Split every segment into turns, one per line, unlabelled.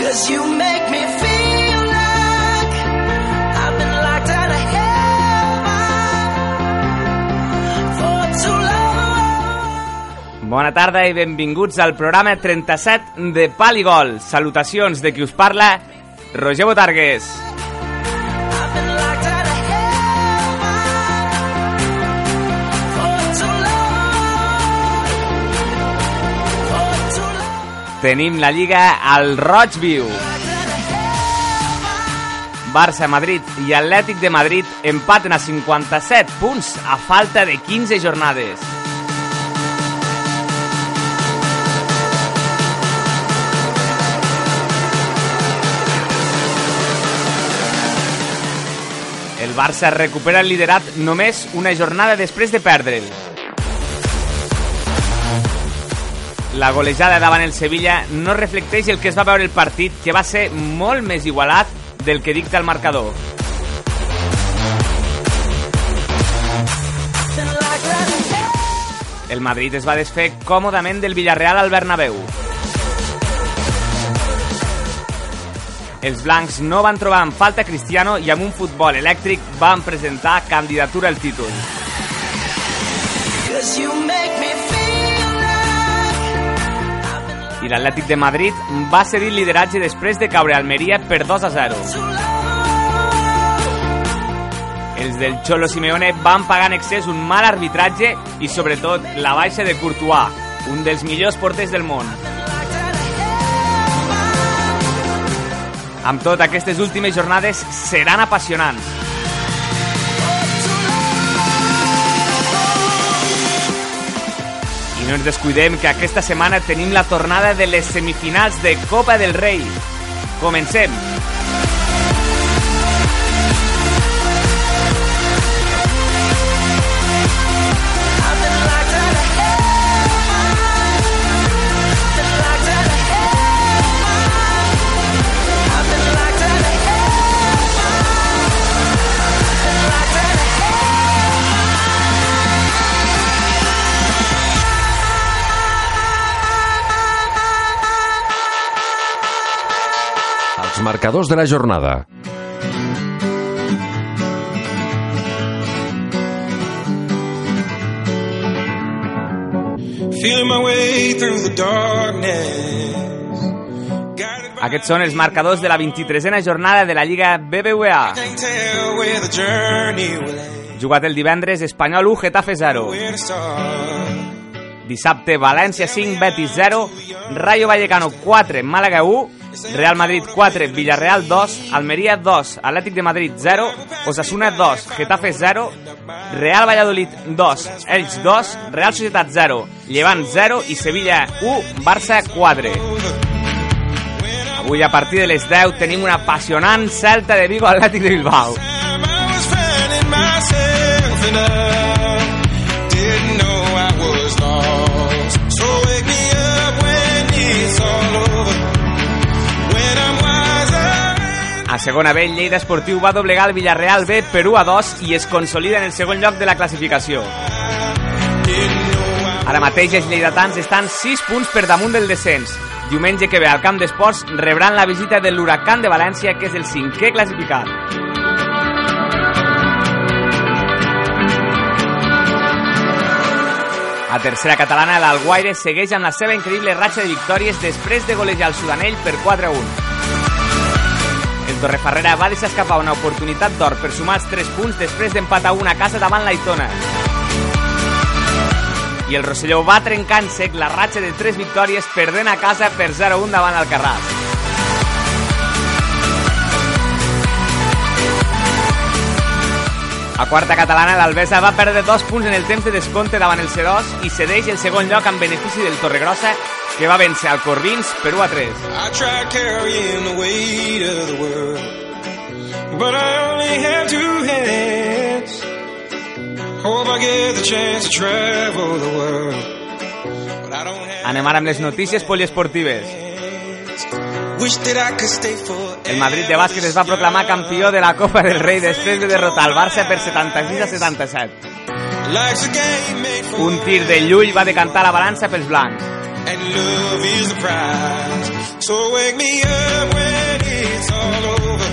Cause you make me feel like I've been locked out of heaven for too long.
Bona tarda i benvinguts al programa 37 de Paligol. Salutacions de qui us parla, Roger Botargues.
I've been locked out of heaven for too long. For too long.
Tenim la Lliga al Roig Viu. Barça, Madrid i Atlètic de Madrid empaten a 57 punts a falta de 15 jornades. El Barça recupera el liderat només una jornada després de perdre'l. La golejada davant el Sevilla no reflecteix el que es va veure el partit, que va ser molt més igualat del que dicta el marcador.
Been locked out of heaven.
El Madrid es va desfer còmodament del Villarreal al Bernabéu. Els blancs no van trobar en falta Cristiano i amb un futbol elèctric van presentar candidatura al títol.
Cause you make me feel like I've been locked
I l'Atlètic de Madrid va cedir lideratge després de caure a Almeria per 2 a 0.
too long.
Els del Cholo Simeone van pagar en excés un mal arbitratge i sobretot la baixa de Courtois, un dels millors porters del món.
Been locked out of heaven.
Amb tot, aquestes últimes jornades seran apassionants.
Too long.
I no ens descuidem que aquesta setmana tenim la tornada de les semifinals de Copa del Rei. Comencem!
I've been locked out of heaven. Been locked out of heaven. I've been locked out of heaven. Been locked out of heaven.
Els marcadors de la jornada.
Feeling my way through the darkness. Guided by
Aquests són els marcadors de la 23a jornada de la Lliga BBVA.
Can't tell where the journey will end.
Jugat el divendres, Espanyol 1, Getafe 0.
Where to start.
Dissabte, València 5, Betis 0, Rayo Vallecano 4, Màlaga 1, Real Madrid 4, Villarreal 2, Almeria 2, Atlètic de Madrid 0, Osasuna 2, Getafe 0, Real Valladolid 2, Elx 2, Real Societat 0, Llevant 0 i Sevilla 1, Barça 4. Avui a partir de les 10 tenim una apassionant Celta de Vigo Atlètic de Bilbao.
Time I was finding myself and I didn't know I was lost. So wake me up when it's all over. When I'm wiser.
A segona B, el Lleida Esportiu va doblegar el Villarreal B per 1 a 2 i es consolida en el segon lloc de la classificació.
Didn't know I
Ara mateix els lleidatans estan 6 punts per damunt del descens. Diumenge que ve al Camp d'Esports rebran la visita de l'Huracan de València, que és el cinquè classificat. A tercera catalana, l'Alguaire segueix amb la seva increïble ratxa de victòries després de golejar el Sudanell per 4 a 1. El Torrefarrera va deixar escapar una oportunitat d'or per sumar els 3 punts després d'empatar una casa davant l'Aitona. I el Rosselló va trencar en sec la ratxa de 3 victòries perdent a casa per 0-1 davant el Carràs. A quarta catalana, l'Albesa va perdre dos punts en el temps de descompte davant el Cedós i cedeix el segon lloc en benefici del Torregrossa, que va vèncer al Corbins per 1 a 3.
I tried carrying the weight of the world, but I only have two hands. Hope I get the chance to travel the world, but I don't have.
Anem ara amb les notícies poliesportives.
hands. Wish that I could stay for.
El Madrid de bàsquet es va proclamar campió de la Copa del Rei després de derrotar el Barça per 76 a 77.
Life's a game made for.
Un tir de Llull va decantar la balança pels blancs.
and love is the prize. So wake me up when it's all over.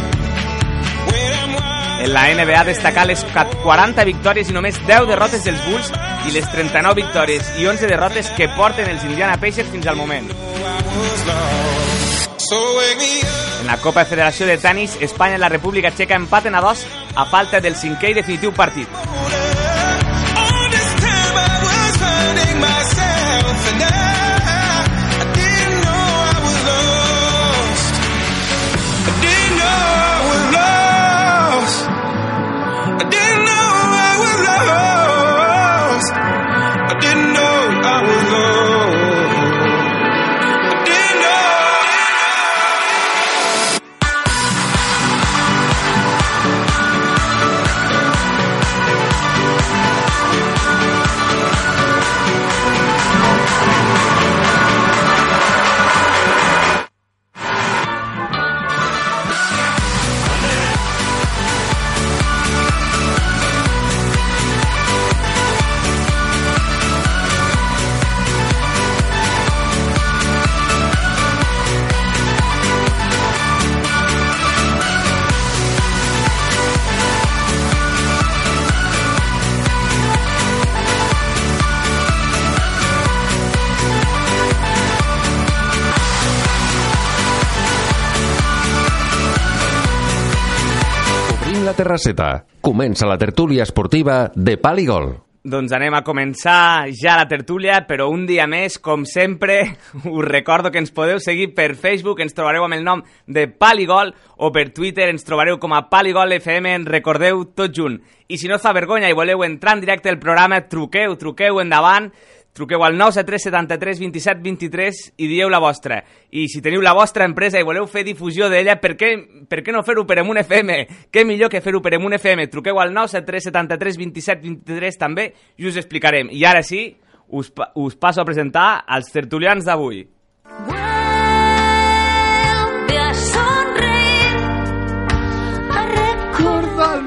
When I'm wide
En la NBA destacar les ca- 40 victòries i només 10 derrotes dels Bulls i les 39 victòries i 11 derrotes que porten els Indiana Pacers fins al moment.
I was lost. So wake me up.
En la Copa de Federació de Tenis, Espanya i la República Txeca empaten a dos a falta del cinquè i definitiu partit.
All this time I was finding myself and I, I didn't know I was lost. I didn't know I was lost. I didn't know I was lost. I didn't know I was lost. I didn't know.
Obrim la terrasseta. Comença la tertúlia esportiva de Pal i Gol.
Doncs anem a començar ja la tertúlia, però un dia més, com sempre, us recordo que ens podeu seguir per Facebook, ens trobareu amb el nom de Paligol, o per Twitter ens trobareu com a Paligol FM, en recordeu tot junt. I si no us fa vergonya i voleu entrar en directe al programa, truqueu, truqueu endavant, truqueu al 973 73 27 23 i dieu la vostra. I si teniu la vostra empresa i voleu fer difusió d'ella, per, què, per què no fer-ho per Emun FM? Què millor que fer-ho per Emun FM? Truqueu al 973 73 27 23 també i us explicarem. I ara sí, us, pa- us passo a presentar els tertulians d'avui.
Vuelve a sonreír, a recordar.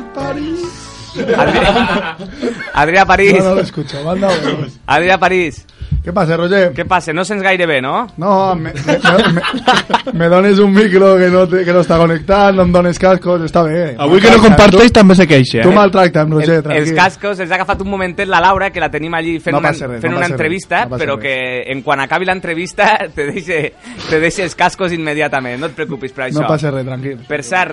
Adrià, Adrià París.
No, no lo escucho, manda huevos.
Adrià París.
¿Qué pasa, Roger?
Què passa? No sents gaire bé, no?
No, me, me- me- me dones un micro que no, te- que no està connectat, no em dones cascos, està bé.
Avui que no comparteix també se queixa,
Tu
eh?
maltracta'm, Roger,
Ah, El-
tranquil.
els cascos els ha agafat un momentet la Laura, que la tenim allí fent
No
una,
passa res,
fent
no
una
passa res,
entrevista,
no passa
però
res.
que en quan acabi l'entrevista te deixa, te deixa els cascos immediatament, no et preocupis per això.
No passa res, tranquil.
Per cert,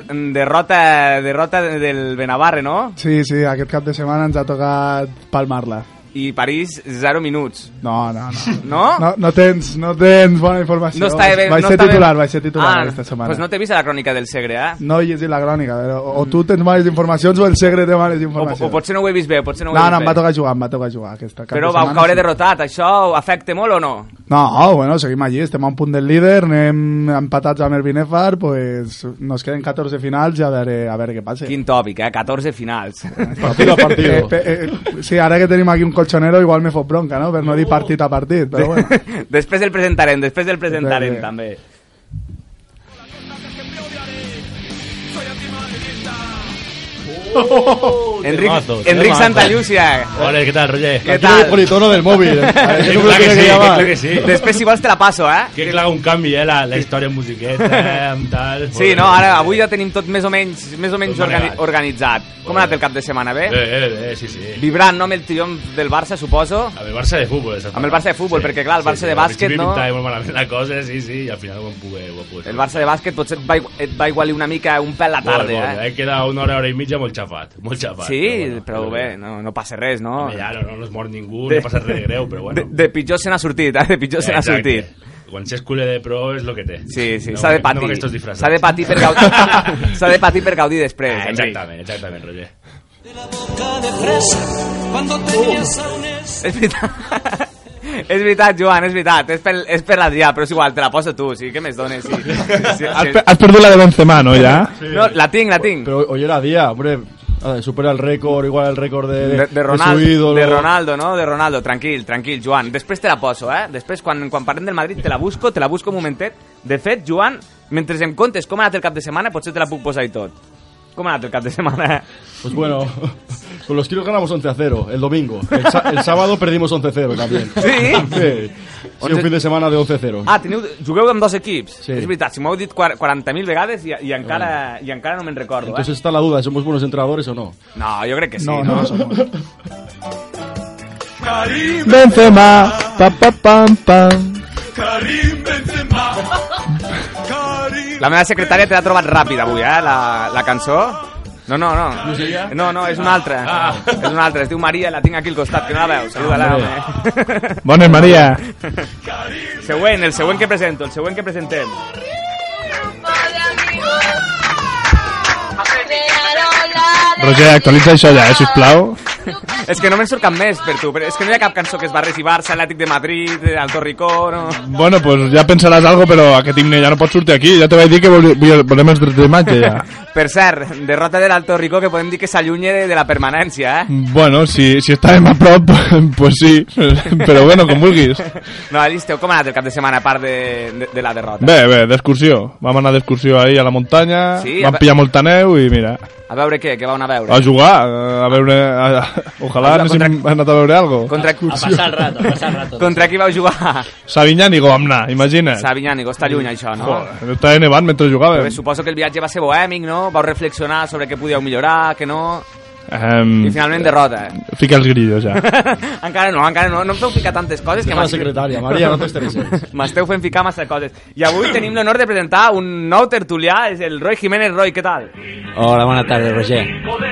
derrota, derrota del Benavarre, no?
Sí, sí, aquest cap de setmana ens ha tocat palmar-la.
I París, 0 minuts.
No, no, no.
No?
No, no tens, no tens bona informació.
No està bé.
Vaig
no
ser
està bé-
titular, vaig ser titular
Ah,
aquesta setmana.
Pues no t'he vist a la crònica del Segre, eh?
no he llegit la crònica, però o, o tu tens males informacions o el segre té males
O,
informacions.
o potser no ho he vist bé, potser no ho he
No,
vist
no, em
bé.
va tocar jugar, em va tocar jugar aquesta cap
Però
de
vau
setmana.
caure
sí.
derrotat, això afecta molt o no?
No, bueno, seguim allí, estem a un punt del líder, anem empatats amb el Binefar, pues nos queden 14 finals i a veure, a veure què passa.
Quin tòpic, eh? 14 finals.
Partido a
Eh,
partido.
pe- eh, sí, ara que tenim aquí un colchonero igual me fot bronca, no? Per no dir partit a partit, però bueno.
després el presentarem, després el presentarem
Bé, bé.
eh.
també. Enric,
temazo,
Enric
temazo.
Santa Llúcia.
Hola, ¿qué tal, Roger?
¿Qué
Tiro
tal?
por el tono del móvil.
¿eh?
Sí,
Eso
clar que sí,
llamar.
clar que sí.
Després, si vols, te la passo, eh?
Que clar, un canvi, eh? La, la història amb musiqueta, eh? Amb tal...
Sí, no, ara avui ja tenim tot més o menys, més o menys
Tot
organi
manegat.
organitzat. Com ha anat el cap de setmana, bé?
Bé, bé, bé, Eh, sí, sí.
Vibrant, no?, amb el triomf del Barça, suposo.
Amb el Barça de futbol, esa
Amb el Barça de futbol, perquè, clar, el Barça de bàsquet, no?
Al principi pintava molt malament la cosa, sí, sí, i al final eh, ho vam poder, ho vam poder.
El Barça de bàsquet potser et va, igu- et va igualir una mica un pèl la
Molt,
tarda,
molt,
eh?
eh? Queda una hora, hora i mitja molt xafat, molt xafat.
Sí,
bueno,
però bé, no, no passa res, no?
Home, Ja no, no, no es mor ningú,
De-
no passa res de greu, però
De,
bueno.
de pitjor se n'ha sortit, eh? De pitjor se n'ha
Exacte.
sortit.
Quan s'és culer de pro és el que té.
Sí, sí,
No,
s'ha de
no amb
patir.
estos disfraços.
S'ha de patir per gaudir, s'ha de patir per gaudir després.
Ah,
Enric.
Exactament, exactament, Roger.
Oh.
És veritat. És veritat, Joan, és veritat. És per, és per l'Adrià, però és igual, te la poso tu. Sí, què més dones? Sí. Sí,
Has,
sí.
per- has perdido la de Benzema, ¿no? Ya.
No, la tinc, la tinc.
Pero hoy era día, hombre. A ver, supera el récord, igual el récord eh, de,
De, de, Ronaldo,
su ídolo.
de Ronaldo, no? De Ronaldo, tranquil, tranquil, Joan. Després te la poso, eh? Després, quan, quan parlem del Madrid, te la busco, te la busco un momentet. De fet, Joan, mentre em contes com ha anat el cap de setmana, potser te la puc posar i tot. Com ha anat el cap de setmana?
Pues bueno, con los kilos ganamos 11 a 0 el domingo. El, sa- el sábado perdimos 11 a 0 también.
Sí?
Sí. Sí, un fin de setmana de 11-0.
Ah, teniu, jugueu amb dos equips.
Sí.
És veritat, si m'ho heu dit quar- 40.000 vegades i, i, encara, i encara no me'n recordo.
Entonces está la duda, ¿somos buenos entrenadores o no?
eh? No, jo crec que sí.
No, no,
no?
no som
Benzema, pa, pa, pam, pam.
La meva secretària te l'ha trobat ràpid avui, eh, la, la cançó. No, no, no. No, no, és una altra. És una altra. Es diu Maria, la tinc aquí al costat, que no la veus. Saluda-la, home.
Bones, Maria.
següent, el següent que presento, el següent que presentem.
Roger, actualitza això ja, eh, sisplau.
És que no me'n surt cap més per tu, però és que no hi ha cap cançó que es barregi Barça, Atlètic de Madrid, eh, Alto Ricó, no...
Bueno, pues ja pensaràs algo, però aquest himne ja no pot sortir aquí. Ja te vaig dir que voli- vull- volem els drets d'imatge, ja.
Per cert, derrota de l'Alto Ricó que podem dir que s'allunya de, de la permanència, eh?
Bueno, si, si estàvem a prop, pues sí. Però bueno, com vulguis.
No, allí esteu com ha anat el cap de setmana a part de, de, de la derrota?
Bé, bé, d'excursió. Vam anar d'excursió ahir a la muntanya,
Sí, a
vam
ve-
pillar molta neu i mira,
A veure què, què va anar a veure?
a jugar, a veure... A, a, ojalà
Contra-
anéssim anat a veure algo.
Contra,
A passar el rato, a passar el rato.
contra qui vau jugar?
Sabinyà ni Gomna, imagina't.
Sabinyànigo, està lluny això, no?
Joder, estava nevant mentre
Però
jugàvem.
bé, suposo que el viatge va ser bohèmic, no? Vau reflexionar sobre què podíeu millorar, què no... I
Um,
finalment derrota, eh?
fica els grillos ja.
encara no, encara no. No em feu ficar tantes coses que
Está la
m'has-
secretaria, María, no te estreses.
M'esteu fent ficar massa coses. I avui tenim l'honor de presentar un nou tertulià, és el Roy Jiménez. Roy, què tal?
Hola, bona tarda, Roger.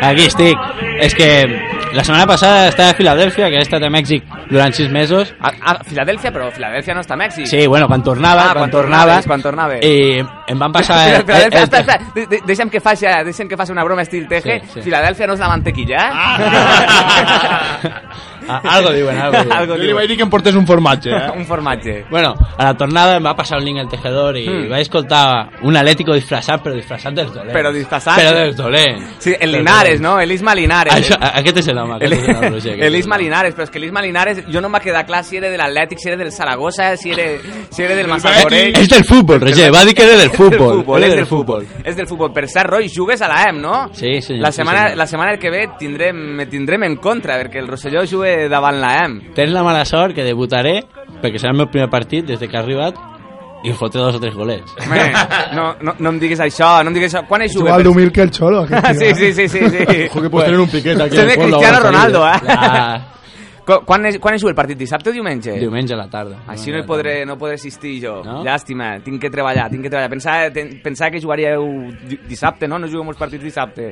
Aquí estic. És que la setmana passada estava a Filadèlfia, que he estat a Mèxic durant sis mesos.
A, a Filadèlfia, però Filadèlfia no està a Mèxic.
Sí, bueno, quan tornava,
Ah,
quan,
quan
tornava,
tornaves, quan tornaves.
I em van passar...
Fila- Filadèlfia,
el-
espera, espera, de- de- deixa'm que faci, eh, deixa'm que faci una broma estil teje.
Sí, sí.
Filadèlfia no és la mantequilla, eh?
Ah, algo diuen, algo diuen.
Algo
Jo li
diuen.
vaig dir que em portés un formatge, eh?
Un formatge.
Bueno, a la tornada em va passar un link al tejedor i
Mm.
mm. vaig escoltar un atlético disfressat, però disfressat dels dolents.
Però disfressat.
Però dels dolents.
Sí, el
Dels
Linares,
dolents.
no? El Isma Linares.
Això, a- aquest és el home,
El,
aquest és el home, Roger. aquest
el
és
Isma
l'home.
Linares, però és que l'Isma Linares, jo no m'ha quedat clar si era de l'Atlètic, si era del Saragossa, si era, si era del Massaporell...
És del futbol, Roger, va dir que era del futbol.
futbol,
era
és del futbol. És del futbol. Per cert, Roy, jugues a la EM, no?
Sí, senyor,
La
sí,
setmana,
senyor.
la setmana que ve tindrem, me tindrem en contra, perquè el Rosselló juga davant la EM.
Tens la mala sort que debutaré, perquè serà el meu primer partit des de que he arribat, i em fotré dos o tres golets.
Home, no, no, no em diguis això, no em diguis això. Quan es juga?
Igual d'humil que el Cholo. Aquest,
Ah,
tio,
sí,
eh?
sí, sí, sí. sí.
Ojo que puedes tener un piquete aquí.
Sembla
en el pueblo
Pues, Cristiano
ahora,
Ronaldo,
Sevilla.
eh?
La...
Qu- Quan es, quan es juga el partit? Dissabte o diumenge?
Diumenge a la tarda.
Així no hi podré, no podré assistir jo. No?
No?
Llàstima, tinc que treballar, tinc que treballar. Pensava, ten, pensava que jugaríeu di- dissabte, no? No jugueu molts partits dissabte.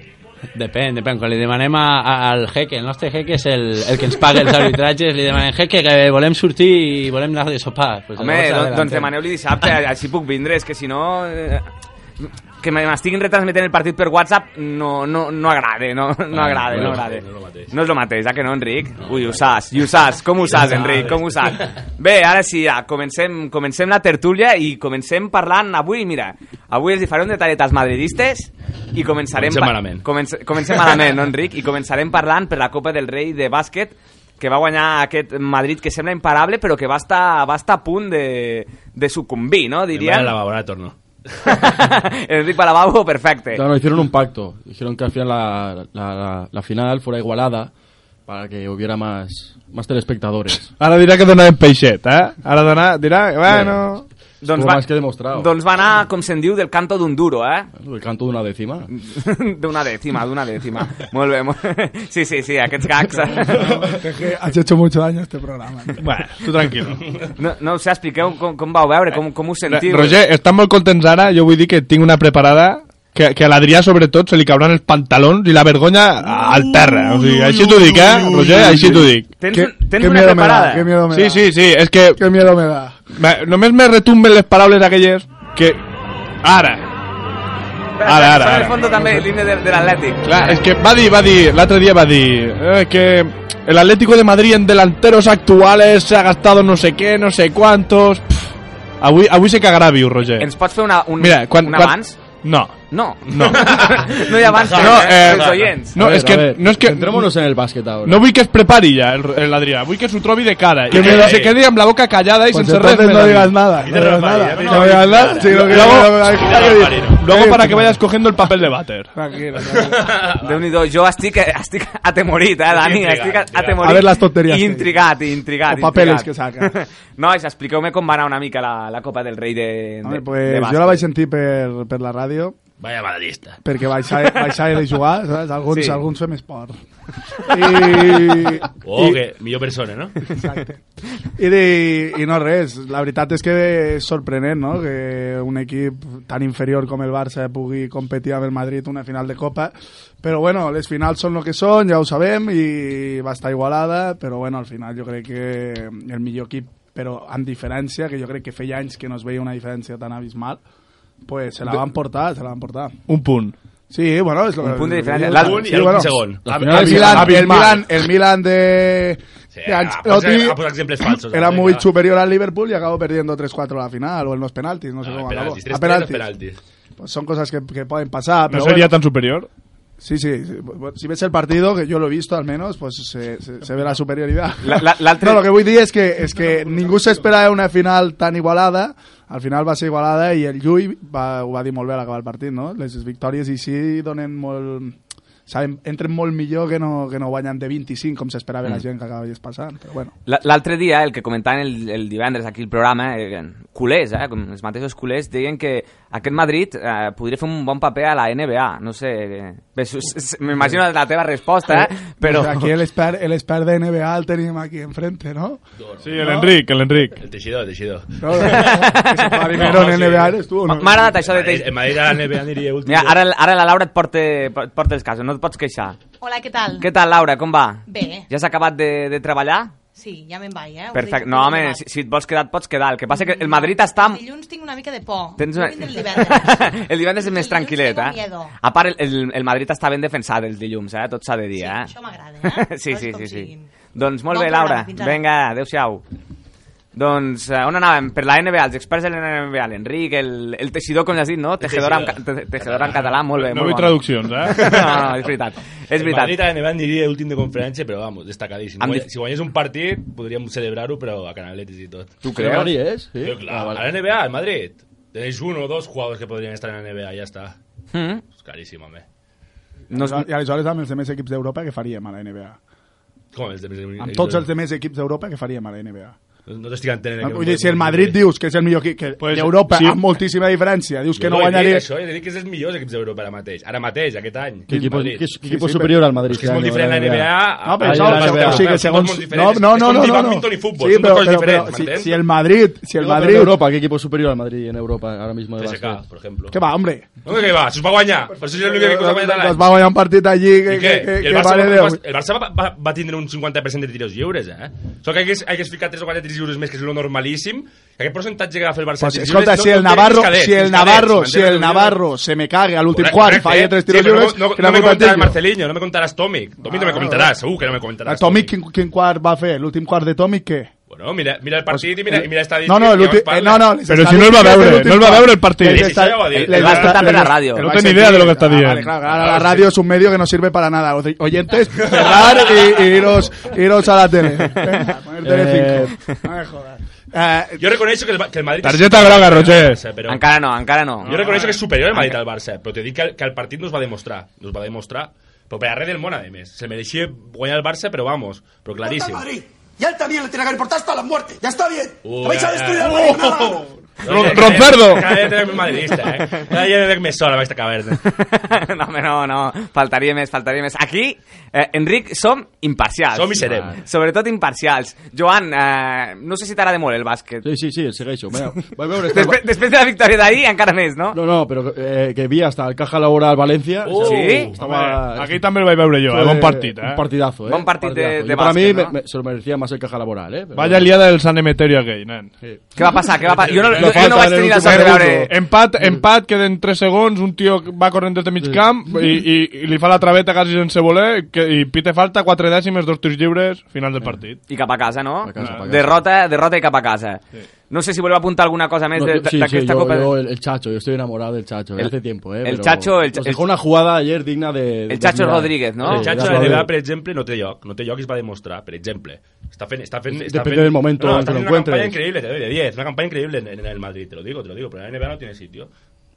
Depèn, depèn. Quan li demanem a, a, al jeque, el nostre jeque és el, el que ens paga els arbitratges, li demanem, jeque, que volem sortir i volem anar de sopar. Pues
Home,
llavors
doncs, doncs
adelante.
demaneu-li dissabte, així puc vindre, és que si no... Eh, que me- m'estiguin retransmetent el partit per WhatsApp no, no, no agrada, no, no agrada, no
bueno,
agrada.
no és lo mateix.
No és el mateix, ah, que no, Enric? Ui, ho saps, i ho saps, com ho saps, Enric, com ho saps? Bé, ara sí, ja, comencem, comencem la tertúlia i comencem parlant avui, mira, avui els hi faré un detallet als madridistes i començarem...
Comencem
pa-
malament.
Comence, comencem malament, no, Enric? I començarem parlant per la Copa del Rei de bàsquet que va guanyar aquest Madrid que sembla imparable però que va estar, va estar a punt de, de sucumbir, no?
Diria...
Diríem.
La babona torno.
Enric Palababo, perfecte.
Claro, hicieron un pacto. Dijeron que al final la, la- la- la final fuera igualada para que hubiera más, más telespectadores.
Ara dirà que donarem peixet, eh? Ara donar, dirà, bueno...
Estuvo más que demostrado.
doncs va anar, com se'n diu, del canto d'un duro, eh?
El canto de una décima.
d'una dècima, d'una dècima. molt bé, molt bé. Sí, sí, sí, aquests gags.
Es que Has hecho mucho daño a este programa. tío.
Bueno, tu tranquil.
No, no ho sé, expliqueu com, com vau veure, com, com us sentiu.
Roger, estan molt contents ara, jo vull dir que tinc una preparada que, que a l'Adrià, sobretot, se li cauran els pantalons i la vergonya al terra. O sigui, així t'ho dic, eh, Roger? Així t'ho dic.
Tens,
Qué-
un- tens
qué
una
miedo me da,
preparada?
qué miedo me
Sí,
da.
sí, sí, és que
Qué miedo me da.
Bé, només me retumben les paraules aquelles que... Ara.
Espera,
Ara, ara,
sona
ara.
el fondo també, l'himne de, de l'Atlètic.
Clar, és que va dir, va dir, l'altre dia va dir eh, que el Atlético de Madrid en delanteros actuales se ha gastado no sé qué, no sé cuántos... Pff, avui, avui se cagarà viu, Roger.
Ens pots fer una, un,
Mira, quan,
un
quan...
abans?
No,
No, no, no hi avança,
No,
no, eh,
eh,
els oients.
No,
A ver,
és
a
que...
ver,
No és que...
Centrémonos en el básquet ahora.
No vull que es prepari ja el- el Adrià, vull que s'ho trobi de cara i que,
me da-
se quedi amb la boca callada i
Pues
sense res.
entonces
més
no
a dir.
digas nada. No
Y te
digas
raparé,
nada.
ya te
No
raparé.
digas nada.
Nada.
Sí, lo que-
Luego-
lo que-
Claro, Marino.
Luego para que vayas cogiendo el papel de váter.
Tranquilo,
Déu-n'hi-do, jo estic, estic atemorit, eh, Dani?
Intrigat,
Estic
intrigat.
atemorit.
A ver les tonteries que
Intrigat, intrigat.
O papeles
intrigat.
que saca.
Nois, expliqueu-me com va anar una mica la, la Copa del Rei de, de,
Home,
de
pues,
bàsquet.
jo la vaig sentir per, per la ràdio
Vaya madridista.
perquè baixava, baixava de jugar, saps? Alguns,
Sí.
sí. alguns fem esport. I,
Oh,
i,
que millor persona, no?
Exacte. I, de, I no res, la veritat és que és sorprenent no? que un equip tan inferior com el Barça pugui competir amb el Madrid una final de Copa, però bueno, les finals són el que són, ja ho sabem, i va estar igualada, però bueno, al final jo crec que el millor equip, però amb diferència, que jo crec que feia anys que no es veia una diferència tan abismal, pues se la van portar, se la van portar.
Un punt.
Sí, bueno, és lo
Un
que-
punt de diferència.
Sí,
L'alt-
Un i
sí,
el
bueno.
segon.
La
El
final es
Milan, el
abismal.
Milan, el Milan de...
Sí,
de
ha, posat,
Ancelotti-
ha posat exemples falsos.
era
¿no?
muy
Venga.
superior al Liverpool y acabó perdiendo 3-4 a la final o en los penaltis, no sé
Ah,
cómo acabó.
penaltis, tres
A penaltis.
penaltis.
Pues son cosas que, que pueden pasar,
No
pero
seria
bueno,
tan superior.
sí, sí, sí. Bueno, Si ves el partido, que yo lo he visto al menos, pues se, se- se ve la superioridad.
La- la- la altra-
No, lo que voy a decir es que, es que ningú s'espera una final tan igualada, al final va ser igualada i el Llull va, ho va dir molt bé a l'acabar el partit, no? Les victòries i sí donen molt... Saben, entren molt millor que no, que no guanyen de 25 com s'esperava
Mm.
la gent que acabaves passant, però bueno.
La- L'altre dia, el que comentaven el, el divendres aquí al programa, eh, culers, eh, com els mateixos culers, deien que aquest Madrid eh, podria fer un bon paper a la NBA. No sé, eh, bé, su- s- m'imagino la teva resposta, eh, però...
O sea, Pues aquí el expert, el expert de NBA el teníamos aquí enfrente, ¿no?
Sí, el Enric, el Enric.
El teixidor, el teixidor.
No, no, que se fue primero
No,
en
sí.
NBA eres tú, ¿no?
M'ha agradat això de...
Madrid- En
Teix-
Madrid a la NBA aniria últim.
Mira, ara, ara la Laura et porta, et porta els casos, no et pots queixar.
Hola, què tal?
Què tal, Laura, com va?
Bé.
Ja s'ha acabat de, de treballar?
Sí, ja me'n vaig, eh? Us
Perfecte.
dic Mm.
No,
que
home,
me'n
si,
vaig.
si et vols quedar, et pots quedar. El que passa que el Madrid està... amb-
El dilluns tinc una mica de por.
Tens
Jo
una...
vinc El divendres.
el divendres és
El
més
dilluns
tranquil·let,
tengo
eh?
miedo.
A part, el, el, el Madrid està ben defensat els dilluns, eh? Tot s'ha de dir,
Sí,
eh?
això m'agrada, eh?
sí,
Coses
sí,
com
sí, sí.
siguin.
Doncs molt
Bon
bé,
programa,
Laura.
fins ara.
Vinga, adeu-siau. Doncs eh, on anàvem? Per la NBA, els experts de la NBA, l'Enric, el, el teixidor, com ja has dit, no? Tejedor en, ca- te- tejedor en català, molt bé.
No
molt
vull
bona.
traduccions,
No,
eh?
no, no, és veritat. És
En Madrid
veritat.
a la NBA aniria últim de conferència, però vamos, destacadíssim.
Em
Guany-
di-
Si guanyés un partit, podríem celebrar-ho, però a canaletes i tot.
Tu
Pero
creus?
Madrid, ¿eh? Sí.
Pero claro,
Ah, vale.
a la NBA, al Madrid. Tenéis uno o dos jugadores que podrían estar en la NBA, ya está.
Mm?
Es carísimo, hombre.
No, és-
I aleshores amb els demés equips d'Europa què faríem a la NBA?
¿Cómo es? De-
Amb tots els demés equips d'Europa què faríem a la NBA?
No te estoy entendiendo.
Vull dir, si el Madrid dius que és el millor equip que
Pues,
d'Europa
sí.
amb moltíssima diferència, dius que no
no
guanyaria...
Això, he de dir que és dels millors equips d'Europa ara mateix. Ara mateix, aquest any.
¿Qué equipo,
Madrid.
qué- qué
És
equipo
sí,
superior al Madrid?
que és molt
este año,
diferent la NBA...
No, però
Ah,
això,
la
això,
NBA.
o sigui que segons... No, no, no, no, no, no.
Badminton i futbol, sí, són
però,
dos coses
però, però,
diferents,
si,
m'entens?
si el Madrid, si el
No, pero en
Madrid...
Europa, ¿qué equipo superior al Madrid en Europa ahora mismo? de
PSG,
básquet?
per exemple.
Que va, hombre.
No, que va, s'us va guanyar. Per això és l'únic que us ha guanyat a
Doncs
l'any.
va guanyar un partit allí que,
I
que,
què?
que,
I
que
el Barça,
vale
va,
Déu.
el Barça va, va, va tindre un 50% de tiros lliures, eh? Sóc que hagués, hagués ficat 3 o 4 tiros lliures més, que és lo normalíssim, que aquest percentatge que va fer el Barça
Pues,
de tiros
escolta,
lliures
si el
té
Navarro,
els cadets,
si el
els cadets,
Navarro,
m'entens?
si el
Els
Navarro se me cague al últim
Correcte,
quart i falla
correcte.
tres tiros
eh, sí, però
lliures,
No, no,
que era
no me
culpa
contaràs,
teu.
Marcelinho, no me contaràs Tomic. Tomic no me comentaràs, segur que no me
A
comentaràs.
Tomic, quin, quin quart va fer? L'últim quart de Tomic, què?
Bueno, mira, mira el partit i mira, i mira
Pues, eh, No, no,
estadístiques. i llavors
l'últim... Eh,
parles.
no, no, les
Però si no el va
estadístiques
veure,
de l'últim
no el va
quart.
veure el partit.
Les
Sí,
sí, ja ho va dir.
les
El
va
esta-
escoltar per la
les-
ràdio.
el
No té
vaig
ni
sentir.
idea de lo que està
Ah,
dient.
Vale, claro, ara la ràdio és un medio que no sirve para nada. Oy- Oyentes, cerrar y iros, iros a la tele. Venga, poner Telecinco. No me jodas. Eh,
Jo reconeixo que el, Ba- que el Madrid... és
Targeta
superior
groga,
al
Roger.
Barça, però-
Encara no, encara no.
Jo reconeixo que és superior el Madrid al Barça, però t'he dit que, el- que el partit no es va demostrar. No es va demostrar. Però per res del món, a més. Se mereixia guanyar el Barça, però vamos, però claríssim.
Y a él también le tiene que importar hasta la muerte. Ya está bien.
Uh,
Lo vais a
ja,
destruir
ja.
al Madrid, nada más.
Ro- Roncerdo.
Cada dia tenen madridista, eh? Cada dia tenen més sol amb aquesta caverna.
no, home, no, no. Faltaria més, faltaria més. Aquí, eh, Enric, som imparcials. Ah.
Som i serem.
Sobretot imparcials. Joan, eh, no sé si t'agrada molt el bàsquet.
Sí, sí, sí, el Segaixo. Vaya, vaya, vaya,
Despe després de la victòria d'ahir, encara més, no?
No, no, pero eh, que vi hasta el Caja Laboral Valencia.
Uh,
Sí?
Estaba-
Home, aquí també el vaig veure jo, eh? Bon partit, eh?
Un partidazo, eh?
Bon partit de-
Partidazo.
de
Y Para mí
básquet,
me-
¿no?
me- se lo merecía más el Caja Laboral, eh? Pero-
Vaya liada del San Emeterio aquell, nen.
Sí.
Què va passar? Què va passar? Jo no,
Lo
jo, jo no
falta
vaig
en el
tenir la
últim
sort de veure...
minuto.
Empat, empat, queden 3 segons, un tio va corrent des de mig camp i, i, i li fa la traveta quasi sense voler que, i pite falta 4
Eh.
dècimes, dos tirs lliures, final del partit.
I cap a casa, no?
A casa, a casa.
Derrota, derrota i cap a casa. Sí. No sé si vuelvo a apuntar alguna cosa més
No,
de-
yo- sí, sí,
d'aquesta
yo-
Copa.
yo el, el Chacho, yo estoy enamorado del Chacho, de
El-
hace tiempo, ¿eh?
el
pero
Chacho, el-
nos
el-
dejó una jugada ayer digna de... de
el Chacho
admirar.
Rodríguez, no?
El Chacho
de
de
Rodríguez.
l'EDA, per exemple, no té lloc. No té lloc i es va demostrar, per exemple. Està fent... Està fent està
Depende
fent,
del momento
no,
en que
està fent
lo
una campaña
encuentres.
increíble, te doy de 10. Una campaña increíble en, en el Madrid, te lo digo, te lo digo. Pero en la NBA no tiene sitio.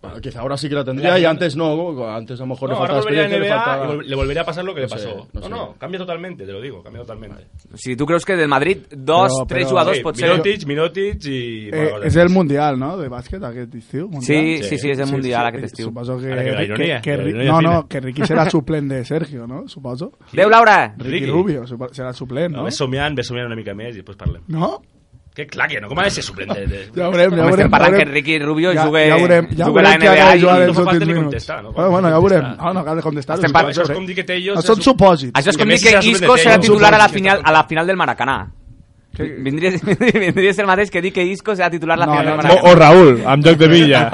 Bueno, quizá ahora sí que la tendría y antes no, antes a lo mejor
No,
le
ahora
faltaba
volvería a la
experiencia,
NBA
le faltaba...
y vol- le volvería a pasar lo que
No
le
sé,
pasó.
no
No, no,
sé.
cambia totalmente, te lo digo, cambia totalmente.
Si tu creus que del Madrid dos,
Però-
tres
però-
jugadors
Sí,
pot ser...
Mirotic, Mirotic i...
Eh, és el Mundial, no?, de bàsquet aquest estiu. Mundial.
Sí, sí, sí, és el Mundial aquest estiu.
Suposo que...
Ara que la ironia,
que,
la
Ri-
ironia
no,
fina.
no, que Ricky serà suplent de Sergio, no?, suposo.
Adéu, Laura!
Ricky,
Ricky.
Rubio supo- serà suplent,
No?
no?
Ves somiant, ves somiant una mica més i després parlem.
No?
Que clar que no, com ha de ser suplent? De, de...
Ja veurem, ja
Home,
veurem.
estem parlant este
ja
que
veurem.
Ricky Rubio
ja,
jugue-
ja veurem, ja
jugue a la
veurem què
NBA
harà
i
Joan
no
els
fa falta
últims
ni
minuts.
contestar, no?
Bueno, bueno, ja veurem.
Contestar.
No, no cal de contestar.
Estem
ho
parlant-
sé,
Això
ho
és
sé.
com dir que Tello...
Això són supòsits.
Això és com
I que
dir
Messi
que
serà suplent
Isco
de
serà
Xavi.
titular a la
Supòsit,
final,
sí,
a la final del Maracaná. Vindria, vindria a ser el mateix que dir que Isco serà titular a la
No,
final
no,
del
no.
Maracaná.
O, o Raúl, amb joc de Villa.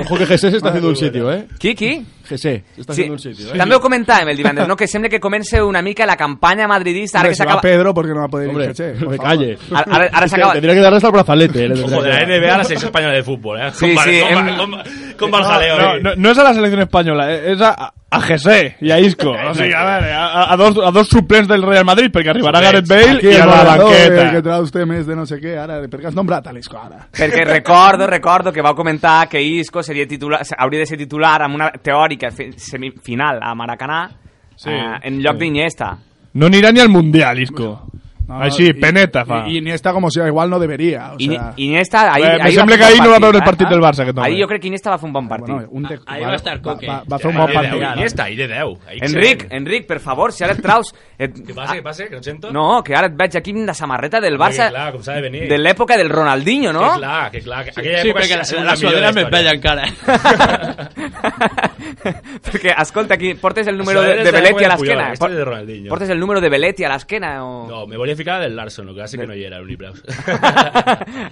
Ojo que Jesse se está haciendo un sitio, ¿eh?
Qui, qui?
Jesse se está
Sí.
haciendo un sitio, ¿eh?
També ho comentàvem el divendres, no? que sembla que comence una mica la campanya madridista ara
Hombre,
que
se va
s'acaba...
Pedro porque no va a poder ir
Hombre,
Cheche,
que
por favor.
calle.
Ara, ara, ara s'acaba...
Tendría que darle hasta el brazalete. eh, le tendría
Ojo, de
que
la
dar.
NBA a la selecció espanyola de fútbol, eh?
Sí,
con,
sí,
Con,
em-
con, con Barjaleo,
No,
eh?
no, no es a la selección española, eh, es a, a Jesse y a Isco. O sigui, a, veure, a, a, dos, a dos suplents del Real Madrid, perquè arribarà Gareth
Suplents.
Aquí
Bale i a
el
la
Maradó, eh, que
banqueta.
trau usted mes de no sé qué, ahora, perquè has nombrat a l'Isco, ara.
Perquè recordo, recordo que vau comentar que Isco seria titular, hauria de ser titular amb una teòrica fi- semifinal a Maracanà sí, eh, en lloc sí. d'Iniesta.
No anirà ni al Mundial, Isco.
No,
Així,
i-
peneta fa.
I, i Iniesta, com si igual no debería. O
Ini-
sea,
Iniesta... Ahir,
Bé,
ahir
me sembla
fer
que
un
ahir no va
partit,
veure el
eh?
partit del Barça, aquest home.
Ahir jo crec que Iniesta va fer un bon partit.
bueno, un de,
ahí va a estar Coque.
Va, va fer un bon
Ahí de deu,
partit.
I està, ahí de 10.
Enric, Enric, per favor, si ara et traus... Et... ah,
Què passa, què passa? Que no et sento?
No, que ara et veig aquí amb la samarreta del Barça
Que clar, com s'ha de venir.
de l'època del Ronaldinho, no?
Que clar, que clar. Que aquella
Sí,
època
perquè
ha
la,
sigut
la
millor de
sudadera
la
me
història.
bella encara.
Perquè, escolta, aquí portes el número de,
Suárez
de
de
Beletti a
Juan Puyol,
l'esquena. eh?
este de Ronaldinho.
Portes el número de Beletti a l'esquena o...
No, me volia ficar del Larson, el que passa que no hi era, l'Unibraus.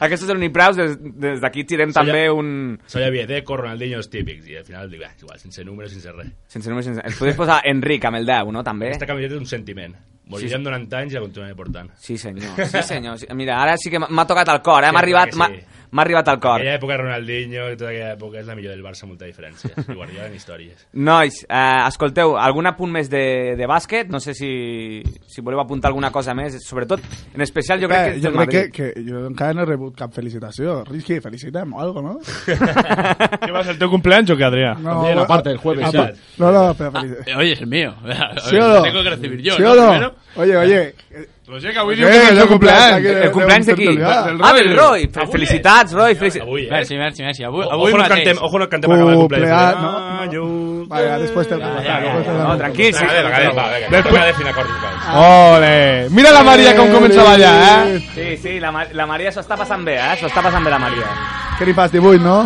Aquests són unipraus, des des d'aquí tirem
Això ja-
també un...
Això ja havia Deco, eh, Ronaldinho, els típics, i al final dic, ah, és igual, sense números, sense res.
Sense números, sense... Ens podries posar Enric amb el 10, no? També.
Aquesta camiseta és un sentiment. Morirem sí. 90 anys i la continuaré portant.
Sí, senyor. Sí, senyor. Sí, Mira, ara sí que m'ha- m'ha tocat al cor, eh?
Sí,
M'ha arribat,
clar
m'ha
que sí.
m'ha arribat al cor.
Aquella època Ronaldinho i tota aquella època és la millor del Barça, molta diferència. I Guardiola en històries.
Nois, eh, escolteu, algun apunt més de, de bàsquet? No sé si, si voleu apuntar alguna cosa més. Sobretot, en especial, jo crec que...
Eh,
és
jo
del
crec que,
Madrid.
que jo encara no he rebut cap felicitació. Ricky, felicitem o algo, no?
Què va ser el teu cumpleaños o què, Adrià?
No,
Bien,
va-
aparte, el jueves.
apa- No, no, pero felicitació.
Eh,
Oye, es mío.
¿Sí o no?
Tengo que recibir yo,
¿Sí
¿no?
o no?
Primero.
Oye, oye.
Roger, que avui
Eh,
diu que és el
jo
seu cumpleaños.
cumpleaños,
El cumpleaños d'aquí.
Del
Ah, del Roy.
Avui és.
Felicitats, Roy. Felicitats.
Avui, eh?
Merci, merci, merci. Avui,
O-
avui
ojo, no
mateix.
cantem, ojo no cantem acabar el
Cumpleaños,
cumpleaños.
no?
Años.
Vale, después te lo
Ah,
cuento,
ja, ja,
después te lo
ja.
No,
cuento.
tranquil, sí.
Venga, venga, venga, venga.
Després-
Toca definir acords, va.
Ole! Mira la Maria com comença a ballar, eh?
Sí, sí, la, Ma- la Maria s'ho està passant bé, eh? S'ho està passant bé, la Maria.
Que li fas 18, no?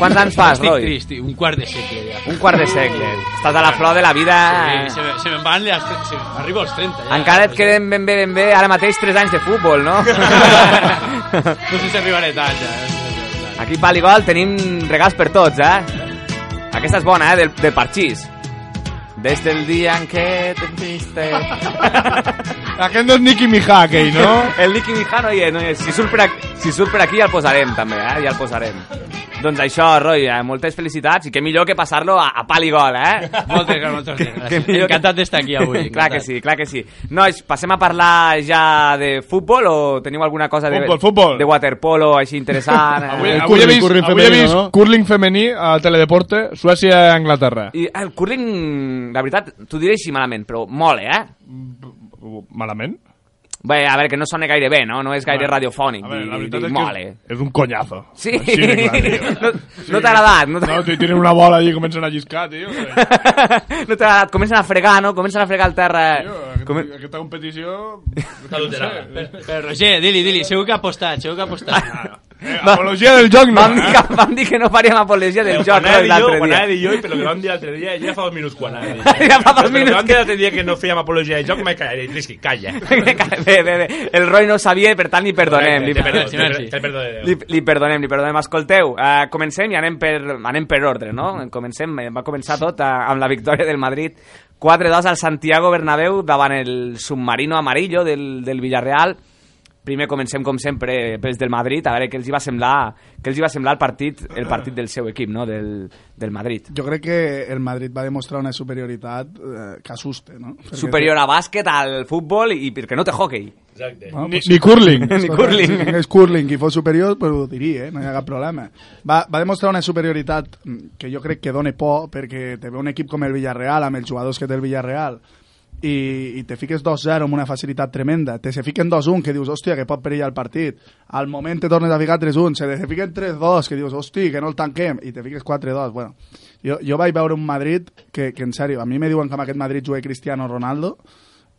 Quants anys fas,
Estic
Roy?
trist, un quart de segle ja.
Un quart de segle. Estàs a la flor de la vida...
Eh, se, me- se me'n van les... tre- Se, arribo als 30 ja.
Encara et queden ben bé, ben bé, ara mateix 3 anys de futbol, no?
No sé si arribaré tant ja.
Aquí, pal i gol, tenim regals per tots, eh? Aquesta és bona, eh? Del, de parxís. Des del dia en què te viste...
Aquest no és Nicky Mijá, aquell, no?
El Nicky Mijano hi és, no hi és. Si surt, per aquí, si surt per aquí ja el posarem, també, eh? Ja el posarem. Doncs això, Roy, eh? moltes felicitats i que millor que passar-lo a, a pal i gol, eh?
Moltes gràcies, moltes
Que- que
gràcies.
millor que-
Encantat d'estar aquí avui.
clar que sí, clar que sí. Nois, passem a parlar ja de futbol o teniu alguna cosa de...
Futbol, futbol.
De waterpolo així interessant? eh?
Avui,
El
avui,
curling,
he vist,
curling
avui he
femení,
vist
no?
curling femení a Teledeporte, Suècia i Anglaterra.
I eh, el curling, la veritat, t'ho diré així malament, però mola, eh?
Malament?
Bé, a veure, que no sona gaire bé, no? No és gaire
Bueno,
radiofònic.
Ah. A veure, la
dir-
veritat
dir,
és
mola.
que és, és un conyazo.
Sí,
Així de clar, tio.
no, no
Sí.
t'ha agradat. No t'ha
No, tio, tiren una bola allí i comencen a lliscar, tio.
no t'ha agradat. Comencen a fregar, no? Comencen a fregar el terra.
Tio, aquest-
Come-
Aquesta competició...
Està adulterada.
Però Roger, dili, dili, segur que ha apostat, segur que ha apostat.
Eh, apologia del joc, no.
Vam dir, que, vam dir que no faríem apologia del joc
Quan
no,
anava jo,
l'altre
quan
dia.
anava jo, però que vam dir l'altre dia, ja fa dos minuts quan anava.
Ja fa dos
Però
minuts
Que vam dir l'altre dia que no fèiem apologia de joc, m'he callat. Dic, "Sí, calla.
bé, bé, bé. El Roy no ho sabia, per tant, li perdonem. Li,
Te perdo,
Sí,
te per-
merci.
Te perdo de Déu.
li, li perdonem, li perdonem. Escolteu, eh, comencem i anem per, anem per ordre, no? Comencem, eh, va començar tot eh, amb la victòria del Madrid 4-2 al Santiago Bernabéu davant el submarino amarillo del, del Villarreal. Primer comencem, com sempre, pels del Madrid, a veure què els hi va semblar, què els hi va semblar el partit, el partit del seu equip, no? del, del Madrid.
Jo crec que el Madrid va demostrar una superioritat eh, que assusta, no? Perquè-
Superior a bàsquet, al futbol i perquè no té hockey.
Exacte.
Bueno,
Ni-
pues-
ni curling.
Ni curling.
Si tingués curling i fos superior, pues ho diria, eh? no hi ha cap problema. Va, va demostrar una superioritat mm, que jo crec que dona por, perquè te ve un equip com el Villarreal, amb els jugadors que té el Villarreal, i, i te fiques 2-0 amb una facilitat tremenda, te se fiquen 2-1, que dius, hòstia, que pot perillar el partit, al moment te tornes a ficar 3-1, se te fiquen 3-2, que dius, hòstia, que no el tanquem, i te fiques 4-2, bueno. Jo, jo vaig veure un Madrid que, que en sèrio, a mi me diuen que amb aquest Madrid jugué Cristiano Ronaldo,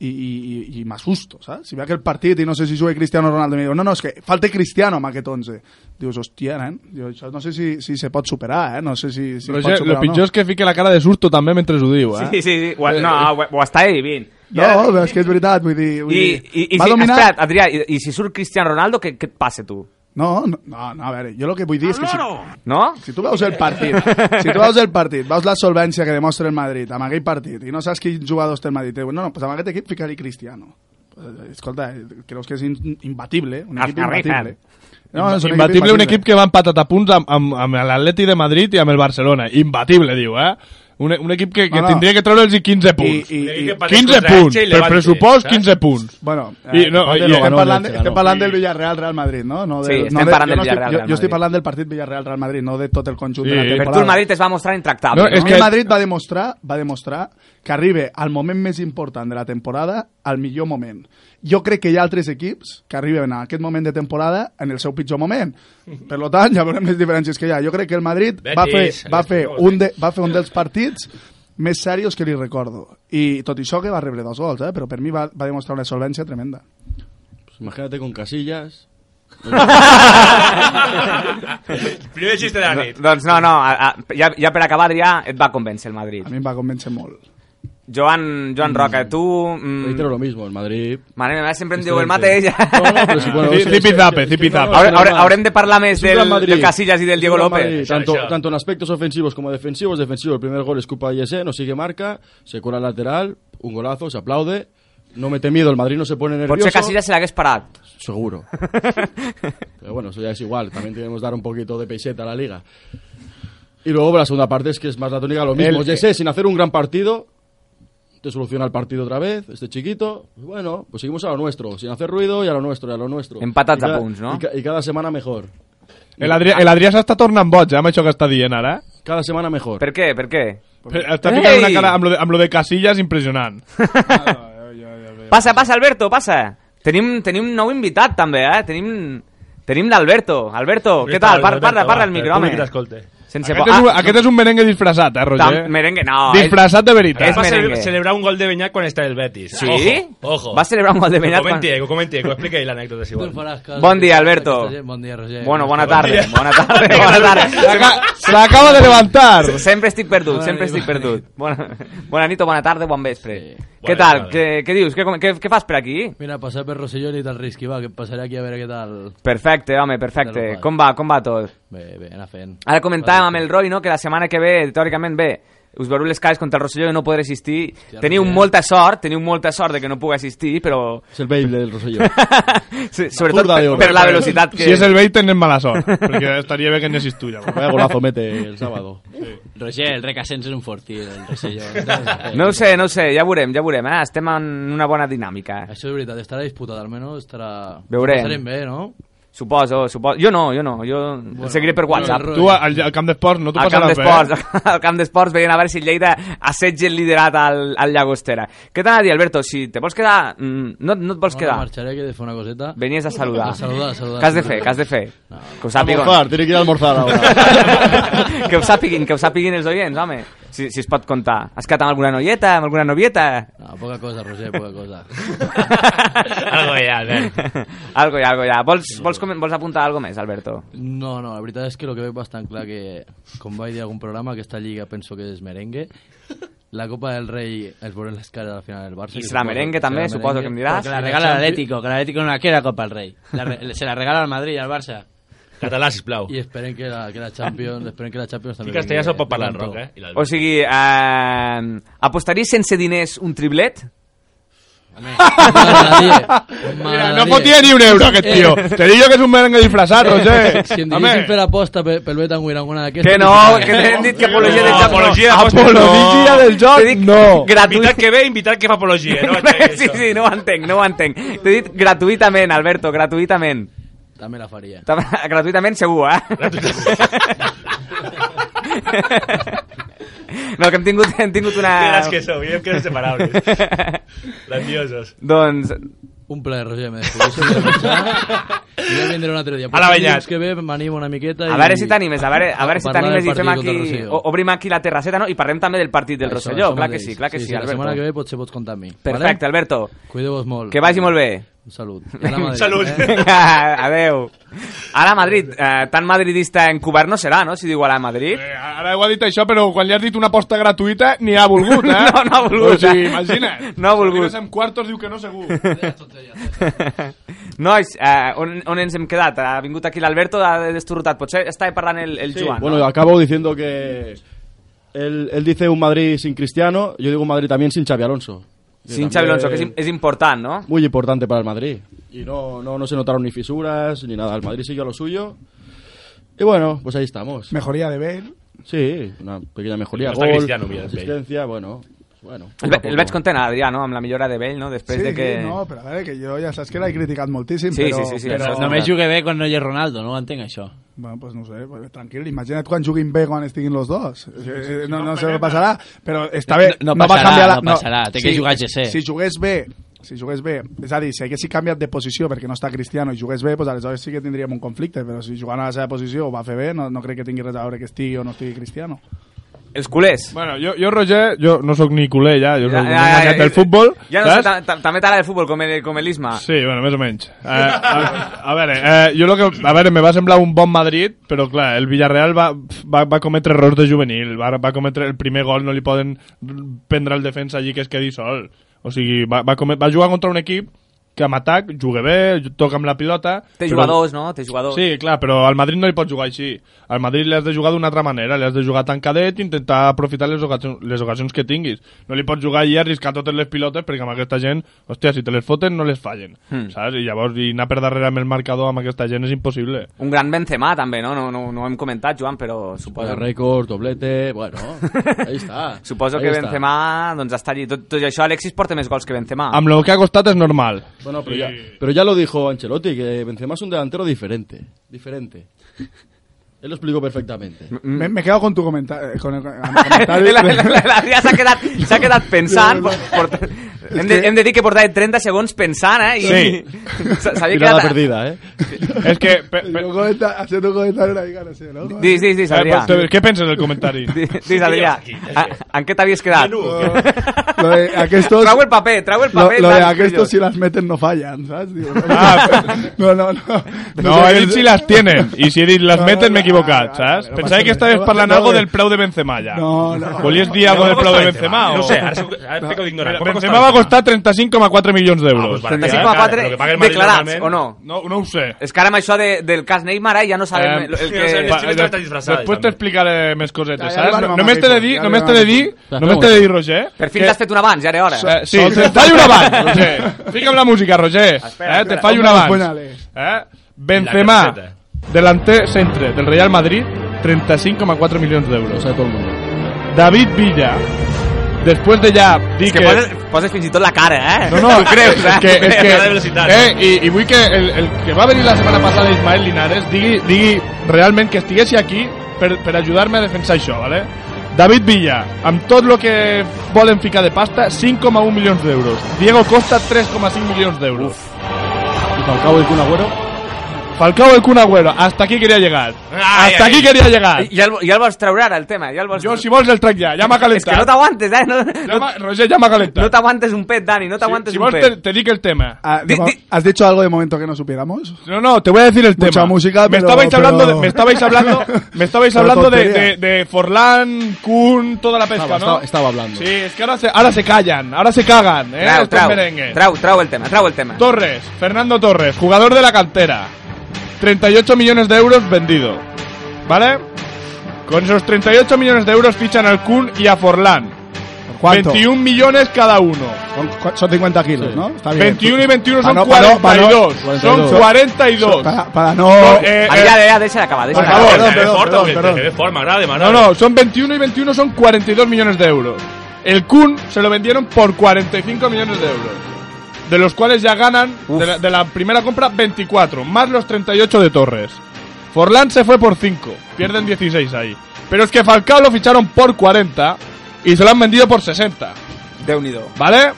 i, i, i, i m'assusto, saps? Si ve aquell partit i no sé si juga Cristiano Ronaldo, em diu, no, no, és que falta Cristiano amb aquest 11. Dius, hòstia, nen, jo, això no sé si, si se pot superar, eh? No sé si, si
Roger,
pot
lo
superar o
pitjor
no.
és que fique la cara de susto també mentre ho diu, eh?
Sí, sí, sí. Ho, no, ho, ho està vivint.
No, però és que és veritat, vull dir... Vull
I,
dir
i, i si, espera't, Adrià, i, i si surt Cristiano Ronaldo, què, què et passa tu?
No, no, no, no, a veure, jo el que vull dir és que si,
No?
si tu veus el partit, si tu veus el partit, veus la solvència que demostra el Madrid amb aquell partit i no saps quins jugadors té el Madrid, dius, no, no, pues amb aquest equip ficar-hi Cristiano. Eh, Escolta, eh, creus que és in- imbatible, un equip
Arrejan.
imbatible. No, és un
imbatible, un equip que va empatat a punts amb, amb, amb l'Atleti de Madrid i amb el Barcelona. Imbatible, diu, eh? Un, un equip que, que
No, no.
tindria que treure'ls 15 punts.
Ah. I, i, i,
15 punts, per pressupost,
eh?
15 punts.
bueno,
I,
eh,
no, i,
estem,
no,
parlant, estem parlant del Villarreal-Real Madrid, no? no
Sí,
del,
estem
no
parlant
jo
del
no estic-
Villarreal-Real
Jo, jo estic
Madrid.
parlant del partit Villarreal-Real Madrid, no de tot el
Sí.
conjunt de la
Per tu
temporada.
Per tu el Madrid es va mostrar intractable.
No,
No,
és
No,
que-
el Madrid va demostrar, va demostrar que arriba al moment més important de la temporada, al millor moment. Jo crec que hi ha altres equips que arriben a aquest moment de temporada en el seu pitjor moment. Per lo tant, ja veurem les diferències que hi ha. Jo crec que el Madrid va fer,
Betis,
va
Betis,
fer,
Betis.
un, de, va fer un dels partits més serios que li recordo. I tot i això que va rebre dos gols, eh? però per mi va, va demostrar una solvència tremenda.
Pues imagínate con Casillas.
Primer xiste de la nit.
doncs no, no, a, a, ja, ja per acabar, Adrià, et va convèncer el Madrid.
A mi em va convèncer molt.
Joan, Joan Roca, tu...
Reitero
Mm,
lo mismo, el Madrid.
Mare meva, sempre em diu el mateix.
Excelente. No, no, pero si, bueno,
Sí,
es- es-
zipizape,
es que
zipizape.
no,
Haure,
no,
haure,
no, no.
haurem de parlar més
Es un gran
del,
Madrid.
del Casillas i del Diego
Es un gran Madrid,
López.
Tanto,
Eso, eso.
tanto en aspectos ofensivos como defensivos. Defensivos, el primer gol es culpa de Yesé, no sigue marca, se cura el lateral, un golazo, se aplaude. No me temido, el Madrid no se pone nervioso.
Potser Casillas se l'hagués parat.
Seguro. Pero bueno, eso ya es igual. También tenemos que dar un poquito de peseta a la liga. Y luego la segunda parte es que es más la tónica lo mismo.
El-
Yesé, sin hacer un gran partido, te soluciona el partido otra vez, este chiquito. Y bueno, pues seguimos a lo nuestro, sin hacer ruido y a lo nuestro, y a lo nuestro.
Empatas
Y
a
cada-
punts, ¿no?
Y, ca- y cada semana mejor.
El Adrià, el Adrià s'està tornant boig, eh, amb això que està dient ara.
Cada semana mejor.
Per què? Per què?
Està ficant una
Ei!
cara amb lo, de, amb lo de Casillas impressionant.
Passa, passa, Alberto, passa. Tenim, tenim nou invitat, també, eh? Tenim, tenim l'Alberto. Alberto, què tal? Parla, parla, parla el micro, home. Sense
Aquest
por.
és, un,
Ah,
aquest és un merengue disfressat, eh, Roger?
Tam- merengue, no,
Disfressat de veritat.
és-
Va
merengue.
a celebrar un gol de Beñat con esta del Betis.
Sí?
Ojo, ojo.
Va celebrar un gol de Beñat
Beñat.
quan-
Comente, quan... comente, explica la anécdota si vol.
Bon dia, Alberto.
Bon dia, Roger.
Bueno,
bona
bona tarda, bona tarda, bona tarda.
S'aca- Se l'acaba de levantar.
Sempre estic perdut, sempre estic perdut. Bona, bona nit o bona tarda, bon vespre. Què
Bona
tal?
tarda.
Què, què dius? Què, com- què, què fas per aquí?
Mira, passar per Rosselló i tal Risky, va, que passaré aquí a veure què tal...
Perfecte, home, perfecte.
Normal.
Com va, com va tot?
Bé, bé, anar fent.
Ara comentàvem amb el Roy, no?, que la setmana que ve, teòricament, bé, us veureu les cares contra el Rosselló i no podré assistir.
Hòstia,
Teniu
Roger.
molta sort, teniu molta sort de que no puc assistir, però...
Es el Bale del Rosselló.
sí, sobretot
Zurda de
per,
oro.
per
eh?
la velocitat que...
Si és el vell, tenen mala sort. perquè estaria bé que anessis tu, llavors.
Vaya golazo mete el sábado.
Roger, el Recasens és un fortí, el Rosselló.
No ho sé, no ho sé, ja ho veurem, ja ho veurem. Eh? Estem en una bona dinàmica. eh?
Això és veritat, estarà disputat, almenys estarà...
Veurem.
Passarem bé, no?
Suposo, suposo... Jo no, jo no, jo bueno, seguiré per WhatsApp.
el
Tu, al, al camp d'esports, no t'ho
Al camp
passaràs bé. eh?
d'esports,
eh?
al camp d'esports veient a veure si el Lleida assetja el liderat al, al Llagostera. Què t'ha de dir, Alberto? Si te vols quedar... mm, No, no et vols
Bueno,
quedar.
marxaré, que he de fer una coseta.
Venies a saludar.
A saludar, a saludar.
Què has de fer? Què has de fer? Que ho sàpiguen.
Almorzar, tiene que ir a almorzar ahora.
que ho sàpiguin, que ho sàpiguin els oients, home. Si, si es pot contar. Has quedat amb alguna noieta, amb alguna novieta?
No, poca cosa, Roger, poca cosa.
Algo ja, Albert.
algo ja, algo ja. Vols, vols, comen- vols apuntar alguna més, Alberto?
No, no, la veritat és que el que veig bastant clar que, com vaig dir a algun programa, aquesta lliga penso que és merengue. La Copa del Rei es veurà les cares al final del Barça.
I
que
serà
suposo-
merengue també,
serà
suposo que em diràs.
Perquè
la
Champions-
que el Atlético no quiere la Copa del Rey. se la regala al Madrid y al Barça.
Català, sisplau.
I esperen que la, que la Champions, esperen que la Champions també...
I castellà se'n pot parlar en
vingui
roc, eh? I
O sigui, eh, apostaries sense diners un triplet?
Home, m'agradaria.
Mira, no
M'agradaria.
fotia ni un euro aquest tio.
Eh.
Te dic jo que és un merengue disfressat, Roger.
Si em
Home.
diguessin fer aposta per, per l'Etan Win alguna d'aquestes...
Que no, que t'hem dit que apologia del joc no.
Apologia,
Apologia del joc,
T'he dit
no.
Invitat que ve, invitat que fa apologia. No aixequis
sí,
això.
sí, no ho entenc, no ho entenc. T'he dit gratuïtament, Alberto, gratuïtament.
També la faria.
Ta- Gratuïtament segur, eh? No, que hem tingut, hem tingut una...
Que grans que sou, mirem que no separables. Grandiosos.
Doncs...
Un plaer, Roger, me despedeixo de marxar. I Jo vindré un altre dia.
A la Benyat.
Els que ve m'animo una miqueta.
A
i-
veure si t'animes, a veure, a veure si
parlar
t'animes
del
i fem
partit contra el
aquí...
Rosselló.
o- Obrim aquí la terrasseta, no? I parlem també del partit del
Això,
Rosselló,
això
clar que
mateix.
sí, clar que sí,
La setmana que
Alberto.
ve Mm. potser pots comptar amb mi.
Perfecte, Alberto.
Cuideu-vos molt.
Que vagi molt bé.
Salut. I a la Madrid, eh?
Vinga, adeu. Ara Madrid, eh, tan madridista encobert no serà, no? Si diu a la Madrid.
Eh, Ara ho ha dit això, però quan li has dit una aposta gratuïta ni ha volgut, eh?
No, no ha volgut,
O sigui,
eh?
imagina't.
No ha volgut.
Si arribes amb quartos diu que no segur.
Nois, eh, on, on ens hem quedat? Ha vingut aquí l'Alberto, ha destorrotat. Potser estava parlant el, el Joan,
Bueno,
no?
yo acabo diciendo que él, él dice un Madrid sin Cristiano, yo digo un Madrid también sin Xavi Alonso. Que
Sin
también
Xavi Alonso, que és, im- és important, no?
Muy importante para el Madrid. Y no, no, no se notaron ni fisuras ni nada. El Madrid siguió a lo suyo. Y bueno, pues ahí estamos.
Mejoría de Bale.
Sí, una pequeña mejoría.
No está
Gol,
Cristiano, mira, es Bale.
asistencia, bueno. pues Bueno, poco
El, ve-
a
el
poco.
veig content, Adrià, no? Amb la millora de Bell, no? Després
Sí,
de que...
sí, no, però a veure, que jo ja saps que l'he criticat moltíssim,
Sí,
però...
sí, sí, sí,
però...
això és
Només jugué bé quan no hi és Ronaldo, no ho entenc, això.
Bueno, pues no sé, pues, tranquil, imagina't quan juguin bé quan estiguin los dos. Eh, eh, No, no sé què passarà, però està bé.
No- no
va
passarà,
canviar la...
no passarà, té que jugar GC.
Si jugués bé, si jugués bé, és a dir, si haguessin canviat de posició perquè no està Cristiano i jugués bé, pues, aleshores sí que tindríem un conflicte, però si jugant a la seva posició ho va fer bé, no, no crec que tingui res a veure que estigui o no estigui Cristiano.
Els culers.
Bueno, jo, jo, Roger, jo no sóc ni culer ja, jo
Ja-
sóc
ja-
un enganyat
ja-
del futbol,
Ja no sé,
saps?
ta- ta- també t'agrada el futbol, com el, com el Isma.
Sí, bueno, més o menys. Eh, a, a veure, eh, jo lo que, a veure, me va semblar un bon Madrid, però clar, el Villarreal va, va, va cometre errors de juvenil, va, va cometre el primer gol, no li poden prendre el defensa allí que es quedi sol. O sigui, va, va, comet, va jugar contra un equip que amb atac juga bé, toca amb la pilota...
Té
però-
jugadors, no? Té jugadors.
Sí, clar, però al Madrid no hi pots jugar així. Al Madrid li has de jugar d'una altra manera, li has de jugar tancadet i intentar aprofitar les ocasions, les ocasions que tinguis. No li pots jugar i arriscar totes les pilotes perquè amb aquesta gent, hòstia, si te les foten no les fallen,
Hmm.
Mm.
saps? I llavors i anar per darrere amb el marcador amb aquesta gent és impossible.
Un gran Benzema, també, no? No, no, no ho hem comentat, Joan, però suposo...
Bueno, récord, doblete, bueno, ahí está.
Suposo
Ahí
que
está.
Benzema doncs, està allí. Tot, tot i això, Alexis porta més gols que Benzema.
Amb lo que ha costat és normal.
Bueno, pero, ya, pero ya lo dijo Ancelotti, que Benzema es un delantero diferente. Diferente. Él lo explicó perfectamente.
Me, me quedo con tu comentario. Con el, amb el comentari.
L'Adrià s'ha quedat, s'ha quedat pensant por, por, hem, de, hem de dir que portava 30 segons pensant eh? I,
Sí.
s'ha- s'havia
Tirada
quedat-
perdida, ¿eh?
és que... pe- pe-
Yo comenta- Haciendo un comentario una mica, no sé, ¿no?
Dis, dis, dis,
eh,
Adrià
pues, Què penses del comentari?
Dis, dis, Adrià
Aquí, aquí.
A- En què t'havies quedat?
Menú, o què?
Lo de aquestos...
Trau el paper, trau el
Lo,
paper
lo de
Dan,
aquestos
collons.
si las meten no fallan, ¿sabes? Digo, no,
Ah,
no, no, no.
No, he dit si les tienen, i si he dit les
No,
meten m'he
no,
equivocat,
no,
saps?
no, no,
Pensava
no,
que estaves
no,
parlant
no,
algo
no,
del preu de Benzema, ja.
No, no.
Volies dir algo del preu de Benzema?
No
o-
sé, ara, sóc- ara peco d'ignorant.
Mira,
Quan
Benzema va costar 35,4 milions
Ah,
d'euros.
pues vale.
35,4
Lo que paga el Madrid
declarats,
normalment.
o no?
no, no ho sé.
És que ara amb això de, del cas Neymar eh, ja no sabem
Eh,
el, el
sí, no sé,
que...
sí. xivets estan disfressades,
després
també.
t'explicaré més cosetes,
Ja, ja
saps?
arribarem a
només t'he de
Madrid,
dir,
ja
només t'he
arribarem
de
a
dir,
Madrid.
només t'he de dir, Roger...
Per fi
que-
l'has fet un abans, ja era hora
Eh, sí, te fallo un abans, Roger. Fica'm la música, Roger. eh, te fallo un
Hombre,
abans.
ponale.
Eh? Benzema,
terceta.
delanter centre del Real Madrid, 35,4 milions
Lo
d'euros.
sabe todo el mundo.
David Villa, després de ja dir
És que poses, poses fins i tot la cara, eh?
No, no,
T'ho creus, eh?
és que, és
Cada
que,
velocitat.
eh, i, i vull que el, el que va venir la setmana passada Ismael Linares digui, digui realment que estiguessi aquí per, per ajudar-me a defensar això, ¿vale? David Villa, amb tot lo que volen ficar de pasta, 5,1 milions d'euros. Diego Costa, 3,5 milions d'euros.
Y Falcao y Kun Agüero.
Falcao el Kun Agüero, hasta aquí quería llegar.
Ai,
hasta
ai,
aquí
ai.
quería llegar.
Ja el, ja el vols treure ara, el tema? Ja el vols...
Jo, si vols, el trec ja, ja m'ha
És que no
calentat.
t'aguantes, eh? No,
Ja
no,
m'ha- Roger, ja m'ha
no
calentat.
t'aguantes un pet, Dani, no
Si,
t'aguantes
si
un
vols,
pet.
te, te dic el tema.
Ah, de
Di-
mo-
di-
¿Has dicho algo de momento que no supiéramos?
No, no, te voy a decir el
Mucha
tema.
música,
me
pero-
estabais
pero-
hablando, de, me estabais hablando, me estabais
Pero
hablando de, de,
tonterías.
de Eh, Forlán, Kun, toda la pesca,
Estaba,
¿no?
estaba, estaba hablando.
Sí, es que ahora se, ahora se callan, ahora se cagan, eh,
Trau,
estos
trau,
merengues.
trau, trau el tema, trau el tema.
Torres, Fernando Torres, jugador de la cantera. 38 millones de euros vendido. ¿Vale? Con esos 38 millones de euros fichan al Kun y a Forlán.
¿Cuánto?
21 millones cada uno.
Son, son 50 kilos, ¿no? Está bien.
21 y 21
Pa'
son
no- pa' no- pa' no-
42. Son 42.
Para, para no...
eh,
Adrià, Adrià, deixa d'acabar, deixa
Por
d'acabar.
favor,
Perdón,
perdón,
perdón,
perdón,
perdón.
perdón.
forma, grave,
No, no, son 21 y 21 son 42 millones de euros. El Kun se lo vendieron por 45 millones de euros. De los cuales ya ganan, de la, de la primera compra, 24, más los 38 de Torres. Forlán se fue por 5, pierden 16 ahí. Pero es que Falcao lo ficharon por 40 y se lo han vendido por 60,
déu nhi
¿vale?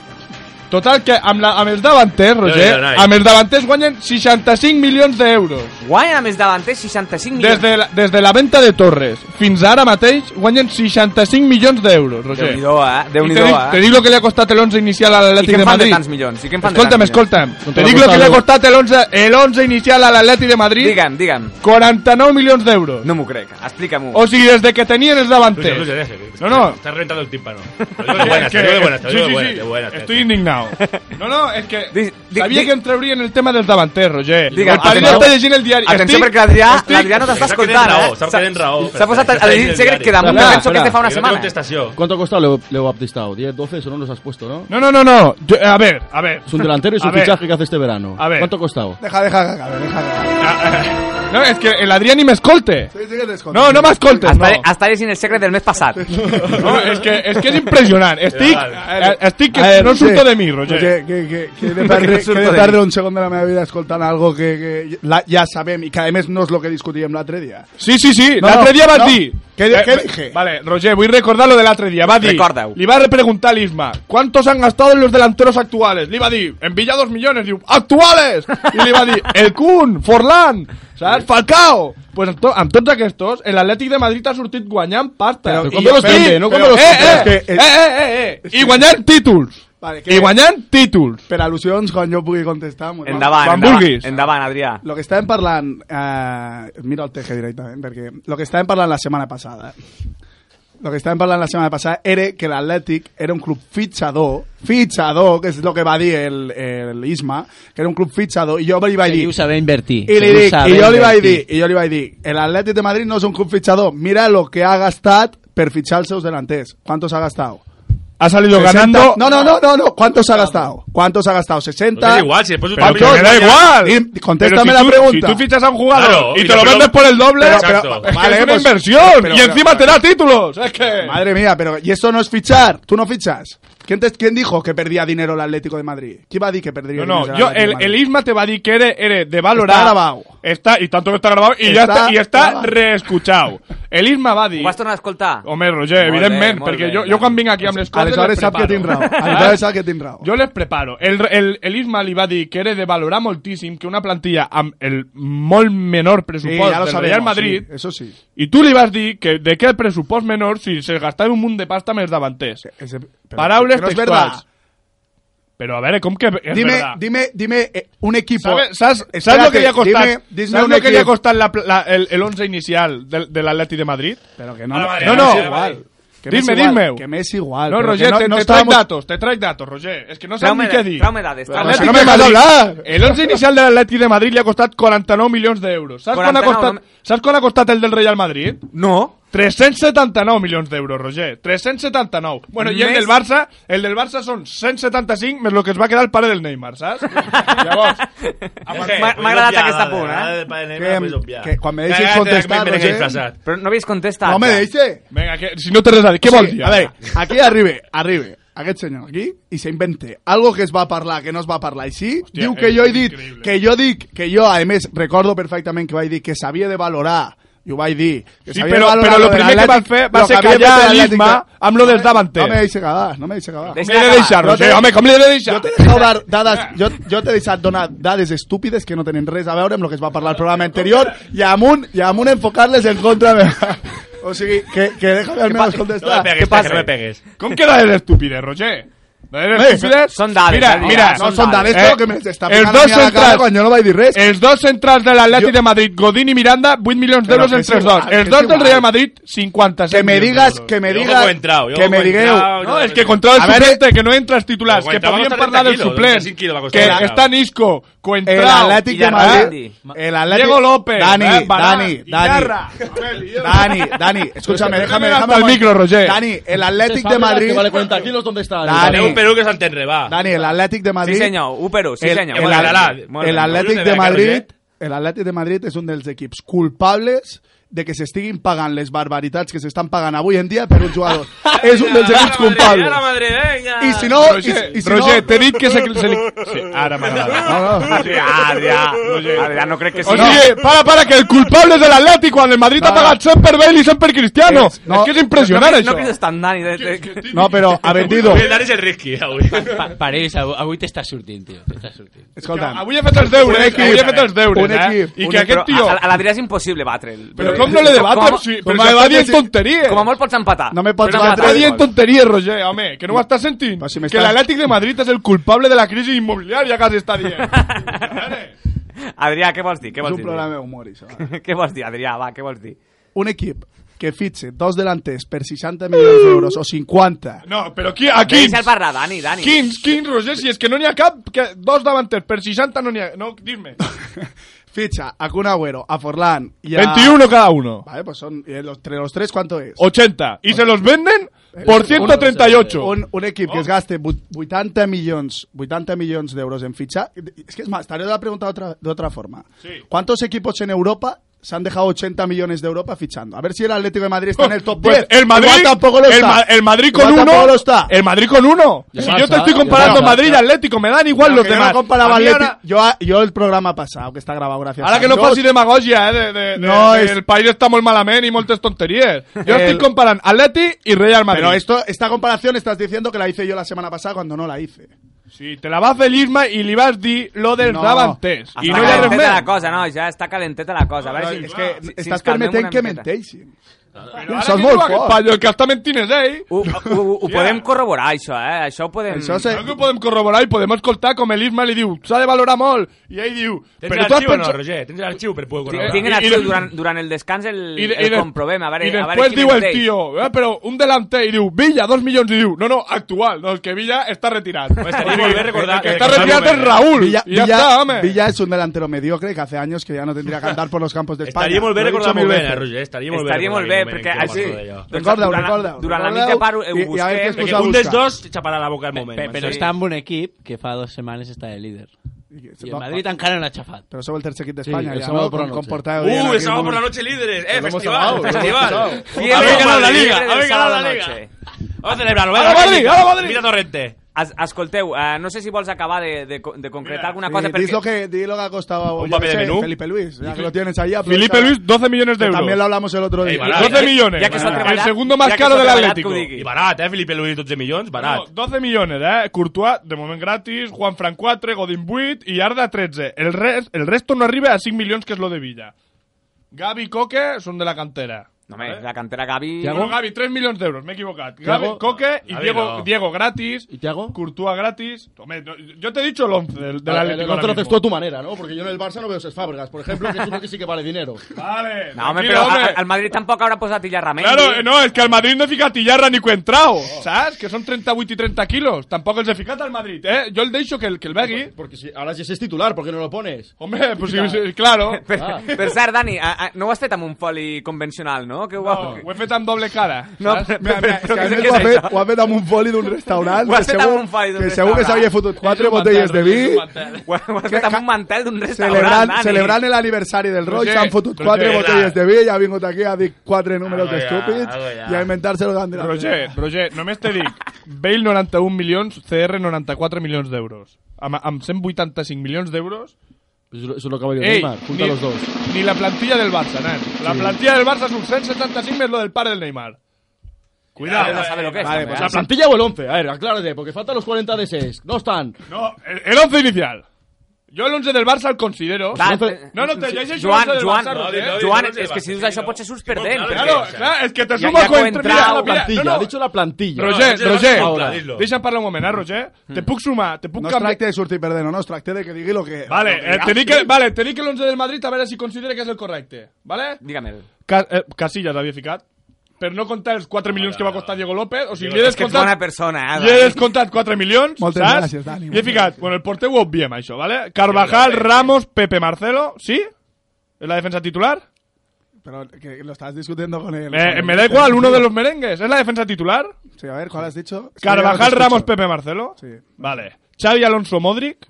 Total que amb, la, amb els davanters, Roger,
Déu-n'hi-do, noi.
amb els davanters guanyen 65 milions d'euros.
Guanyen amb els davanters 65 milions.
Des de, la, des de la venta de Torres fins ara mateix guanyen 65 milions d'euros, Roger.
Déu-n'hi-do, eh?
I
Déu-n'hi-do,
te, dic,
eh?
te dic lo que li ha costat el 11 inicial
I
a
què
l'Atlètic
en
de
fan de
Madrid.
tants milions? I què en fan de
escolta'm,
tants
escolta'm.
milions?
Te dic lo que li ha costat el 11, el 11 inicial a l'Atlètic de Madrid.
Digue'm, digue'm.
49 milions d'euros.
No m'ho crec, explica-m'ho.
O sigui, des de que tenien els davanters.
Lucha, lucha, deja, que-
No, no.
Estás reventando el tímpano. Te lo digo de buenas, te lo digo de buenas, te lo
Sí,
digo de
sí,
buenas,
sí.
de buenas, te-
Estoy indignado. No, no, és que sabia
di-
que entreurien el tema dels davanters, Roger.
Digue'm,
el Padilla
atenció.
està llegint el diari.
Atenció,
Estic-
perquè l'Adrià
estic-
l'Adrià no t'està
Sap que tens
escoltant,
raó,
eh?
sap que tens raó,
S'ha-
però
S'ha posat
estàs
a
llegint
llegir
el
secret
diari.
que damunt
Espera,
penso que
espera.
este fa
Jo
una
no
setmana.
¿Cuánto ha costado Leo, Leo Baptistao? ¿10, 12? Eso no los has puesto, ¿no?
No, no, no, no. Yo- eh, a ver, a ver.
Es un delantero y es un
A ver.
fichaje que hace este verano.
A ver.
¿Cuánto ha costado?
Deja, deja, deja, deja.
No, es que el Adrián ni me escolte.
Sí, sí que te escolto.
No, no me escoltes, no.
Estaré, estaré sin el secret del mes passat.
No, es que es, que es impresionante. Stick,
Vale.
eh, Stick que
A ver,
no surto
sí.
de mí, Roger.
Roger, que, que, que he de
No,
perdre,
que no
que he
surto
de
de mi.
perdre un segon de la meva vida escoltant algo que, que la, ja sabem i que a més no és el que discutíem l'altre dia.
Sí, sí, sí.
No,
la
no,
l'altre dia vas
no.
dir...
Què di-
Eh,
què
eh,
dije?
Vale, Roger, voy a recordar lo del otro día. Va a dir,
Recorda-ho.
Le iba a preguntar a Isma, ¿cuántos han gastado los delanteros actuales? Le iba a decir, en Villa dos millones. Diu, ¡actuales! Y le iba a decir, el Kun, Forlán, ¿sabes? Falcao. Pues amb, to amb tots aquests, el Atlètic de Madrid ha sortit guanyant pasta.
Però-
Però,
i- però- però-
eh, eh,
però és que-
eh, eh, eh, eh, i guanyant títols.
Vale, que-
I guanyant títols.
Per al·lusions, quan jo pugui contestar... m'ho-
Endavant,
Quan
endavant,
vulguis.
endavant, Adrià.
Lo que estàvem parlant... Eh, miro el teje directament, perquè... Lo que estàvem parlant la setmana passada... Lo que estàvem parlant la setmana passada era que l'Atlètic era un club fitxador, fitxador, que és el que va dir el, el Isma, que era un club fitxador, i jo li vaig dir...
Seguiu saber invertir.
I, li
seguiu
dic,
saber
i jo li vaig dir,
invertir.
i jo li vaig dir, el Atlètic de Madrid no és un club fitxador, mira lo que ha gastat per fitxar els seus delanters. ¿Cuántos ha gastado?
Ha salido
60
ganando... Pues
No, no, no, no, no. ¿Cuántos ha gastado? ¿Cuántos ha gastado? 60.
No me da igual, si después
Pero
Pablo-
que me da igual.
Dim- contéstame
Pero si
la
tú-
pregunta.
Si tú fichas a un jugador
Claro,
y,
y
te
te
lo
lo-
vendes por el doble,
Pero-
Exacto.
pero-
es
vale,
una
pues-
inversión
pero-
y encima te da títulos. Es que
Madre mía, pero y eso no es fichar. Tú no fichas. ¿Quién, te- quién dijo que perdía dinero el Atlético de Madrid? ¿Quién va a decir que
no,
perdía
no,
dinero?
yo
el,
el, el Isma te va a decir que eres, eres de valorar.
Está grabado.
Está- y tanto que está grabado y
Está
ya está y está
grabado.
reescuchado. El Isma va a dir,
Ho vas tornar a escoltar?
Hombre, Roger,
Molt
evidentment,
bé, molt
perquè
bé,
jo,
clar.
jo quan vinc aquí amb les coses
Aleshores
les
sap que
preparo.
tinc raó. Aleshores sap que tinc raó.
Jo les preparo. El, el, el Isma li va dir que era de valorar moltíssim que una plantilla amb el molt menor
Sí,
pressupost
ya lo
del
sabemos.
Real Madrid
sí, eso sí.
I tu li vas dir que de què el pressupost menor si se gastava un munt de pasta amb els davanters.
Ese- pero-
Paraules
pero es verdad.
textuals. Però a veure, com que és
dime,
verdad?
dime, dime eh, un equipo.
¿Sabe- ¿Sabes, ¿sabes
Espérate,
lo que le ha costado?
dime- dime
¿Sabes
un
lo que le ha
equipo.
costado la, pla- la- el, el 11 inicial del, del Atleti de Madrid?
Pero que no,
Vale, vale,
que
no, no.
es igual. Que me es
Dime,
igual,
dime.
Que me es igual.
no,
pero
Roger,
que
te, te
estábamos-
traes datos, te traes datos, Roger. És que no sabem
Treu-me
ni què
de-
dir.
treu-me dades, treu-me
Atleti de
dades. No me dejas
Madrid.
hablar.
El 11 inicial de l'Atleti de Madrid li ha costat 49 milions d'euros. Saps, quan ha
49,
costat,
no
saps quan ha costat el del Real Madrid?
No.
379 milions d'euros, Roger. 379. Bueno, i el
Més-
del Barça, el del Barça són 175 més el que es va quedar el pare del Neymar, saps? Llavors,
Roger,
M'ha-
pues
m'ha agradat
obviada,
aquesta
de
punt, eh?
verdad, del padre Neymar,
Que-
pues obviada.
que cuando me
Ya,
dejes
ya, ya,
contestar,
me dejáis
Roger.
pasar.
Però no havies contestat.
Ah,
No me
ja.
deis.
venga, que, si no te res a dir, què vols dir?
A ver, aquí arribe, arribe, aquest senyor aquí, i s'invente algo que es va parlar, que no es va parlar així, Hòstia, diu que
és
jo he dit,
increïble.
que jo dic, que jo, a més, recordo perfectament que vaig dir que s'havia de valorar, i ho vaig dir, que
Sí,
s'havia
però,
de valorar
però
lo
el
de
primer que van
l'Atlètic,
fer
lo
va
que
ser
havia
callar
fet l'Atlètic
l'Isma
de-
amb lo dels
No me
davanters.
deixa acabar, no me deixa acabar.
Deixa
Com li he de deixar,
No
Roger?
te-
Home, com li he de
Jo
deixar?
t'he deixat donar dades, jo, jo t'he deixat donar dades estúpides que no tenen res a veure amb el que es va parlar al programa anterior i amunt, i amunt enfocar-les en contra meva. O sigui, que, que déjame
pa-
almenys
No me
contestar.
pegues,
¿Qué pasa?
que no me pegues.
Com queda el estúpide, Roger? No eres
Eh,
estúpides?
són dades,
Mira,
eh, dies,
mira,
són No, són dades. dades, que me està picant
els
a
Eh, dos
mi a la cara
centrals,
quan jo no vaig dir res.
Els dos centrals de l'Atleti de Madrid, Godín i Miranda, 8 milions
Però
d'euros
que és
entre els
igual,
dos.
que
Els
és
dos del
igual.
Real Madrid, 56
Que me
milions
digas,
d'euros.
que me digas, que me digueu.
No, és que controla
A
el
veure,
suplente, que no entra els titulars,
Pero
eh, que
Coentrao va a
podríem
costar
parlar del
30 kilos,
suplent,
25 kilos va a
que
costar.
està Nisco, Coentrao,
El Atlètic de Madrid. El Atlètic-
Diego López,
Dani,
eh, Barán,
Dani, Dani.
Ibarra.
Dani, Dani, escúchame, déjame,
Déjame
déjame.
hasta el micro, Roger.
Dani, el
Se
Athletic
sabe
de
la
Madrid.
Que vale 40 kilos, ¿dónde está?
Dani.
Un Perú que s'entenre, va.
Dani, el Athletic de Madrid.
Sí, senyor, un Perú, sí,
el,
senyor.
El,
Molt bé,
el,
molt bé.
el
Molt
Athletic
bé,
de
Roger.
Madrid,
¿eh?
el Athletic de Madrid és un dels equips culpables de que s'estiguin pagant les barbaritats que s'estan pagant avui en dia per un jugador. és un dels equips culpables. I si no... i,
Roger,
i si
Roger,
no...
t'he dit que se, se li... Sí, ara m'ha agradat.
Adrià, Adrià, no crec que
O
sigui...
sigui, para, para, que el culpable és de l'Atleti quan el Madrid ha pagat 100 per Bale i 100 per Cristiano. És,
no.
que és impressionant,
no,
això.
No crec que estan Dani. De, de...
No, però ha vendido.
Avui el
em
Dani és el risky, avui.
Pa París, av avui t'està sortint, tio. T'està sortint.
Escolta'm.
Avui he fet els deures,
Un equip,
avui he fet els deures,
un
eh?
equip,
I
un
que
equip,
aquest tio...
A, a l'Adrià és impossible batre'l.
Però com
eh,
no le debatem? Si,
com
però si
me
està
va dir
dient tonteries.
Com a molt pots empatar.
No me pots
Però
batre.
Està
empatar.
dient tonteries, Roger, home, que no ho estàs sentint.
Però Pues si
que
m'està-
l'Atlètic de Madrid és el culpable de la crisi immobiliària que has estat dient.
Adrià, què vols dir? Què
És
vols
un
dir?
programa d'humor, això. eh?
què vols dir, Adrià? Va, què vols dir?
Un equip que fitxe dos delanters per 60 milions d'euros o 50
No, però qui, a quins?
Deixa'l parlar, Dani, Dani.
Quins, quins, Roger, si és que no n'hi ha cap, que dos davanters per 60 no n'hi ha... No, dis-me.
fitxa a Kun Agüero, a Forlán i a...
21 cada uno.
Vale, pues son, y los, entre los tres, ¿cuánto es?
80. Ah, Y se los venden por 138.
Un, un equip
Oh.
que es gaste vuit- 80 milions, 80 milions d'euros en fitxar... És que és más, t'haré de preguntar otra, de otra forma.
Sí.
¿Cuántos equipos en Europa se han dejado 80 millones de Europa fichando? A ver si el Atlético de Madrid está en el top
Pues
10.
el Madrid,
Igual tampoco lo
el,
está.
Ma- el Madrid con
Igual
uno,
tampoco lo está.
el Madrid con uno.
Ya
Si
está,
yo te estoy
ya
comparando
está.
Madrid y Atlético, me dan igual
Pero
los
que yo
demás.
no comparaba
A mí
Atleti-
ahora,
yo, a- yo el programa pasado, que está grabado gracias
ahora
a
que no
Dios.
faci demagogia, eh, de, de-
No,
de-
es-
el país está muy malamente y moltes tonterías. Yo
El-
estoy comparando Atleti y Real Madrid.
Pero esto, esta comparación estás diciendo que la hice yo la semana pasada cuando no la hice.
Sí, te la va a hacer Isma y le vas a decir lo del
No.
Davantes.
Està
Y no ya
calenteta la cosa, no, ja està calenteta la cosa. A veure si,
Es que
si- si ens
estás
calmem
permitiendo
una
que
miqueta.
mentéis.
Son
Son
muy
molt
fuertes.
forts.
Para el que hasta mentines, eh?
Ho, ho, ho, ho podem corroborar, això, eh? Això ho podem...
Això se-
Creo que ho podem corroborar i podem escoltar com el Isma li diu s'ha de valorar molt, i ell diu
Tens
però tu has
l'arxiu o no,
pensat...
Roger? Tens l'arxiu per poder
Tinc-
corroborar?
Tinc en
I- i
arxiu
de-
durant, durant el descans el,
I, de- i
el
de-
comprovem, a veure,
i
a veure
després
qui
diu el
menteix.
tio, eh, però un delanter i diu, Villa, dos milions, i diu, no, no, actual, no, és que Villa està retirat.
Pues
estaria molt bé recordar-
El que està
recordar
retirat és
números.
Raúl,
Villa,
i ja
Villa-
està, home.
Villa es un delantero mediocre que hace años que ya no tendría que andar por los campos de España.
Estaria molt bé
Lo he dicho
recordar
mil
molt bé,
veces.
eh, Roger? Estaria molt bé
Estaria molt bé,
recordar
perquè
el moment en
així...
què va parlar d'allò.
doncs,
Recordeu,
durant,
recordeu,
durant la
recordeu
mitja part ho, ho
i- i a veure què es
busquem.
posa-
Perquè un dels
buscar.
dos xaparà la boca al moment.
Pe- però
Sí.
està en un equip que fa dues setmanes està de líder. I el Madrid encara no l'ha xafat.
Pero sobre el tercer kit de
Sí,
España,
el
ya,
sábado
¿no?
por la
Con-
noche.
comportado bien
Uh,
aquí
el sábado
muy-
por la noche líderes. Eh,
hemos
festival,
hablado, lo hemos
festival.
hablado.
Fiesta
Habéis ganado la
Madrid
liga,
del
habéis ganado la
sábado
liga.
noche.
Vamos a celebrarlo.
A la
Venga,
Madrid,
Mira,
a la Madrid.
Mira Torrente.
Es, escolteu, eh, no sé si vols acabar de, de, co- de concretar alguna
Sí,
cosa,
di lo
perquè...
que, di lo que ha costado
Un
yo
papel
qué
de
sé,
menú.
Felipe Luis, ya que lo tienes ahí.
Felipe
aprovecha,
Luis, 12 millones de
que También
euros.
lo hablamos el otro
Ey,
día.
barato.
12 millones.
Ja que s'ha
el
treballat-
segundo
ja
más
que
caro
s'ha
del
treballat,
Atlético.
que ho digui.
I barat, eh, Felipe Luis, 12 milions, barat.
No, 12 millones, eh? Courtois, de moment gratis, Juanfran 4, Godin 8 i Arda 13. El, res, el resto no arriba a 5 milions, que és lo de Villa. Gavi i Coque són de la cantera.
No, home, la cantera Gavi...
No, Gavi, 3 milions d'euros, m'he equivocat. Gavi,
Thiago?
Coque i
Gavi
Diego,
no.
Diego gratis.
¿Y Thiago?
Courtois gratis. Home, no, yo te he dicho el 11 del, del
Ah,
Atlético
el
ahora
otro lo haces
mismo.
tú a tu manera, ¿no? Porque yo en el Barça no veo esas fábricas, por ejemplo, que es uno que sí que vale dinero.
Vale,
No, home,
tranquil,
però
home.
a- al Madrid tampoc haurà posat Illa Ramendi.
Claro, eh, no, es que al Madrid no he ficat Tillarra ni Cuentrao,
Oh.
¿sabes? Que son 38 y 30 kilos. Tampoco els he ficat al Madrid, eh? Yo el deixo que el, que el vegui.
Porque si, ahora si ese es titular, ¿por qué no lo pones?
Hombre, pues sí, sí, claro.
Per,
Ah.
per cert, Dani, a, a, no ho has fet amb un foli convencional, no? Que ho,
No, ho he fet amb doble cara.
No,
saps?
però-
Mira, mira,
Però què
és que
és-
a més
què
ho ha
és
fet,
això?
ho ha fet amb un foli d'un restaurant
Ho has
que
fet amb
segur-
un foli d'un
que segur que
restaurant.
s'havia fotut quatre
És un
botelles de
mantel,
vi
és un mantel.
Ho, ho has fet
Que-
amb un mantel d'un restaurant,
celebrant,
Dani.
celebrant l'aniversari del Roig,
Roger,
s'han fotut
Roger,
quatre
clar.
botelles de vi, ha vingut aquí, ha dit quatre números
Algo ya, algo
estúpids
ya.
i a inventar-se el gran
Roger, Roger, només te dic, Bale 91 milions, CR 94 milions d'euros. Amb, amb 185 milions d'euros...
Pues Eso, eso es lo que va a
ei,
Neymar, junta los dos.
ni la plantilla del Barça, nen. La plantilla del Barça és un 175 més lo del pare del Neymar.
Cuidado. Ja sabe lo que és.
Vale,
també,
pues
eh?
¿La plantilla o el 11? A ver, aclárate, porque faltan los 40 de 6. No están.
No, el, el 11 inicial. Jo l'11 del Barça el considero...
Clar,
no, no, te llegeixo
Joan,
l'11 del
Joan,
Barça, Roger.
Joan, és que si dius això potser surts perdent.
Claro, claro, es que te
Ja-
sumo
ja
a
que heu
contra.
entrat-
Mira, la mira,
plantilla,
no, no.
ha dicho la plantilla.
Roger,
No,
Roger,
no,
Roger,
dilo.
deixa'm parlar un moment, eh, Roger? Te puc sumar, te puc
No es
canviar...
tracte de sortir perdent, no, no, es tracte de que digui lo que...
Vale,
lo
eh,
diga.
tenim que, vale, tenim que l'11 del Madrid a veure si considera que és el correcte, vale?
Dígame.
Ca eh, Casillas havia ficat. Per no comptar els 4 milions que va costar Diego López, o sigui, li he
És que ets
descomptat...
bona persona, eh,
Li he
Dani.
descomptat 4 milions,
Moltes
saps?
gràcies, Dani,
I he ficat, bueno, el porter ho obviem, això, vale? Carvajal, Ramos, Pepe Marcelo, sí? És la defensa titular?
Pero que lo estás discutiendo con él.
Eh, me da igual, uno de los merengues. ¿Es la defensa titular?
Sí, a ver, ¿cuál has dicho? Es que ya no
Carvajal,
te
Ramos,
escucho.
Pepe Marcelo.
Sí.
Vale. Xavi Alonso, Modric.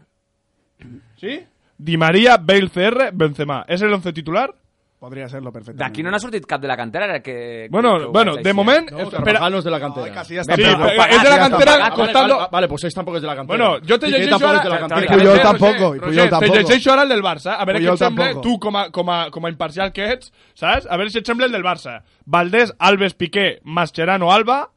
¿Sí? Di María, Bale, CR, Benzema. ¿Es el once titular?
Podría serlo perfectamente.
D'aquí no n'ha sortit cap de la cantera, era que...
Bueno,
que ¿eh? ho
bueno,
vaig
de
així.
moment...
No,
espera.
Carvajal no es de la cantera.
Casi ya
Sí,
está.
pero es de la cantera
Ah, vale,
contando...
vale, vale, pues seis tampoco es de la cantera.
Bueno, yo te
Piqué
llegeixo
tampoco
ahora...
es de la cantera.
Puyol
Roger,
tampoco,
Roger,
i Puyol
te
tampoco.
llegeixo ara el del Barça. A veure què
Puyol
et sembla,
tampoco.
tu com a, com, a, com a imparcial que ets, saps? A veure si et sembla el del Barça. Valdés, Alves, Piqué, Mascherano, Alba,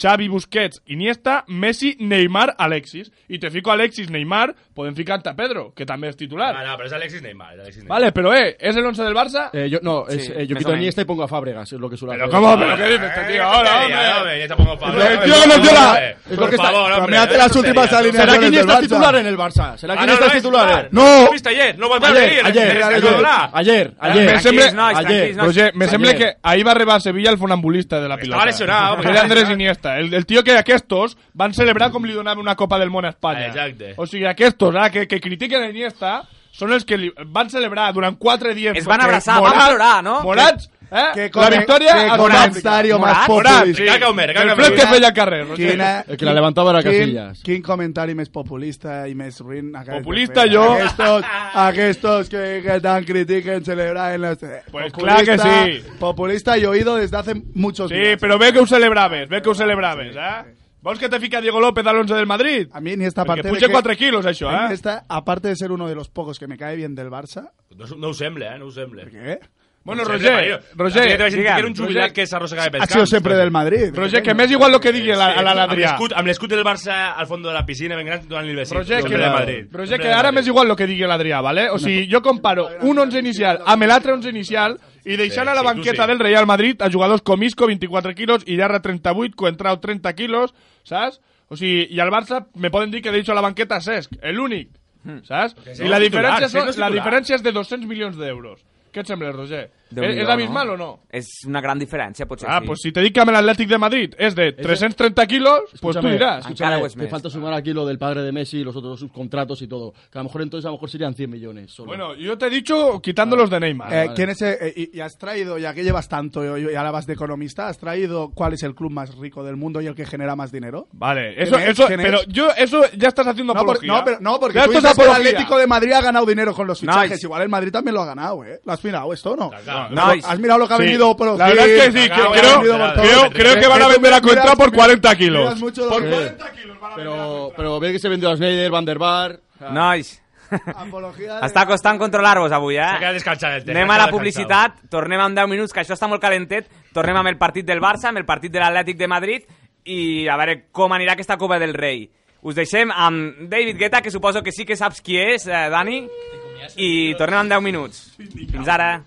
Xavi, Busquets, Iniesta, Messi, Neymar, Alexis. I te fico Alexis, Neymar, podem ficar-te a Pedro, que també és titular.
No, no, pero es Alexis Neymar. es Alexis Neymar.
Vale, pero eh, ¿es el 11 del Barça?
Eh, yo, no, es,
Sí,
eh, yo quito
más o
a
menos.
Iniesta y pongo a Fábregas, es lo que suele
Pero
hacer.
cómo, pero qué dices,
Eh,
este tío, ahora,
Ya, ya,
hombre.
hombre, ya te pongo pavo.
El tío que nos llora.
Por
Es lo que está-
favor, hombre. eh,
Cambiate las últimas
¿Será
alineaciones
que
del
Iniesta es
Barça.
titular en el Barça? ¿Será que
Ah, no,
Iniesta
no
es
es
titular?
titular.
No.
¿Lo viste ayer? No va a venir.
Ayer, ayer,
Es que
ayer,
dobla.
ayer, ayer.
Me
Tranquils,
sembla-
nois, tranquils, nois.
Roger, me
Ayer.
sembla que ahí va arribar a Sevilla el funambulista de la pilota.
lesionado, hombre.
Era Andrés Iniesta. El, el tío que aquestos van celebrar com li donaven una Copa del Món a Espanya.
Exacte.
O sigui, aquestos, ah, que, que critiquen a Iniesta, són els que li van celebrar durant 4 dies.
Es van
perquè
abraçar, van
Morats-
plorar, no?
Morats, eh?
Que
la victòria...
Que
als
comentario
Morats.
más
Morats,
populista.
sí.
Caca, Homer, caca,
El flet
Homer.
que feia al carrer. Roger.
Quina-
El que la levantaba era
quin-
Casillas.
Quin comentari més populista i més ruïn acabes de
Populista,
fer.
jo.
Aquestos, aquestos que, que tan critiquen celebrar en las... eh,
Pues clar que sí.
Populista y oído desde hace muchos
Sí,
días.
però ve que ho celebraves, ve que ho celebraves, eh? Vols que te fica Diego López a l'11 del Madrid?
A mí ni esta
Perquè
parte...
puja 4 quilos, això, eh?
Esta, aparte de ser uno de los pocos que me cae bien del Barça...
No, no ho sembla, eh? No ho sembla.
¿Qué?
Bueno,
No ho sembla,
Roger,
mario. La tía te va a
Roger,
decir que
digue'm,
era un jubilat
Roger.
que s'arrossegava pel
Ha
camp.
sido siempre del Madrid.
Roger, que m'és igual lo que digui a la- a la- a
Amb
l'Adrià.
l'escut, amb l'escut del Barça al fons de la piscina ben gran donant-li el besit.
Roger, que,
Sempre de Madrid.
Roger, que ara m'és igual lo que digui l'Adrià, ¿vale? O sigui, jo comparo un 11 inicial amb l'altre 11 inicial i deixant
Sí,
a la
sí, tu
banqueta
sí.
del Real Madrid a jugadors com Isco, 24 quilos, Illarra, 38, Coentrao, 30 quilos, saps? O sigui, i al Barça me poden dir que he deixat a la banqueta a Cesc, el l'únic,
Hmm.
saps?
Cesc
I
no
la
és titular,
diferència,
Cesc no
són,
és
la
titular.
diferència és de 200 milions d'euros. Què et sembla, Roger? És, és
Déu-n'hi-do,
abismal o no?
És una gran diferència, potser
Ah,
Pues sí.
pues si te dic que amb l'Atlètic de Madrid és de 330 quilos, pues tu
Escúchame,
diràs.
escúchame,
Ah, Encara Westmead.
te falta sumar aquí lo del padre de Messi y los otros subcontratos y todo. Que a lo mejor entonces a lo mejor serían 100 millones. solo.
Bueno, yo te he dicho quitando los de Neymar.
Eh, ¿Quién es? eh, y, y has traído, ya que llevas tanto eh, y, y ahora vas de economista, has traído cuál es el club más rico del mundo y el que genera más dinero.
Vale, eso,
¿Quién es?
eso,
¿Quién es?
pero yo, eso ya estás haciendo
No, por-
apología.
no, pero, no, porque
Ya
tú
esto es
dices que el
apología.
Atlético de Madrid ha ganado dinero con los
No,
fichajes.
es-
Igual el Madrid también lo ha ganado, ¿eh? ¿Lo has mirado esto o no?
No,
¿Has mirado lo que ha
Sí.
venido por
La verdad es que sí, que
Cagao,
creo,
vendido por
creo-
todo.
creo que van a vender a contra por 40 kilos.
por
pero, pero ve que se vendió a Snyder, Van der Bar.
Nois, està costant controlar-vos avui,
S'ha
eh?
quedat descansat el tema.
Anem a
s'ha
la
quedat
publicitat, tornem amb 10 minuts, que això està molt calentet. Tornem amb el partit del Barça, amb el partit de l'Atlètic de Madrid i a veure com anirà aquesta Copa del Rei. Us deixem amb David Guetta, que suposo que sí que saps qui és, eh, Dani, i tornem amb 10 minuts. Fins ara.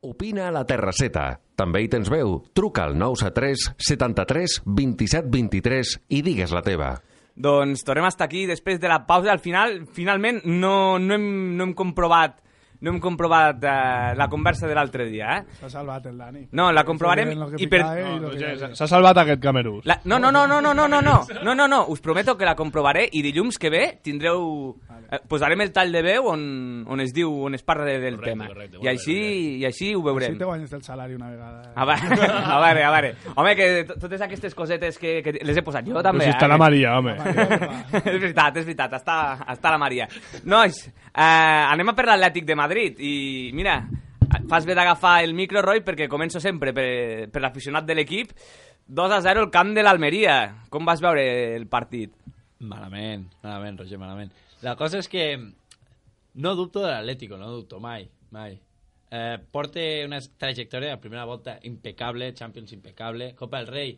Opina a la Terrasseta. També hi tens veu. Truca al 973 73 27 23 i digues la teva.
Doncs tornem a estar aquí després de la pausa. Al final, finalment, no, no, hem, no hem comprovat no hem comprovat eh, la conversa de l'altre dia, eh?
Pues
S'ha salvat el Dani.
No, la comprovarem
Lo que
i per-
picava
¿eh?
i lo
No,
pues
que-
S'ha salvat aquest Camerún.
La, no, no, no, no, no, no, no, no, no, no, no, us prometo que la comprovaré i dilluns que ve tindreu... Eh, posarem el tall de veu on, on es diu, on es parla de- del tema. I així, I així ho veurem.
Així te guanyes el salari una vegada.
¿eh?
A veure, a veure, a veure. Home, que to- totes aquestes cosetes que, que les he posat jo també.
si està
eh?
la Maria, home.
és veritat, és veritat, està, està la Maria. Nois, eh, anem a per l'Atlètic de Madrid i mira, fas bé d'agafar el micro, Roy, perquè començo sempre per, per l'aficionat de l'equip. 2 a 0 el camp de l'Almeria. Com vas veure el partit?
Malament, malament, Roger, malament. La cosa és que no dubto de l'Atlético, no dubto mai, mai. Eh, porta una trajectòria de primera volta impecable, Champions impecable, Copa del Rei,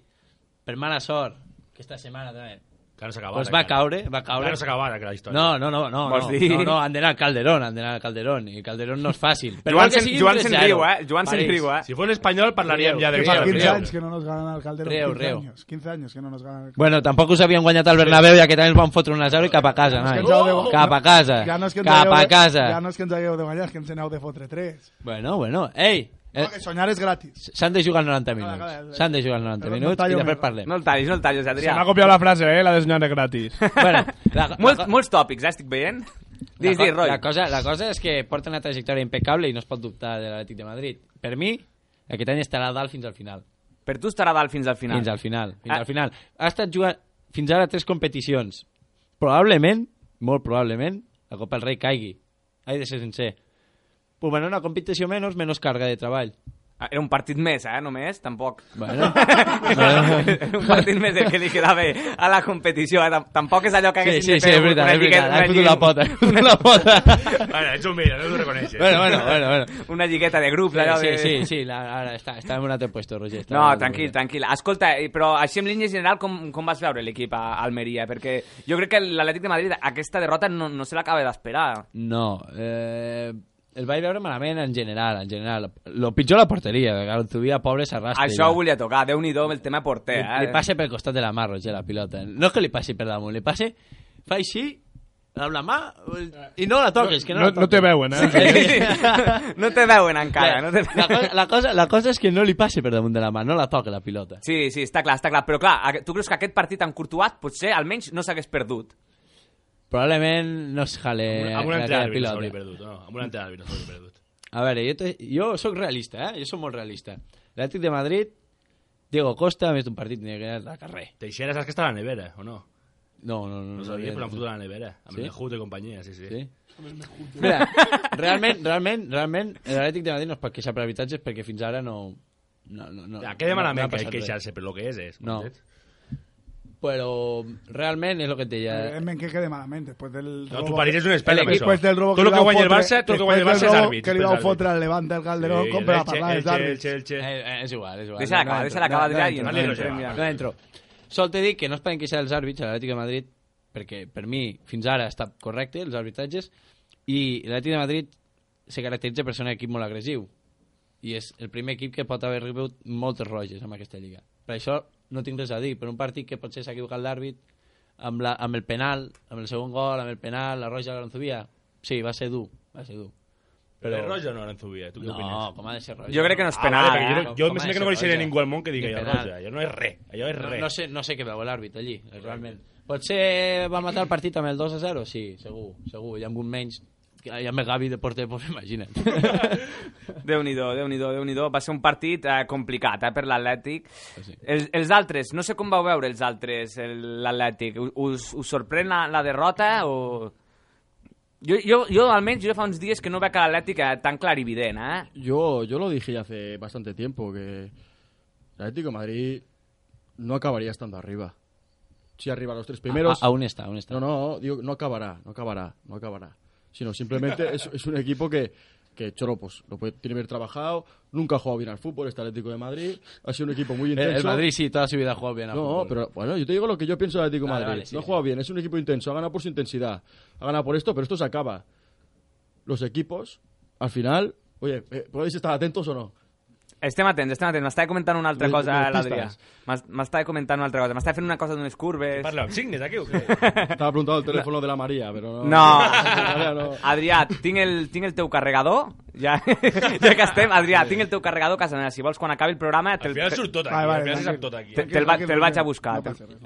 per mala sort, aquesta setmana també.
Que no s'acabara,
Pues va
que-
caure, va caure.
Que no s'acabara, que la història.
No, no, no, no, no,
Vols dir?
no, no, han d'anar a Calderón, han d'anar a Calderón, i Calderón no és fàcil. Però igual
Joan
que
se'n-
sigui
Joan
3-0.
se'n riu, eh? Joan se'n
París.
riu, eh? Si fos espanyol, parlaríem ja de
Riu,
Fa
riu,
15
riu.
anys que no nos ganan al Calderón.
Reu,
15
reu.
años. 15 años que no nos ganan al Calderón.
Bueno, tampoc us havien guanyat al Bernabéu i aquest any ens van fotre una 0 i cap a casa,
És que
nois.
ens heu de-
Cap a casa,
Eh,
Ja no és que ens
cap
hagueu
a
de-
casa.
Ja no és que ens hagueu de guanyar, és que ens aneu de fotre 3.
Bueno, bueno, ei! eh,
No, que soñar és gratis.
S'han de jugar 90 minuts. S'han de jugar 90
Però no
minuts i
tallo
després
més.
parlem.
No el tallis, no el tallis,
Se
Adrià.
m'ha copiat la frase, eh? La de senyora gratis.
Bueno,
Molts, molts tòpics, eh, estic veient. Dis,
la,
dis,
co-
Roy.
la, cosa, la cosa és que porta una trajectòria impecable i no es pot dubtar de l'Atlètic de Madrid. Per mi, aquest any estarà a dalt fins al final.
Per tu estarà a dalt fins al final.
Fins al final. Fins
Ah.
al final. Ha estat jugant fins ara tres competicions. Probablement, molt probablement, la Copa del Rei caigui. Hai de ser sincer. Pues bueno, una competició menys, menys carga de treball.
Ah, Era un partit més, eh, només, tampoc.
Bueno.
un partit més el que li quedava a la competició, eh? tam- Tampoc és allò que
Sí,
haguessin de
sí, sí,
fer
és veritat,
una
és
lligueta-
veritat. Has
una lligu-
fotut la pota, has fotut la pota.
Bueno, ets un mira, no t'ho reconeixes.
Bueno, bueno, bueno, bueno.
Una lligueta de grup, allò
Sí,
de...
sí, sí, la, ara està, està en un altre puesto, Roger. Està en un
No,
altre
tranquil, tranquil. Escolta, eh, però així en línia general, com, com vas veure l'equip a Almeria? Perquè jo crec que l'Atlètic de Madrid aquesta derrota no, no se l'acaba d'esperar.
No, eh, el vaig veure malament en general, en general. Lo pitjor la porteria, que Garantubia, pobre, s'arrastra.
Això
ja.
ho volia tocar, déu nhi amb el tema porter, eh?
Li, li passa pel costat de la mà, Roger, la pilota. No és que li passi per damunt, li passi... Fa així, amb la mà, i no la toques, que no,
No,
la toques.
no te veuen, eh?
No te veuen encara, no te
La, cosa, la, cosa, la cosa és que no li passi per damunt de la mà, no la toca la pilota.
Sí, sí, està clar, està clar. Però clar, aqu- tu creus que aquest partit amb Courtois potser almenys no s'hagués perdut?
Probablement no es jale
Amb un altre
aquella
àrbitre
pilota.
s'hauria perdut, no? Amb un altre àrbitre s'hauria perdut.
A veure, jo, te, jo sóc realista, eh? Jo sóc molt realista. L'Atlètic de Madrid, Diego Costa, més d'un partit tenia que anar al carrer.
Teixeira saps que està a la nevera, o no?
No, no, no.
No
no,
sabia,
no, no.
però han fotut a la nevera. Amb
Sí?
el Jut i companyia, sí, sí.
Sí? Mira, realment, realment, realment, l'Atlètic de Madrid no es pot queixar per habitatges perquè fins ara no... no, no, no
Ja, queda
no-
malament
no ha
que
passat res.
queixar-se, però el que és, és.
No.
entens?
Però realment és el que et deia.
En ben que quede malament, després del
No,
robo-
tu pareixes un expert amb
Després
això.
del robo
Tot lo
li
que
vau
guanya el
fotre-
Barça- tot lo que guanya el
després del
Barça és
robo
àrbit,
Que li
és
vau
àrbit.
fotre al Levante, al Calderón,
Sí,
com per a
el Che-
parlar
el
dels
Che-
àrbits.
el Che- el Che.
Eh, eh, és igual, és igual.
Deixa-la acabar,
entro,
deixa-la acabar, Adrià, i
entro,
ens
no
anem,
entro,
ja.
no entro. Sol t'he dit que no es poden queixar els àrbits a l'Atlètic de Madrid, perquè per mi fins ara està correcte, els arbitratges, i l'Atlètic de Madrid se caracteritza per ser un equip molt agressiu, i és el primer equip que pot haver rebut moltes roges amb aquesta lliga. Per això no tinc res a dir, per un partit que potser s'ha equivocat l'àrbit amb, la, amb el penal, amb el segon gol, amb el penal, la roja de l'Aranzubia, sí, va ser dur, va ser dur.
Però és roja o no l'Anzubia? Tu què
No,
opines?
com ha de ser roja?
Jo crec que no és
Ah,
penal,
vale,
eh?
perquè jo, jo
Com ha
em
de
sembla que
ser
no coneixeré
roja?
ningú al món que digui
Ni
allò és
penal.
roja. Allò no és res. Allò és
No,
res.
no, sé, no sé què veu l'àrbit allí, realment. Potser va matar el partit amb el 2 a 0? Sí, segur, segur. I amb un menys, i amb el Gavi de porter, pues, imagina't.
Déu-n'hi-do, déu nhi déu nhi Va ser un partit eh, complicat eh, per l'Atlètic. Els, els altres, no sé com vau veure els altres, el- l'Atlètic. U- Us, us sorprèn la, la derrota o...? Jo, jo, jo, almenys, jo fa uns dies que no veig a l'Atlètic eh, tan clarivident, eh?
Yo, yo lo dije hace bastante tiempo que el Atlético de Madrid no acabaría estando arriba. Si arriba a los tres primeros.
A- a- aún está, aún está.
No, no, digo, no acabará, no acabará, no acabará. Sino simplemente es, es un equipo que, que Cholo, pues, lo puede, tiene que haber trabajado, nunca ha jugado bien al fútbol, este Atlético de Madrid. Ha sido un equipo muy
Eh, El,
intenso.
el Madrid sí, toda su vida ha jugado bien. al
No,
fútbol.
pero bueno, yo te digo lo que yo pienso del Atlético de
Vale,
Madrid.
vale, sí,
no ha
sí.
jugado bien, es un equipo intenso, ha ganado por su intensidad, ha ganado por esto, pero esto se acaba. Los equipos, al final,
Oye, eh, podeu estar atentos o no?
Estem atents, estem atents. M'estava comentant una altra
Les-
cosa,
les
l'Adrià.
pistes.
M'es- M'estava comentant una altra cosa. M'estava fent una cosa d'unes curves...
Parla amb signes aquí o què?
Estava preguntado el teléfono de la María, pero no.
No,
María no.
Adrià, tinc el, tinc el teu carregador, ja, ja que estem. Adrià, tinc el teu carregador a casa meva. Si vols, quan acabi el programa... Te'l
Al final surt tot aquí,
Vale,
al
vale,
final se sap
tranquil.
tot aquí.
Te- Te'l va- te'l vaig a buscar. te'l-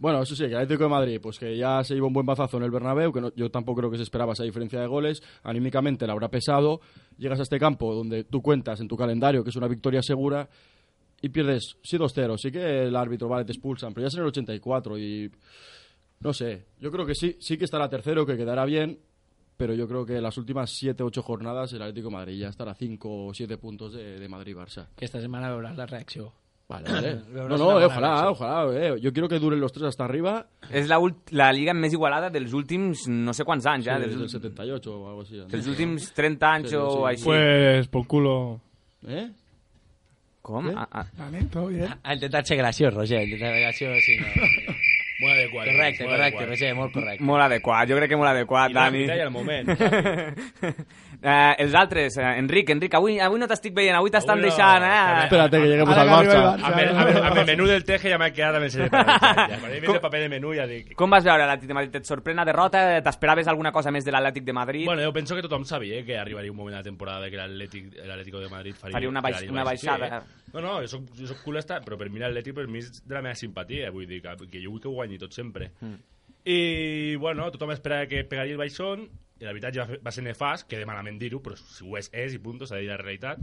Bueno, eso sí, que el Atlético de Madrid, pues que ya se llevó un buen bazazo en el Bernabéu, que no- yo tampoco creo que se esperaba esa diferencia de goles, anímicamente le habrá pesado, llegas a este campo donde tú cuentas en tu calendario que es una victoria segura y pierdes, sí 2-0, sí que el árbitro, vale, te expulsan, pero ya es en el 84 y no sé, yo creo que sí, sí que estará tercero, que quedará bien, pero yo creo que las últimas 7-8 jornadas el Atlético de Madrid ya estará 5 o 7 puntos de, de Madrid-Barça.
Aquesta setmana veuràs la reacció.
Vale, vale.
Veuràs
No,
una
no, eh,
bona
ojalá,
reacció.
ojalá. eh. Yo quiero que duren los tres hasta arriba.
És la, ult- la lliga més igualada dels últims no sé quants anys, ja.
Sí,
Dels,
desde el
ult-
78 o algo así. ¿no?
dels últims 30 anys
Sí,
o
sí.
així.
Pues, por culo.
¿Eh?
Com?
Eh?
Ah, ah.
Vale, todo bien.
Ha intentat ser graciós, Roger. Ha intentat ser graciós, sí. No.
Molt adequat.
Correcte,
molt
correcte,
adequat.
Roger, molt correcte.
Molt adequat, jo crec que molt adequat,
I
Dani.
ràpid, eh, i al moment.
eh, els altres, eh, Enric, Enric, avui, avui no t'estic veient, avui t'estan
Avui no.
deixant, eh?
Espérate que lleguemos
Ahora
al
que
Barça.
arriba el
A ver, a ver, a ver, el menú del teje ya me ha quedado en el set de panel. Ya, Quan he vist el paper de menú ja dic...
Com vas veure l'Atlètic de Madrid? Et sorprèn la derrota? T'esperaves alguna cosa més de l'Atlètic de Madrid?
Bueno, jo penso que tothom sabia eh, que arribaria un moment a la temporada de que l'Atlètic l'Atlético de Madrid faria,
Faria una baix-
faria
una baixada.
Sí, eh? No, no, jo soc, jo soc culesta, però per mi l'Atlètic per mi és de la meva simpatia, vull dir que, que jo vull que ho guanyi tot sempre. Mm. I, bueno, tothom esperava que pegaria el baixón, i la veritat ja va fer- va ser nefast, que de malament dir-ho, però si ho és, és, i punt, s'ha de dir la realitat.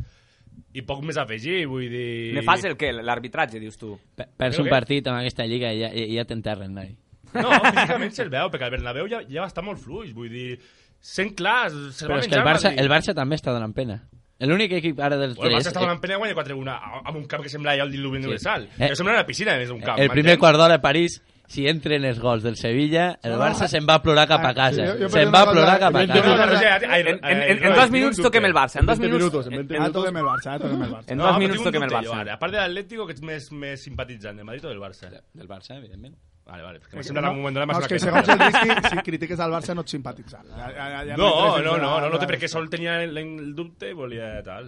I poc més a afegir, vull dir...
Nefas el què? L'arbitratge, dius tu.
Pe- Perds
Creo
un
que-
partit amb aquesta lliga i ja, i ja t'enterren, Dani.
No, físicament se'l veu, perquè el Bernabéu ja, ja va estar molt fluix, vull dir... Sent clar, se'l
Però
va
és que el
menjar
Barça,
Madrid.
el Barça també està donant pena. L'únic equip ara dels
Bueno, el
tres...
Barça
eh,
estava en pena guanya 4-1 a- amb un camp que sembla allà el diluvi universal.
Eh,
Eh, sembla una piscina, a més, un camp.
el primer
m'entens?
quart d'hora a París, si entren els gols del Sevilla, el Barça se'n va a plorar cap a casa.
Jo- jo
Se'n
pensava
va a
que
plorar
la-
cap a
No, no, no,
casa.
Roger, a- a-
En, en,
a-
eh,
en,
no,
en dos
tinc un
minuts
dubte.
toquem el Barça. En dos
20
minuts,
minutos, en 20
Ah,
minutos.
toquem el Barça, ah, toquem el Barça.
en
No,
dos
però
minuts
tinc un
toquem el
dubte jo, ara.
Barça.
A part de l'Atlético, que ets més, més simpatitzant de Madrid o del Barça?
Del Barça, evidentment.
Vale, vale, perquè m'ha semblat en un moment donat,
No,
m'ha
és que
semblat
segons el disc, si critiques al Barça no et simpatitzar. Ja, ja, ja, ja
No, no,
interessa
no, no, no, no té
res.
per què sol tenia el, el dubte i volia tal.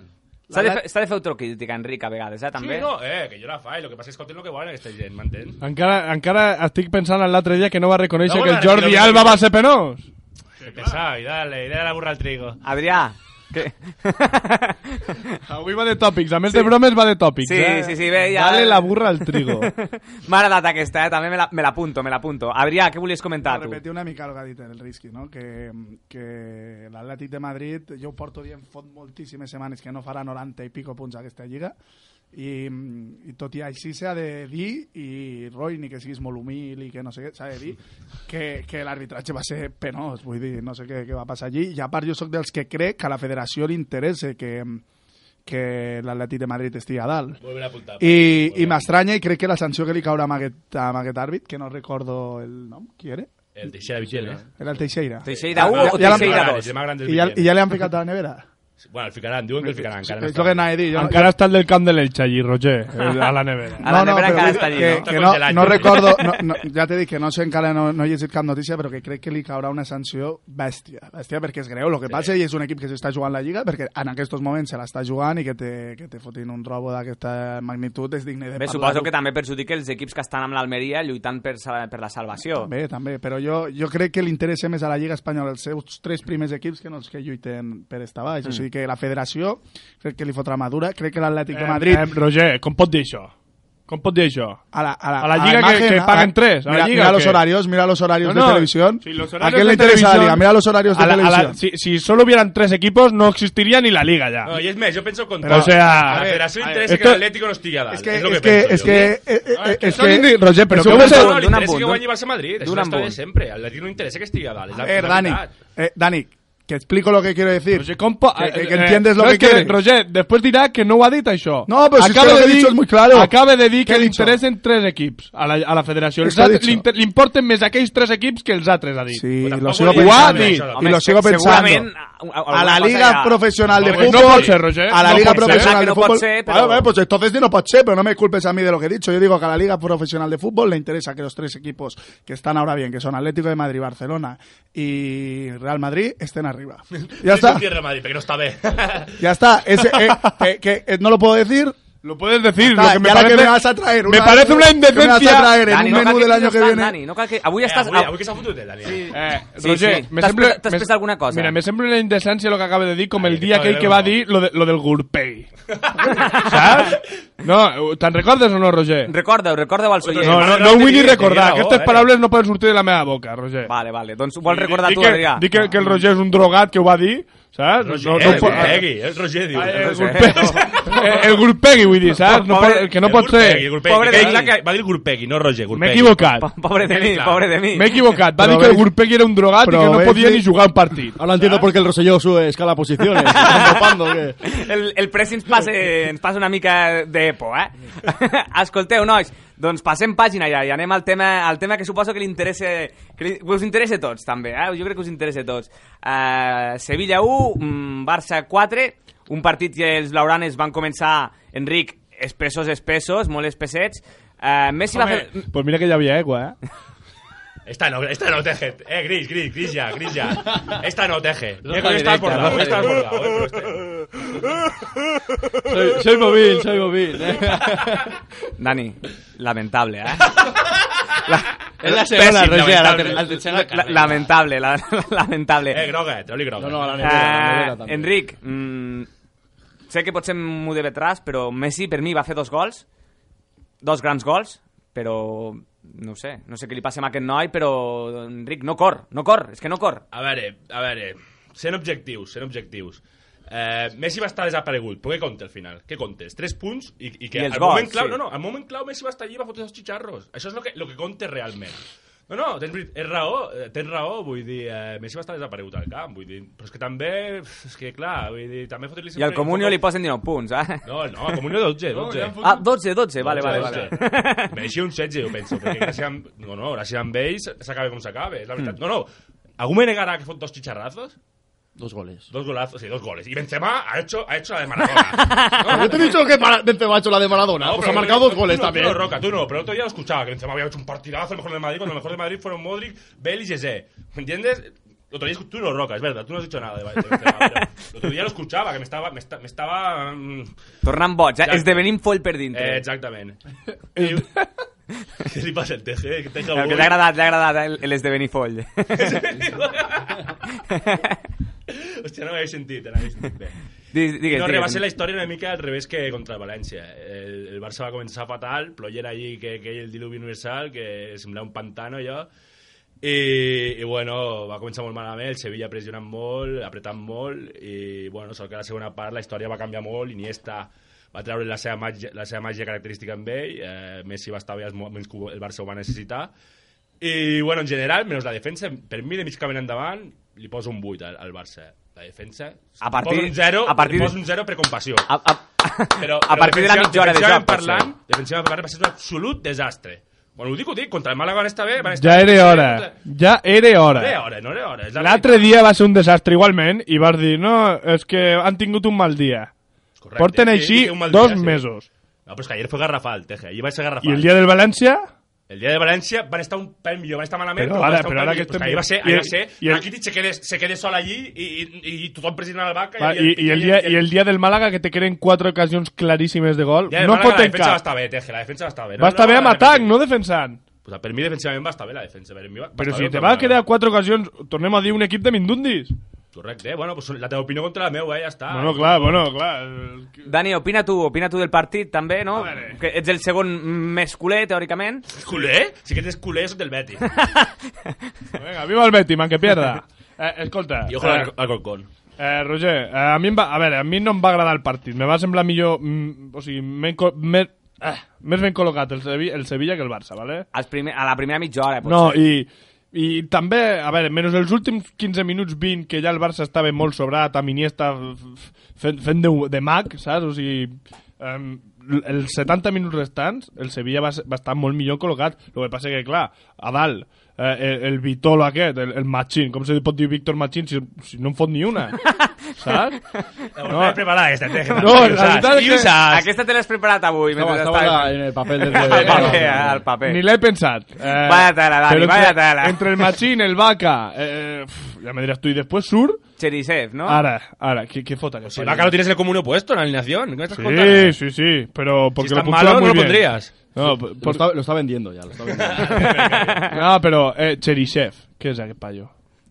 S'ha de, fer- s'ha de fer autocrítica, Enric, a vegades, eh, també.
Sí, no, eh, que jo la faig, el que passa és que escolten el que volen aquesta gent, m'entens?
Encara, encara estic pensant en l'altre dia que no va reconèixer
No,
que el
bueno,
Jordi
no, no,
Alba
no.
va ser penós.
Que pesau, i dale, i dale la burra al trigo.
Adrià, que...
Ah,
Avui va de tòpics, a més de bromes va de tòpics.
Sí,
eh?
sí, sí, bé, ja-
Dale la burra al trigo.
M'ha agradat aquesta, eh? també me la- me l'apunto, me l'apunto. Adrià, què volies comentar, tu?
Repetir una mica el que ha dit el Risky, no? que, que l'Atlètic de Madrid, jo ho porto dient fot moltíssimes setmanes que no farà 90 i pico punts a aquesta lliga, i, i tot i així s'ha de dir, i Roy, ni que siguis molt humil i que no sé què, s'ha de dir que, que l'arbitratge va ser penós, vull dir, no sé què, què va passar allí, i a part jo sóc dels que crec que a la federació li interessa que, que l'Atlètic de Madrid estigui a dalt.
Vull a apuntar.
I, i m'estranya i crec que la sanció que li caurà a aquest, a aquest àrbit, que no recordo el nom, qui era?
El Teixeira Vigent, eh?
Era el Teixeira.
Teixeira 1 o
ja l'han-
Teixeira 2?
I ja, I ja li han ficat a la nevera?
Bueno, el ficaran, diuen que el ficaran.
Sí,
encara no
és
està.
el que anava a dir. Jo,
Encara està el del camp de l'Elx allí, Roger, el- a la nevera.
A la nevera
però
encara
vull
està allí,
que,
no?
Que no, no
Està congelat.
recordo, no, no, ja t'he dit que no sé, encara no, no he llegit cap notícia, però que crec que li caurà una sanció bèstia. Bèstia perquè és greu. El que passa i és un equip que s'està jugant la Lliga, perquè en aquests moments se l'està jugant i que te, que te fotin un robo d'aquesta magnitud és digne de
Bé,
parlar-ho.
suposo que també perjudica els equips que estan amb l'Almeria lluitant per, sa- per la salvació.
També, també, però jo, jo crec que li interessa més a la Lliga Espanyola els seus tres primers equips que no els que lluiten per estar baix. Mm. O sigui que la federació crec que li fotrà madura, crec que l'Atlètic de Madrid...
Eh, eh, Roger, com pot dir això? Com pot dir això?
a la, a la,
a la Lliga que- que paguen tres, a la
mira,
Lliga
mira
o
los
qué?
horarios, mira los horarios
No, no,
de televisión.
si los
¿A
horarios
quién le
de
interesa la
televisión-
Liga? Mira los horarios de
A la- a la-
televisión.
si, si solo hubieran tres equipos, no existiría ni la liga ya.
No, y es más, yo pienso con
Pero,
todo.
o sea,
a
a
la
ver,
Federación
a ver,
interesa que
esto-
el Atlético no esté
Es que, es que, es que, eh, eh,
Ah,
eh, es
son
que,
indi-
Roger, pero
es un
¿qué
buen
d'un
pasa?
jugador.
no, le interesa
ambos,
que
d'un-
guañe Barça Madrid. Es
d'un
una historia de
ambos.
siempre. Al Atlético no interesa que esté a dalt, es
A
la
ver, Dani,
fundamental.
eh, Dani, que explico lo que quiero decir.
Roger, com po-
Ah,
Que- que-
eh,
que entiendes lo
no
que
es que
quieres.
Roger, después dirá que no ho ha dit, això.
No, pero si es
Acaba
que lo
de
que he
dir-
dicho es muy claro.
Acaba de dir
¿Qué
que
he
li
dicho?
interessen tres equips a la, a la federació.
¿Qué
Els
te he
altres-
dicho?
li inter- li importen més aquells tres equips que els altres, ha dit.
Sí,
Pues
lo
tampoco
sigo
le
pensando.
interesa,
Y
Home,
lo sigo
se-
pensando.
segurament, a- a-
A la
alguna
Liga
cosa hi ha.
profesional de
Pues no
fútbol.
pot ser, Roger.
A la
No
Liga
pot ser.
profesional
Clar que
de
no
fútbol.
pot ser, pero-
Vale, vale, pues entonces no pot ser, pero no me culpes a mí de lo que he dicho. Yo digo que a la Liga profesional de fútbol le interesa que los tres equipos que están ahora bien, que son Atlético de Madrid, Barcelona y Real Madrid, estén arriba.
arriba. Ya está.
Tierra Madrid, pero que no está bé.
Ya está. Ese, eh, que, que, eh, no lo puedo decir.
Lo puedes decir.
Está,
lo que me
y ahora
parece,
que me vas a traer
me
una-
parece una
que me vas a
indecencia.
traer en
Dani,
un
no
menú
cal que
del año que
estàs,
viene.
Dani, no cal que... Avui estàs...
Eh, avui, avui que s'ha fotut ell, Dani.
Eh,
Sí,
Roger,
sí.
me
T'has
sembla-
pre- t'has
me-
prestat alguna cosa?
Mira, me sembla una indecencia lo que acaba de dir com el
Ai,
dia
que
aquell que
no.
va dir lo, de, lo del Gurpei. Saps? No, te'n recordes o no, Roger?
Recordeu, recordeu als oients.
No, no, no ho vull ni recordar. Aquestes paraules no poden sortir de la meva boca, Roger.
eh. Vale, vale, doncs ho vols recordar
Di
tu,
que,
Adrià.
Di que, que el Roger és un drogat que ho va dir, saps?
Roger,
No- no
el
pot-
Gurpegui, el Roger, diu.
Ai,
El
el
Roger.
Gurpegui. Eh, El Gurpegui, vull dir, saps? No pot, que no
El
pot
Gurpegui, el
ser.
Gurpegui,
Pobre
que
Dani.
ell la que- Va dir Gurpegui, no Roger,
M'he
Gurpegui.
equivocat.
Po- Pobre de mi, pobre de mi.
M'he equivocat. Va dir
Però
que el
veig-
Gurpegui era un drogat i que
però
no
veig-
podia ni jugar un partit.
Ahora entiendo por qué el Rosselló sube escala posiciones. Está topando, ¿qué?
El, el press ens passa, ens passa eh, una mica de por, eh? Escolteu, nois, doncs passem pàgina ja i anem al tema, al tema que suposo que, li interessa, que, li, que us interessa a tots, també. Eh? Jo crec que us interessa a tots. Uh, Sevilla 1, mm, Barça 4, un partit que els blauranes van començar, Enric, espessos, espessos, molt espessets. Uh, Messi va fer...
Pues mira que ya había egua, eh?
Esta no, esta no teje. Eh, gris, gris, gris ya, gris ya. Esta no teje. Mira que
Roja
hoy
directa,
estás por la, hoy
roja
estás por eh, la.
Soy, soy móvil, soy móvil.
Dani, lamentable, eh?
Es la segunda,
Péssim,
Roger, la, ter-
lamentable.
la tercera
La- lamentable, la, lamentable.
Eh, groga, troli groga.
No, no, a la nevera, a la nevera
Eh,
també.
Enric, mm, sé que potser m'ho de vetràs, però Messi per mi va fer dos gols, dos grans gols, però no ho sé, no sé què li passa a aquest noi, però Enric, no cor, no cor, és que no cor.
A veure, a veure, sent objectius, sent objectius. Eh, Messi va estar desaparegut, però què compta al final? Què comptes? 3 punts i, i que
I els
al
gols,
moment clau,
sí.
no, no, al moment clau Messi va estar allí i va fotre els xicharros. Això és el que, lo que compta realment. No, no, tens, veri- és raó, eh, tens raó, vull dir, eh, Messi va estar desaparegut al camp, vull dir, però és que també, és que clar, vull dir, també fotre-li
I al Comunio li posen 19 punts, eh?
No, no, al Comunio 12, 12.
Ah, 12, 12, vale, vale,
Sí,
vale.
sí. Mereixia un 16, jo penso, perquè gràcies amb... No, no, gràcies amb ells s'acaba com s'acaba, és la
Mm.
veritat. No, no, ¿Algú me negará que fot dos chicharrazos?
Dos goles.
Dos golazos, sí, dos goles. Y Benzema ha hecho, ha hecho la de Maradona.
Yo te he dicho que para, Benzema ha hecho la de Maradona. pues ha marcado dos goles
tú no,
también.
Tú no, Roca, tú no, pero el otro día lo escuchaba, que Benzema había hecho un partidazo, el mejor de Madrid, cuando el mejor de Madrid fueron Modric, Bale y Jesse. ¿Me entiendes? El otro día escu- tú no, Roca, es verdad, tú no has dicho nada de, de Benzema. pero el otro día lo escuchaba, que me estaba... Me, esta- me estaba mm,
Tornant boig, eh?
Exacte.
Esdevenim foll per dintre.
eh, exactamente. I- ¿Qué li pasa al TG? Que teja
El que
avui.
t'ha agradat, t'ha agradat, eh, el- l'esdevenir foll.
Hòstia, no m'havia sentit, no m'havia sentit bé.
Digues, digues.
no, res, va
digues.
ser la història una mica al revés que contra el València. El, el Barça va començar fatal, ployera allí que, que hi ha el diluvi universal, que semblava un pantano allò, i, i bueno, va començar molt malament, el Sevilla pressionant molt, apretant molt, i bueno, sort que a la segona part la història va canviar molt, Iniesta va treure la seva màgia, la seva màgia característica amb ell, eh, Messi va estar bé als moments que ho- el Barça ho va necessitar, i, bueno, en general, menys la defensa, per mi de mig camí endavant, li poso un 8 al, al Barça. La defensa,
A partir-
poso un 0,
a partir-
li poso un 0 per compassió.
A, a,
Però,
a partir de la mitja hora de joc, potser.
parlant, defensivament parlant va ser un absolut desastre. Bueno, ho dic, ho dic, contra el Màlaga van estar bé, van estar...
Ja era hora. Ja era
No era
hora.
hora, no era hora. És la
L'altre dia va ser un desastre igualment i vas dir, no, és que han tingut un mal dia.
Correcte.
Porten
Sí,
així
un mal
dos
dia, sí.
mesos.
No, però és que ayer fue Garrafal, Teje. Ahir va ser Garrafal.
I el dia del València...
El dia de València van estar un pèl millor, van estar malament,
Però
però,
ara-
van estar
però
un
ara
pèl
que
millor. Però
estem-
ahir va ser,
i
ahir
el-
va ser,
i el-
Rakitic se quede, se quede sol allí i, i, i, i tothom presionant la vaca.
Va, i, I el dia, i el dia del Màlaga, que te creen quatre ocasions claríssimes de gol,
dia del
no
Màlaga
pot
La defensa va
tancar.
estar bé, Teje, la defensa va estar bé.
Va estar bé amb atac,
repetir.
no defensant.
Pues per mi defensivament va estar bé la defensa. Per mi va, va
Però
estar
si
bé,
te
però
vas crear quatre ocasions, tornem a dir un equip de mindundis.
Correcte, eh? bueno, pues la teva opinió contra la meva, eh? ja està.
Bueno, clar, bueno, clar. eh,
Dani, opina tu, opina tu del partit també, no?
A veure.
Que ets el segon més culer, teòricament.
Culer? Si que tens culer, sos del Betis.
Venga, viva el Betis, man, que pierda. Eh, escolta,
I ojo
eh,
al al Colcón.
Eh, Roger, eh, a mi em va, a veure, a mi no em va agradar el partit. Me va semblar millor... Mm, o sigui, men, co- mer, ah, més ben col·locat el, Sevi el Sevilla que el Barça, ¿vale?
Als primer, a la primera mitja hora, potser.
No, i, i també, a veure, menys els últims 15 minuts 20 que ja el Barça estava molt sobrat, amb Iniesta f- f- fent, fent de, de mag, saps? O sigui, um, els 70 minuts restants, el Sevilla va, ser- va estar molt millor col·locat. El que passa que, clar, a dalt, eh, el, el Vitolo aquest, el, el Machín, com se pot dir Víctor Machín si, si no en fot ni una, saps?
No, preparar aquesta, Teje.
No, la veritat és que
Ah, Aquesta te l'has preparat avui.
Estaba,
mentre
estaba
estàvem-
en el papel del...
Al paper, al paper.
ni l'he pensat. Eh,
Vaya tela, Dani,
pero entre,
vaya tela.
eh, Entre el Machín, el Vaca, eh, pf, ya me dirás tú, y después Sur,
Cherisev, no?
Ara, ara, ¿qué, qué fot
Pues Si Vaca lo tienes el común opuesto en la alineación. ¿Qué me estás contando?
Sí, sí, sí, pero porque
si
lo
estás
puntúa
malo,
muy
no lo
bien.
pondrías.
No,
lo,
por- por-
está, lo está vendiendo ya. Lo está vendiendo.
no, però eh, Cherisev, què és aquest paio?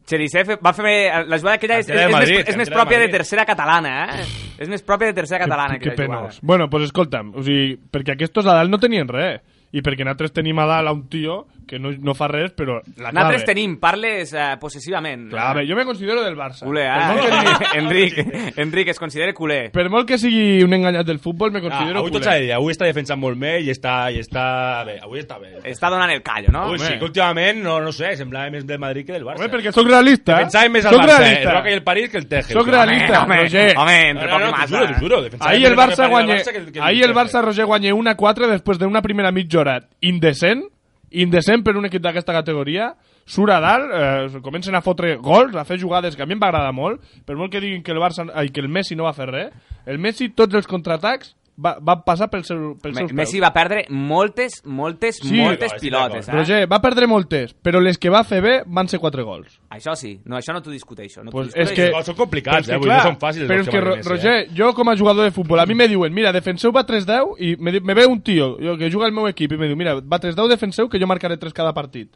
Cherisev va fer... La jugada aquella és, és,
Cantera de
és,
Madrid,
més, és més
cantera de
pròpia de
Madrid.
tercera catalana, eh? És més pròpia de tercera catalana,
que
aquella jugada.
penos. Bueno, pues escolta'm, o sigui, perquè aquestos a dalt no tenien res. I perquè nosaltres tenim a dalt a un tio que no, no fa res, però la clave.
Nosaltres tenim, parles eh, possessivament.
Clave. Jo me considero del Barça.
Culer,
Per molt que
ah. Enric, Enric, es considera culer.
Per molt que sigui un enganyat del futbol, me
Ah,
considero
avui tot s'ha de dir, avui està defensant molt bé i està, i està bé, avui està bé.
Està donant el callo, no?
Avui sí, que últimament, no, no sé, semblava més del Madrid que del Barça.
Home, perquè sóc realista. eh?
Defensava més el
Sóc
Barça,
realista.
el Roca i el París que el Teje.
Sóc realista,
Eh, Home,
Roger.
home,
No,
entre
no,
poc
no,
i
t'ho
massa.
juro, t'ho juro. defensava
Ahir
més
el Barça
París del
guanya,
que el- que
ahir el
Teje.
Barça Roger guanya 1 a 4 després d'una primera mitja hora indecent, indecent per un equip d'aquesta categoria, surt a dalt, eh, comencen a fotre gols, a fer jugades que a mi em va agradar molt, per molt que diguin que el Barça ai, que el Messi no va fer res, el Messi tots els contraatacs va, van passar pels, seu, pels
Me
seus
Messi
peus.
va perdre moltes, moltes,
Sí.
moltes
Estic d'acord,
pilotes.
estic
Eh?
Roger, va perdre moltes, però les que va fer bé van ser 4 gols.
Això sí, no, això no t'ho discuteixo. No t'ho
Pues és
discuteixo.
que...
Els gols són complicats,
però és
eh,
que,
vull dir, no són fàcils,
Però és
els que
que,
marca
Ro-
Messi, eh.
Roger, jo com a jugador de futbol, a mi me diuen, mira, defenseu va 3-10 i me, di- me ve un tio jo, que juga al meu equip i me diu, mira, va 3-10, defenseu que jo marcaré 3 cada partit.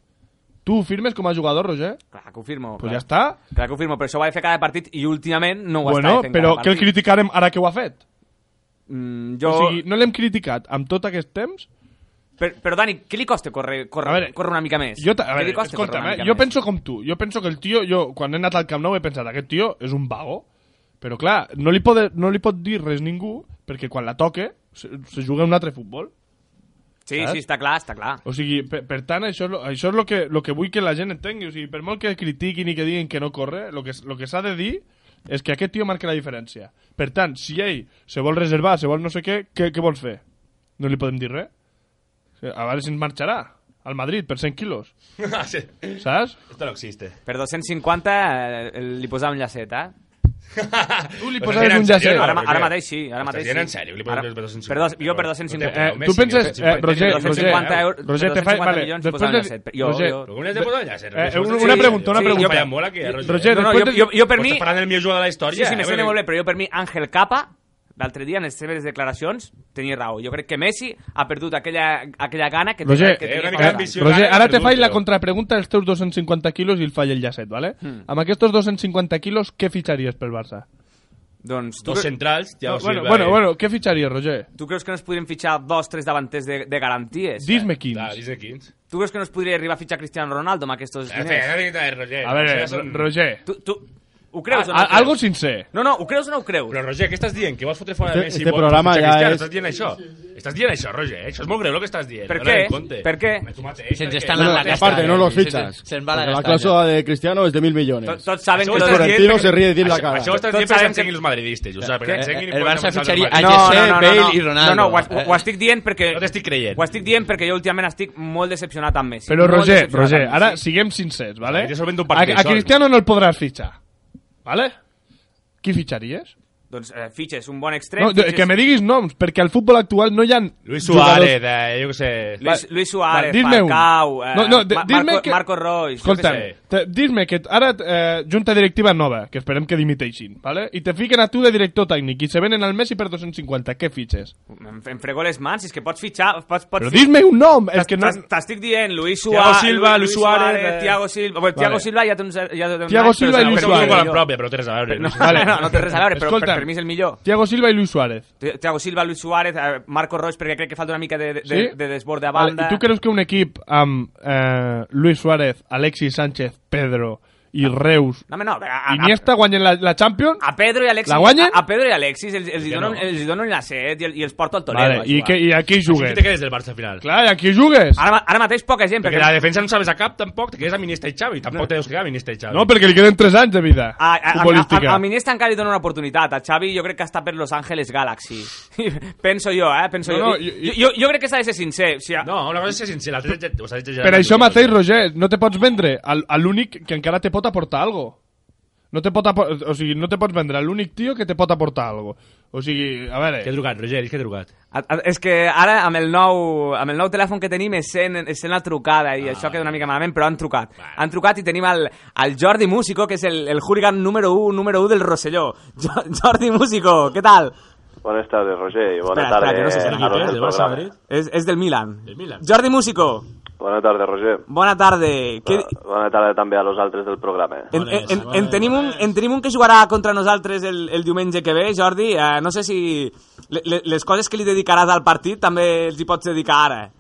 Tu ho firmes com a jugador, Roger?
Clar, que ho firmo.
Pues
clar.
ja està.
Clar que ho firmo, però això ho ha de fer cada partit i últimament no ho
bueno,
està fent
però
cada
que el
partit.
criticarem ara que ho ha fet?
Mm,
O
jo...
sigui, no l'hem criticat amb tot aquest temps?
però, però, Dani, què li costa córrer, córrer,
A veure,
córrer una mica més?
Jo, ta- a
Què
veure,
li costa
escolta'm,
córrer una
eh,
mica
jo
més?
penso com tu. Jo penso que el tio, jo, quan he anat al Camp Nou he pensat, aquest tio és un vago. Però clar, no li, pode, no li pot dir res ningú perquè quan la toque se, se juga a un altre futbol.
Sí,
saps?
sí, està clar, està clar.
O sigui, per, per tant, això, és lo- això és el que, lo que vull que la gent entengui. O sigui, per molt que critiquin i que diguin que no corre, el que, s- lo que s'ha de dir és que aquest tio marca la diferència. Per tant, si ell se vol reservar, se vol no sé què, què, què vols fer? No li podem dir res? O sigui, A veure si ens marxarà al Madrid per 100 quilos,
Ah, sí.
saps?
Esto no existe.
Per 250 eh, li posava un llacet, eh?
Tu li
Ho
poses
estàs
un
dient en sèrio,
llacet.
no?
Ara,
Perquè-
ara mateix sí, ara
Ho
mateix
estàs dient
sí.
en sèrio? Li pots
Ara-
dir per 250
Per dos, jo per
euros.
250.
Però
Eh,
Messi,
tu penses,
Messi,
eh, Roger,
250
Roger,
euros,
Roger, te fa...
250
Vale,
milions
després
posant
de-
llacet. Jo-
Roger,
jo-
Però com n'has de posar allà, Sergi?
Eh,
Això
una-
és
una
així,
pregunta,
eh?
una
Sí,
pregunta.
Jo falla molt aquí, eh, Roger.
Roger,
No, no,
després
jo,
de-
jo, jo per
Pues
mi...
Estàs parlant del millor jugador de la
Sí,
història.
sí, me
eh,
sembla
vull
molt
dir-
bé, però jo per mi Àngel Capa, l'altre dia en les seves declaracions, tenia raó. Jo crec que Messi ha perdut aquella, aquella gana que
Roger,
que
eh, una
tenia
mica
eh,
quan-
d'ambició.
Roger,
Gana,
ara te
perdut,
faig la
però.
contrapregunta dels teus 250 quilos i el falla el llacet, ¿vale? Amb aquests 250 quilos, què fitxaries pel Barça?
Doncs tu,
Dos centrals, ja
No,
us
bueno,
sirve.
bueno, bueno, què fitxaries, Roger?
tu creus que no es podrien fitxar dos, tres davanters de, de garanties?
Dis-me
Clar,
quins.
dice quins.
Tu creus que no es podria arribar a fitxar Cristiano Ronaldo amb aquests
Eh,
diners?
fe, eh, Roger.
A veure,
això són-
Roger,
Tu, tu, ho
a,
creus o no ho creus?
algo sincer.
No, no, ho creus o no ho creus?
Però, Roger, què estàs dient? Que vols fotre fora
Este-
de Messi?
este
vols
programa
fitxar
ja
Cristiano?
és-
Estàs dient això? Estàs dient això, Roger? Això és molt greu el que estàs dient.
Per
dona-li
què?
en compte.
Per què?
Home, tu mateix,
Se'ns
per
està
què?
anant la
No,
casta.
eh.
aparte, no lo
Se-
fichas.
se- Se'n va la
Porque la
gasta, ja.
cláusula de Cristiano es de mil
Tots
millones.
tots saben
Això
que
ho
lo de...
estàs dient
Florentino
perquè-
se ríe de ti en la
Això-
cara.
Això ho estàs
Tots
dient perquè
sabem
em seguin
que-
els madridistes. O sigui,
Que-
perquè em seguin i
El
poden
Barça
defensar el
fitxaria a
Madrid.
Ah, No, no, no, no, no.
Bale i Ronaldo.
No, no, ho, es- ho estic dient perquè...
No t'estic creient.
Ho estic dient perquè jo últimament estic molt decepcionat amb Messi.
Però,
Molt
Roger,
decepcionat
Roger,
amb Messi.
ara siguem sincers, ¿vale?
Ja solvento un
A,
partit
a
sol.
Cristiano no el podràs fitxar, ¿vale? Qui fitxaries?
Doncs eh, fitxes un bon extrem...
No,
fitxes
que me diguis noms, perquè al futbol actual no hi ha
Luis
jugadors-
Suárez, eh, jo què sé...
Luis,
Va,
Luis Suárez,
va, dis-me un.
Falcao, eh,
No, no, de-
Ma-
dis-me
Marco,
que-
Marco Roy...
Escolta,
sé.
dir-me que ara eh, junta directiva nova, que esperem que dimiteixin, vale? i te fiquen a tu de director tècnic i se venen al Messi per 250, què fitxes?
Em, em frego les mans, és que pots fitxar... Pots, pots
Però dis-me un nom! És
T'es-
que no...
t'es- T'estic dient, Luis
Thiago
Suárez...
Silva, Luis Suárez, eh.
Thiago Silva... Bueno, Thiago
Vale.
Silva ja té uns... Ja té uns
Thiago
anys,
Silva
però serà
i Luis
un jugador
Però tu
Suárez.
juguen
millor.
pròpia, però tres a veure.
No,
no sé.
Vale.
no, no té res a veure, però
Escolta.
per mi és el millor.
Thiago Silva i Luis Suárez.
Thiago Silva, Luis Suárez, eh, Marco Roig, perquè crec que falta una mica de, de,
Sí?
de desbord a
Vale,
banda.
I tu creus que un equip amb eh, Luis Suárez, Alexis Sánchez, Pedro i Reus,
No, home, no, a, a,
Iniesta guanyen la, la Champions?
a Pedro i Alexis...
La guanyen?
A, a Pedro i Alexis els, els, hi donen,
no.
els hi donen la set i, el- i els porto al Toledo.
Vale,
a
i,
jugar.
que, i a qui
Així
jugues?
que te quedes del Barça al final.
Clar, i a qui jugues?
Ara, ma- ara mateix poca gent,
Perquè
perquè...
la defensa no sabes a cap, tampoc. Te quedes a Minesta i Xavi. Tampoc te deus quedar a Minesta i Xavi.
No, perquè li queden 3 anys de vida
A, a, a,
futbolística.
a, a Minesta encara li dona una oportunitat. A Xavi jo crec que està per Los Angeles Galaxy. Penso jo, eh? Penso
No,
jo.
no,
jo,
i- i-
jo, jo crec que s'ha de ser sincer. O sigui,
No, una cosa és ser sincer, l'altra és... O sigui,
Per això mateix, Roger, no te pots vendre a a l'únic que encara te pot aportar algo. No te pot, apo- o sigui, no te pots vendre l'únic tio que te pot aportar algo. O sigui, a veure...
Què he trucat, Roger? Què he trucat?
Eh,
A- a- És que ara amb el nou, amb el nou telèfon que tenim es sent, es sent la trucada i això queda una mica malament, però han trucat. Han trucat i tenim el, el Jordi Músico, que és el, el hooligan número 1, número 1 del Rosselló. Jo, Jordi Músico, què tal?
Buenas tardes, Roger, y buenas
Espera, espera,
tardes
que no sé si
a
aquí
los
ves,
del
¿de Barça
programa.
Madrid? És, és del Milan. Del Milan. Jordi Músico,
Buenas tardes, Roger.
bona tarda. Què,
Ah,
Buenas tardes también a los altres del programa. eh.
en, en, en, en, tenim un, en tenim un que jugarà contra nosaltres el, el diumenge que ve, Jordi. Eh, no sé si le, le- les coses que li dedicaràs al partit també els hi pots dedicar ara.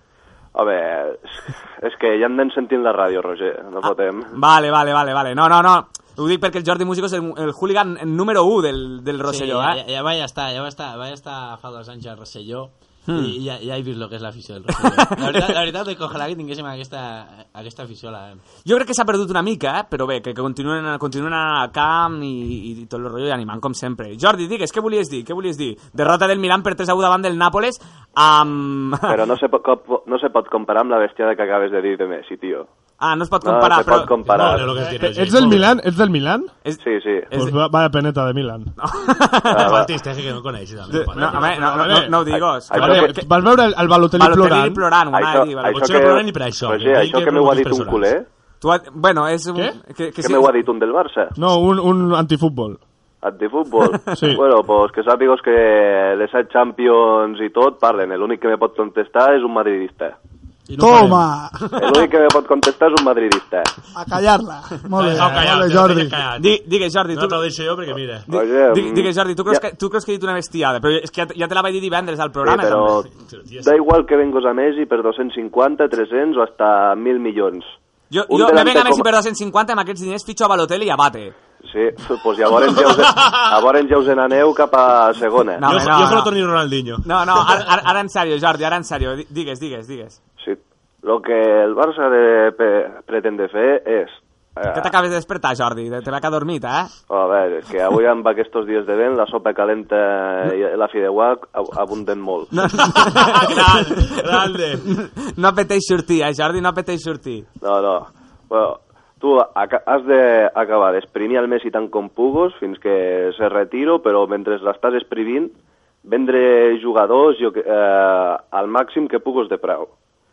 A veure, és que ja hem d'anar sentint la ràdio, Roger, no fotem.
Vale, vale, vale, vale. No, no, no. Ho dic perquè el Jordi Músico és el, el hooligan número 1 del, del Rosselló,
sí,
eh?
ja, ja, ja vaig estar, ja vaig estar, vaig estar fa dos anys al Rosselló
Hmm.
i ja, ja he vist el que és l'afició del Rosselló. La veritat, la veritat, que ojalà que tinguéssim aquesta, aquesta afició. La...
Jo crec que s'ha perdut una mica, eh? però bé, que, que continuen, continuen anant al camp i, i tot el rotllo i animant, com sempre. Jordi, digues, què volies dir? Què volies dir? Derrota del Milan per 3 a 1 davant del Nàpoles amb...
Però no se, pot, cop- no se pot comparar amb la bestiada que acabes de dir de Messi, tio.
Ah, no es pot
No,
comparar,
se
però...
pot comparar.
Eh, Ets del Milan? Ets del Milan?
Sí, sí.
Pues va, vaya peneta de Milan.
Ah,
Faltista, ese que no coneix.
Sí, no, home, Ah, no, no, no, no ho digues.
A- això que-
Vas veure el, el Balotelli
Balotelli
plorant?
plorant, ho anava a dir. Balotelli.
això que,
eh?
Roger, això que m'ho ha dit un culer, eh?
Tu, ha- bueno, és... Un, que,
que m'ho ha dit un del Barça,
No, un, un antifútbol.
antifutbol.
Sí.
Bueno, pues que sàpigues que les set Champions i tot parlen, l'únic que me pot contestar és un madridista.
Toma!
L'únic que me pot contestar és un madridista.
A callar-la. Molt bé,
Ah, callat,
molt bé,
ja
Jordi.
Di, digues, Jordi, tu... No
t'aplaudeixo jo perquè mira.
Di,
Roger,
di, digues, Jordi, tu creus,
mm, ja-
que, tu creus que he dit una bestiada, però és que ja, te- ja te la vaig dir divendres al
Sí,
programa.
però da igual que vengues a Messi per 250, 300 o hasta 1.000 milions.
Jo,
Un
jo me
delante
venga Messi
com-
per 250, amb aquests diners fitxo a Balotelli i abate.
Sí, pues llavors ja us, llavors ja us n'aneu cap a segona.
No, Jo- home, no, jo solo no.
Toni Ronaldinho.
No, no, ara, ara, ara en sèrio, Jordi, ara en sèrio. Di- Digues, digues, digues.
Sí, lo que el Barça de, pe, pretende fer és... eh,
Que t'acabes de despertar, Jordi, de- te l'ha que dormit, eh?
a veure, és que avui amb aquests dies de vent la sopa calenta i la fideuà ab- abunden molt.
No,
Grande.
no apeteix sortir, eh, Jordi, no apeteix sortir.
No, no. Bueno, tu aca- has d'acabar d'esprimir el Messi tant com pugues fins que se retiro, però mentre l'estàs exprimint, vendre jugadors jo, que- eh, al màxim que pugues de preu.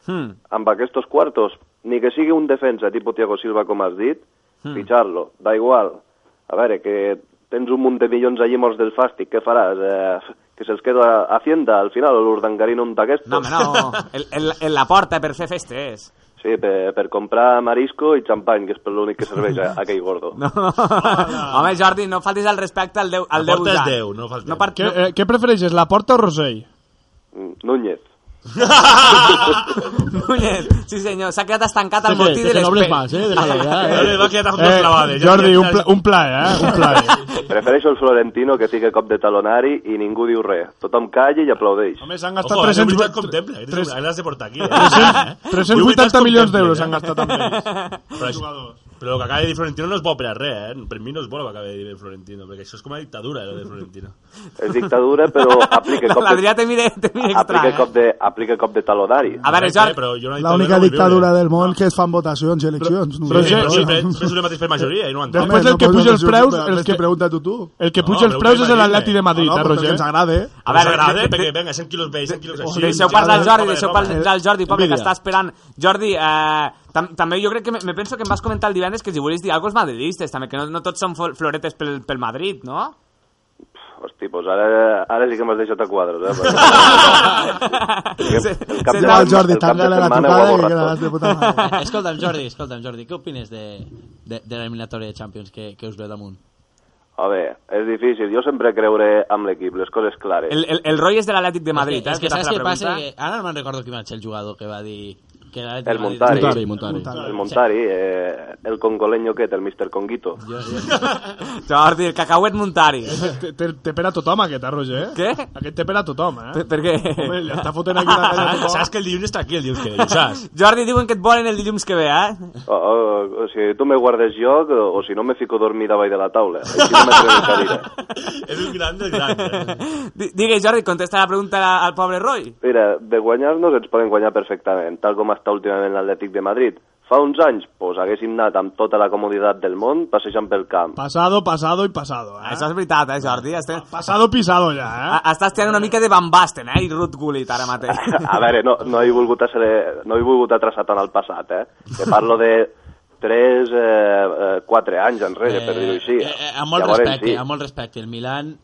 Hmm.
Amb aquests quartos, ni que sigui un defensa tipus Thiago Silva, com has dit,
Hmm.
fitxar-lo, da igual. A veure, que tens un munt de milions allí morts del fàstic, què faràs? Eh, que se'ls queda Hacienda al final, o l'Urdangarino un d'aquestos?
No, home, no, en, en, la- en la porta per fer festes.
Sí, per, per comprar marisco i xampany, que és per l'únic que serveix a, a aquell gordo.
No. Home, Jordi, no faltis al respecte al Déu, al Déu
porta és
usat.
Déu, no faltem.
No, part,
Què,
no,
eh, què prefereixes, la porta o Rosell?
Mm, Núñez.
Núñez, sí senyor, s'ha quedat estancat al
Sí,
botí
que
de
se
l'Espé.
doble pas, eh, déjalo ya, eh. Doble pas que ya estamos
Eh, Jordi, un, pla, un plaer, eh? Un plaer.
Prefereixo el Florentino que fica cop de talonari i ningú diu res. Tothom calla i aplaudeix.
Home, s'han
Eh,
gastat
Ojo, 300...
300...
veritat ¿eh? contempla, que tens- l'has de portar aquí. eh?
380 milions d'euros han gastat amb ells.
Però, això, però el que acaba de dir Florentino no es bo per a res, eh? Per mi no és bo el que acaba de dir Florentino, perquè això és com una dictadura, el de Florentino.
És dictadura, però aplica cop de,
L'Adrià te mira, te mira extra.
aplica
eh.
cop de, aplica cop de talonari.
A veure, Jordi...
Però jo no
L'única dictadura
¿eh?
del món que es fan votacions i eleccions.
Però
només.
sí, però sempre és el mateix per majoria i no ho entenc.
Home,
Després
no
el que
pots
puja els
votar
preus...
sempre,
El
més
que
que pregunta tu, tu.
El que
No,
puja els
però
preus és
imagina't.
l'Atleti de Madrid,
No, no,
eh,
però
Roger?
que ens agrada,
eh?
A veure, agrada, perquè, venga, 100 quilos vells, 100 quilos així...
deixeu parlar al Jordi, deixeu
Roma de
parlar
Roma.
al Jordi, pobre, que
Envidia.
està esperant. Jordi, eh, tam també jo crec que me, me penso que em vas comentar el divendres que si volies dir alguna cosa madridistes, també, que no, no tots són fol- floretes pel, pel Madrid, no?
Hosti, pues ara, ara sí que m'has deixat a quadros, eh? Perquè... el cap
Se
de,
va el
setmana-
Jordi,
el cap de
tanca-la la
setmana ho
trucada i
ha borrat
quedaràs de puta mare.
Escolta'm, Jordi, escolta'm, Jordi, què opines de, de, de l'eliminatòria de Champions que, que us ve damunt?
A veure, és difícil. Jo sempre creuré amb l'equip, les coses clares.
El, el, el rotllo és de l'Atlètic de Madrid,
és que,
eh?
és que saps
la
què passa?
pregunta.
Que ara no me'n recordo qui va ser el jugador que va dir... Que l'Atleti
El
de Madrid-
Montari. El Montari, eh, el congoleño aquest, el Mr. Conguito.
Jordi, el cacauet Montari.
Te, te, te pera tothom, aquest, eh, Roger?
Què?
Aquest te pera tothom, eh?
Per, per què?
Home, li està fotent aquí una cara a tothom.
Saps que el dilluns està aquí, el dilluns que ve, ho saps?
Jordi, diuen que et volen el dilluns que ve, eh?
O, o, o si tu me guardes lloc, o, o si no me fico dormir davall de la taula. Així no m'atrevo a dir.
És un gran del gran.
Di- Digues, Jordi, contesta la pregunta al pobre Roy.
Mira, de guanyar-nos ens poden guanyar perfectament, tal com està últimament l'Atlètic de Madrid. Fa uns anys, doncs, haguéssim anat amb tota la comoditat del món passejant pel camp.
Pasado, pasado i pasado.
Ah.
Eh?
Això és veritat, eh, Jordi? Estem...
Pasado pisado ja, eh?
A- Estàs tirant una mica de Van Basten, eh, i Ruth Gullit ara mateix.
A veure, no, no, he volgut ser, no he volgut atrasar tant el passat, eh? Te parlo de 3, eh, 4 anys enrere, per dir-ho així.
Eh, eh, amb molt
Llavors,
respecte,
sí.
amb molt respecte. El Milan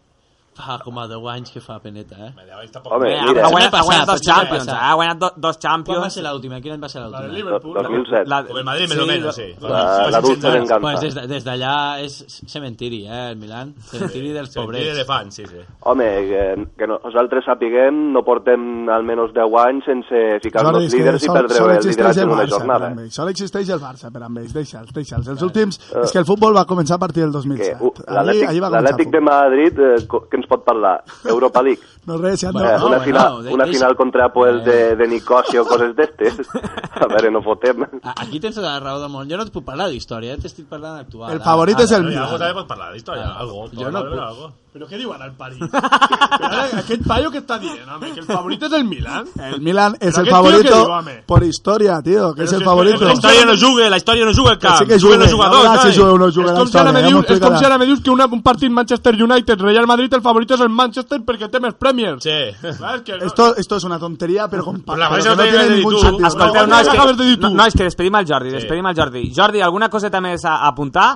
fa com a 10 anys que fa peneta, eh? Home,
Home,
eh,
mira.
ha-
Ha guanyat, ha
passat,
guanyat dos
potser l'any
Champions, eh?
passat.
Ha guanyat do, dos Champions.
Quan va ser l'última? Quin any va ser l'última?
del
Liverpool. 2007.
Com
el
Madrid, més o menys, sí.
La- la dulce venganza.
Pues des de- des d'allà és cementiri, eh, el Milan. Cementiri dels pobrets.
cementiri de
fans, sí, sí.
Home, que, que no- nosaltres sapiguem, no portem almenys 10 anys sense
Jordi,
ficar-nos
és que
líders i
sol-
perdre
sol
el
existeix el
lideratge en una
Barça, Per
jornada. eh?
amb ells. Sol existeix el Barça, per amb ells. Deixa'ls, deixa'ls. Els últims... És que el futbol va començar a partir del 2007.
eh. Uh,
Allí, allí
L'Atlètic
va començar el
l'Atlètic de Madrid, eh, co- què ens pot parlar? Europa League.
futbol. No res, ja no...
Eh, una,
no,
final,
no,
una
deixa-
final contra Poel de, de Nicosia o coses d'estes. A veure, no fotem.
Aquí tens tota la raó del món. Jo no et puc parlar d'història, eh? t'estic parlant d'actual. Ah.
El favorit
Ara,
és el
ara,
Milan.
algo també pot
parlar d'història,
Ara,
algo,
Jo no
algo, algo.
puc.
Però què diuen al París? Però ara, aquest paio que està dient, home, que el favorit és el Milan.
El Milan es
Pero qué tío
el
que
favorito
digo, home.
por historia, tío, que es el favorito.
La història no
juga, la història no juga al
camp. Sí que juguen els jugadors, no, si juguen, no juguen
és
la
com si ara
història,
me
ja m'ho
dius, és com
explicarà.
si ara me dius que una, un partit Manchester United, Real Madrid, el favorit és el Manchester perquè té més Premier. Sí. Clar, és que no.
Esto, esto es una tontería, pero con pa-
la Barça
pero que no
no
tiene
tiene
ningún
ni tú.
sentido.
Escolteu, no, és que, no,
no,
no, és que despedim el Jordi, despedim el Jordi. Jordi, alguna coseta més a, a apuntar?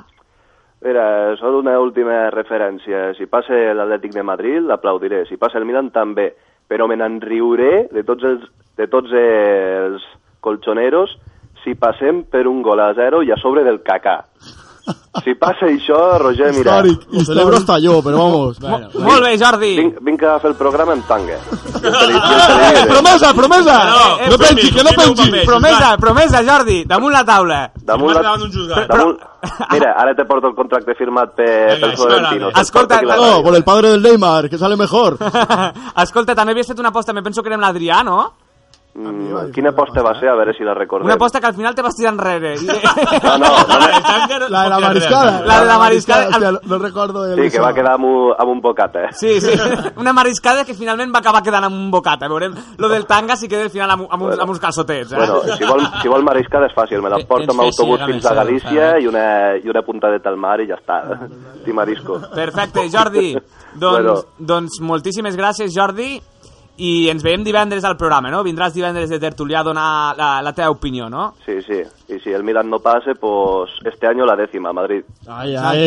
Mira, sóc una última referència. Si passa l'Atlètic de Madrid, l'aplaudiré. Si passa el Milan, també. Però me n'enriuré de tots els, de tots els colchoneros si passem per un gol a zero i a sobre del cacà. Si passa això, Roger, mira...
Històric, Lo històric. celebro hasta yo, pero vamos.
Bueno,
Molt bé, Jordi.
Vinc, vinc a fer el programa en tanga.
Eh, promesa, promesa!
Eh, eh,
no pensi,
promis,
que no
firma un
pensi!
paper, Promesa, promesa, Jordi, damunt la taula.
Damunt la... Damunt... Mira, ara te porto el contracte firmat per, per Florentino.
Escolta,
No, por el padre del Neymar, que sale mejor.
Escolta, també havies fet una aposta, me penso que era amb l'Adrià, no?
Mm, quina aposta va ser? A veure si la recordem.
Una aposta que al final te vas tirar enrere.
No, no,
La de la mariscada.
La de la mariscada.
Hòstia, no- no recordo el...
Sí, que va quedar amb un, amb un bocata.
Sí, sí. Una mariscada que finalment va acabar quedant amb un bocata. Veurem lo del tanga si queda al final amb, amb, uns, amb uns calçotets. Eh?
Bueno, si vol, si vol mariscada és fàcil, me la porto amb
tens que
autobús
sí,
fins a
Gameser,
Galícia i una, i una puntadeta al mar i ja està. T'hi marisco.
Perfecte, Jordi. Doncs,
Bueno.
doncs moltíssimes gràcies, Jordi. I ens veiem divendres al programa, no? Vindràs divendres de tertulià a donar la, la teva opinió, no?
Sí, sí. I si el Milan no pase, pues este año la décima, Madrid.
Ai,
ai.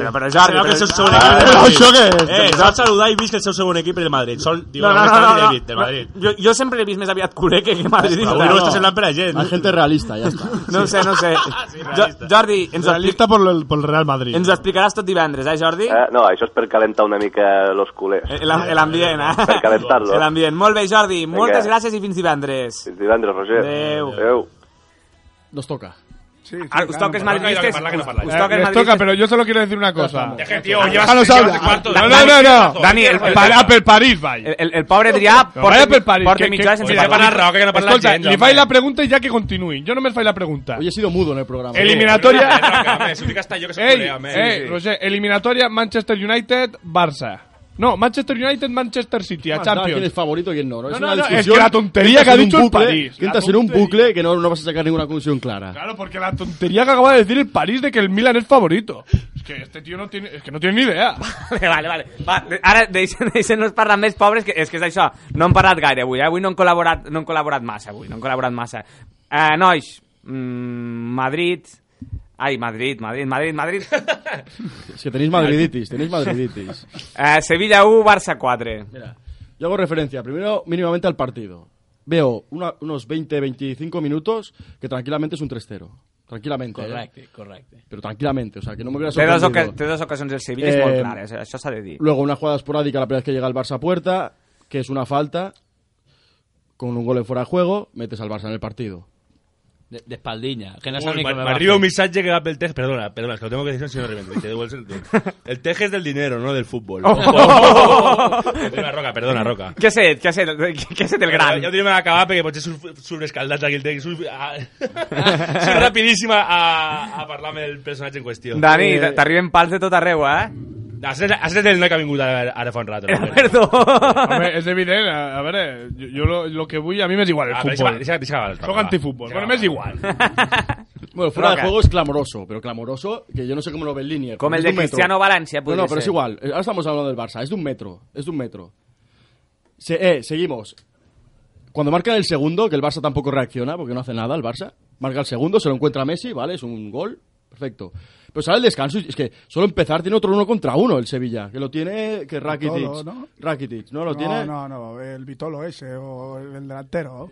Però, però Jordi...
Sabeu que
Però...
el seu segon
Ah,
equip...
però això què és?
Eh, us vaig saludar i vist que el seu segon equip era el Madrid. Sol, digo,
No, no, no, no, no.
Del Madrid.
Jo, jo sempre l'he vist més aviat culer que, que madridista.
Avui no està semblant per a gent.
La gente realista, ja està.
No ho sé, no ho sé. Jo, Jordi, ens ho, expli
Realista por el, por el Real Madrid.
ens ho explicaràs tot divendres, eh, Jordi?
Eh, no, això és per calentar una mica los culers.
El- el- L'ambient, eh?
Per calentar-los.
L'ambient. Molt bé, Jordi. Moltes gràcies i fins divendres.
Fins divendres, Roger.
Adéu.
Adéu.
Nos toca.
Sí,
sí, Ara, us toques
claro.
madridistes.
Parla, que no parla.
us
Eh,
toques
les
madridistes.
toca, pero yo solo quiero decir una cosa.
tío, llevas-
Déjanos
llevas
hablar.
el cuarto.
No,
Dani,
no, no, no.
Dani, el-
Para per París, vaya.
El, pobre Adrià
No,
porta
vaya
mi-
per París.
porta
que-
mitja
que-
hora sense
que-
parlar.
Escolta,
Raó, que no parla
escolta,
gent,
li
home.
faig la pregunta i ja que continuïn. Jo només faig la pregunta.
Hoy he sido mudo en el programa.
Eliminatoria.
Si ho dic hasta jo, que soc
Ey,
culé, home.
ey,
Sí, sí.
Roger, eliminatoria Manchester United, Barça. No, Manchester United, Manchester City, a
Más da quién es
Champions.
favorito y quién no. No,
No,
es,
no,
una
no, es
discusión
que la tontería
entra
que ha
en un
dicho el
bucle,
París,
Que
la
entras en un
tontería.
bucle que no, no vas a sacar ninguna conclusión clara.
Claro, porque la tontería que acaba de decir el París de que el Milan es favorito. Es que este tío no tiene, es que no tiene ni idea.
Vale, vale, vale. Va, de- ara deixen, deixen nos parlar més pobres, que és que és això. No hem parlat gaire avui, eh? Avui no hem col·laborat, no hem col·laborat massa, avui. No hem col·laborat massa. Eh, nois, mm, Madrid... Ai, Madrid, Madrid, Madrid, Madrid.
Es que tenéis madriditis, tenéis madriditis.
Eh, Sevilla 1, Barça 4.
Mira, Yo hago referencia, primero mínimamente al partido. Veo una- unos 20-25 minutos que tranquilamente es un 3-0. Tranquilamente. ¿eh?
Correcto, correcto.
Pero tranquilamente, o sea, que no me hubiera
Té dos,
sorprendido.
oca- té dos ocasions del Sevilla, és
Eh,
molt clar, eh? això s'ha de dir.
Luego una jugada esporádica la primera vez que llega el Barça a puerta, que es una falta, con un gol en fuera de juego, metes al Barça en el partido.
De, de espaldiña. Que no
Ui,
sabe ni
m'ar-
cómo
M'arriba un missatge que va pel Tej... Perdona, perdona, és que lo tengo que decir si no reviento. Te devuelves el todo. El Tej es del dinero, no del fútbol.
Oh.
Perdona, Roca, perdona, Roca.
Què ha set? Què ha set? Què ha set el gran?
Jo diria que m'ha acabat perquè potser surt, surt escaldat aquí el Tej. Surt,
ah.
a... surt rapidíssim a, a, a parlar amb el personatge en qüestió.
Dani, t'arriben pals de tot arreu, eh?
Aquest és, aquest és el noi que ha vingut ara, ara fa un rato.
Perdó.
Home, és evident, a, a veure,
eh,
jo, jo lo, lo que vull, a mi m'és igual el
Ah, però
futbol.
deixa- deixa- deixa acabar el
Soc
programa.
antifutbol,
Deixa
bueno, m'és igual.
Bueno, fuera
Roca.
de juego es clamoroso, pero clamoroso que yo no sé cómo lo ve el línea.
Como el de Cristiano Valencia,
No,
podría
no, pero es
ser.
igual. Ahora estamos hablando del Barça. Es de un metro. Es de un metro. Se- eh, seguimos. Cuando marcan el segundo, que el Barça tampoco reacciona porque no hace nada el Barça, marca el segundo, se lo encuentra Messi, ¿vale? Es un gol. Perfecto. Pero sale el descanso y es que solo empezar tiene otro uno contra uno el Sevilla, que lo tiene que Rakitic.
Vitolo, ¿no?
Rakitic, ¿no? Lo
No,
tiene...
no, no, el Vitolo ese, o el delantero.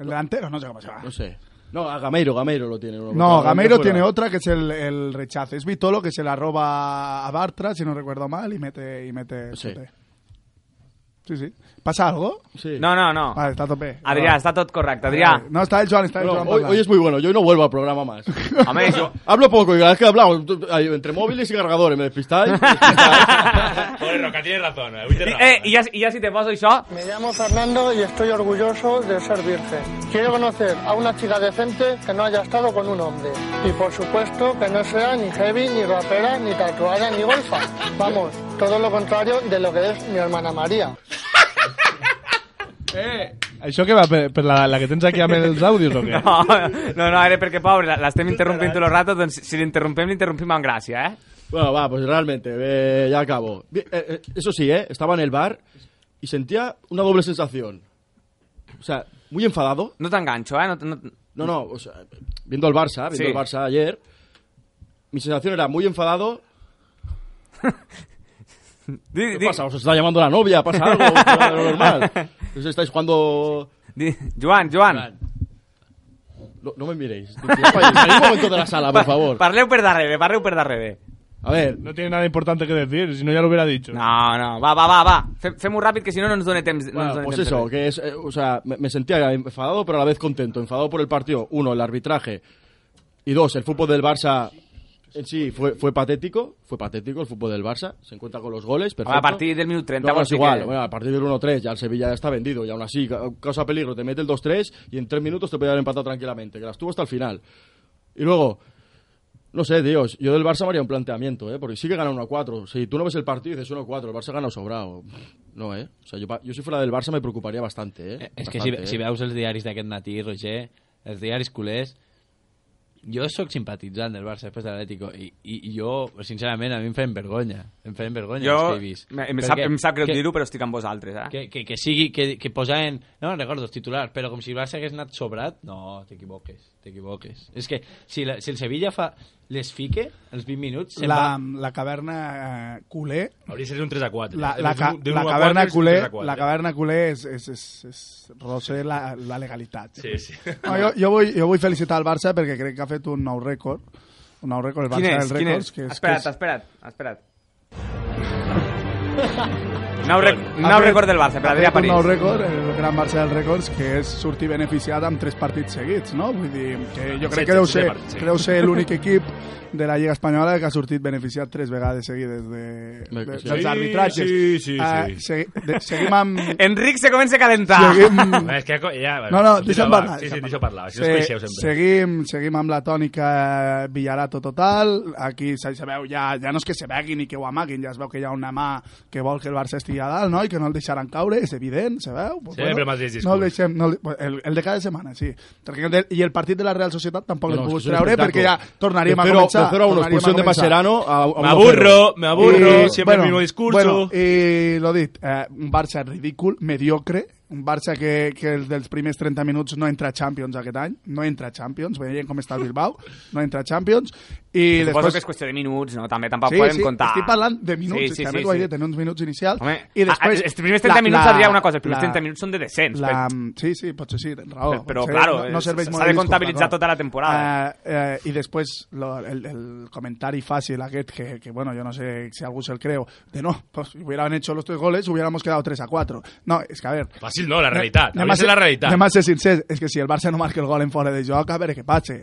El delantero, no sé cómo se llama.
No sé. No, a Gameiro, Gameiro lo tiene. uno contra
No,
uno,
Gameiro
fuera.
tiene otra que es el, el rechazo. Es Vitolo que se la roba a Bartra, si no recuerdo mal, y mete. Y mete
Sí.
mete. sí, sí. ¿Pasa algo?
Sí.
No, no, no.
Vale, está a tope.
Adrià,
Va.
està tot correcte, Adrià.
No, está el Joan, está el
Bueno,
Joan.
hoy,
Parla.
hoy es muy bueno, yo hoy no vuelvo al programa más.
Home, jo...
Hablo poco, y cada vez que he hablado, tú- ay, entre móviles y cargadores, me despistáis.
Joder, Roca, tienes razón. Eh, avui tens raó.
Eh, i ja, i ja si te poso això...
Pues Me llamo Fernando y estoy orgulloso de ser virgen. Quiero conocer a una chica decente que no haya estado con un hombre. Y por supuesto que no sea ni heavy, ni rapera, ni tatuada, ni golfa. Vamos, todo lo contrario de lo que es mi hermana María.
Això que Eh. va per, per la, la que tens aquí amb els àudios o què?
No, no, no, era perquè, pobre, la- l'estem interrompint tot el rato, doncs si l'interrompem, l'interrompim amb gràcia, eh?
Bueno, va, pues realmente, eh, ya acabo. Bien, eh, eh, eso sí, eh, estaba en el bar y sentía una doble sensación. O sea, muy enfadado.
No t'enganxo, eh? No, t- no,
No, no, o sea, viendo al Barça, viendo
Sí.
al Barça ayer, mi sensación era muy enfadado.
Di-
¿Qué
di-
pasa? ¿Os está llamando la novia? ¿Pasa algo? Lo normal. Os estáis jugando...
Di- Joan, Joan.
No, no me miréis. Salid un momento de la sala, por
Pa-
Ah, favor.
Parleu per darrere, parleu per darrere.
A ver,
No tiene nada importante que decir, si no ya lo hubiera dicho.
No, no, va, va, va, va. Fem- Fem-ho ràpid, que si no no ens dona temps. no ens
Bueno,
dona
pues
temps de
eso,
res.
que es, eh, o sea, me, me sentía enfadado pero a la vez contento. Enfadado por el partido, uno, el arbitraje, y dos, el fútbol del Barça en sí fue, fue patético, fue patético el fútbol del Barça, se encuentra con los goles, perfecto.
A partir del minuto 30
No, bueno,
vols
es
dir
igual,
que-
bueno, a partir del 1-3 ya el Sevilla ya está vendido y aún así ca- causa peligro, te mete el 2-3 y en tres minutos te puede haber empatado tranquilamente, que las tuvo hasta el final. Y luego, no sé, Dios, yo del Barça me haría un planteamiento, ¿eh? porque sí que gana 1-4. Si tú no ves el partido y dices 1-4, el Barça gana sobrado. No, ¿eh? O sea, yo, pa- yo si fuera del Barça me preocuparía bastante, ¿eh?
És que si,
Bastante,
si
¿eh?
veus els diaris d'aquest matí, Roger, els diaris culers, jo sóc simpatitzant del Barça després de l'Atlético i, i, i jo, sincerament, a mi em feien vergonya. Em feien vergonya
Jo,
els que he vist.
me- em sap,
Perquè-
em sap greu
que-
dir-ho, però estic amb vosaltres, eh?
que, que, que sigui, que, que posaven, no me'n recordo els titulars, però com si el Barça hagués anat sobrat, no, t'equivoques, t'equivoques. És que si, la, si el Sevilla fa, les fique, els 20 minuts, se'n
La,
va...
la caverna eh, culé.
Hauria de ser un 3 a 4.
La, la, ca- la caverna culé, la caverna culé és, és, és, és roce la, la legalitat.
Sí, sí.
No, jo, jo, vull, jo vull felicitar el Barça perquè crec que ha fet un nou rècord. Un nou rècord, el
Quin
Barça
és?
del
Quin
rècords.
és?
Que és,
Espera't,
que és,
espera't, espera't. Nou, rec nou rècord del Barça, per
ha
Adrià
fet
París.
Un nou rècord, el gran Barça del rècords, que és sortir beneficiat amb tres partits seguits, no? Vull dir, que jo crec
Setze,
que deu
setze
ser,
partits seguits.
creu ser l'únic equip de la Lliga Espanyola que ha sortit beneficiat tres vegades seguides de, de,
Sí,
dels arbitratges.
sí, sí,
Ah,
sí.
segui- de, seguim amb...
Enric se comença a calentar.
Seguim-
Home, és que co- ja, bueno,
No, no,
continua,
deixa'm
va.
parlar.
Sí, sí,
deixa'm
deixa'm parlar, així
Se-
us coneixeu sempre.
Seguim, seguim amb la tònica Villarato total. Aquí se, se veu ja, ja no és que se vegui ni que ho amaguin, ja es veu que hi ha una mà que vol que el Barça estigui a dalt, no? I que no el deixaran caure, és evident, se veu. Pues,
Sempre el mateix discurs.
No el deixem, no, el- el, el de cada setmana, sí. Perquè el de, I el partit de la Real Societat tampoc
No,
l'hem
no,
pogut
és que és un
treure perquè ja
espectacle.
tornaríem
De
a
cero-
començar.
de cero a uno,
tornaríem
expulsión de
començar.
Mascherano a- a uno
Me aburro, me aburro,
I,
siempre el mismo discurso.
Eh, Bueno, i l'ho dit, eh, un Barça ridícul, mediocre, un Barça que, que el dels primers 30 minuts no entra a Champions aquest any, no entra a Champions, veiem com està el Bilbao, no entra a Champions, i
Suposo
després...
que és qüestió de minuts, no? També tampoc podem contar.
Estic parlant de minuts,
Sí, sí,
és que a
sí,
més ho he
sí.
dit en uns minuts inicials.
Home,
I després...
a- a- els primers 30 minuts, Adrià, una cosa, els primers 30 minuts són de descens,
La, mm, sí, sí, potser sí, tens raó.
Però- però,
potser
claro, és-
serveix
s'ha de
molt el discurs,
comptabilitzar
d'acord.
tota la temporada.
Eh, eh, I després lo, el, el comentari fàcil aquest, que, que bueno, jo no sé si algú se'l creu, de no, pues, si hubieran hecho los tres goles, hubiéramos quedado 3 a 4. No, és que a ver...
Fàcil no, la realitat. A mi és
ser-
la realitat.
Anem a ser sincers, és que si el Barça no marca el gol en fora de joc, a veure què passa.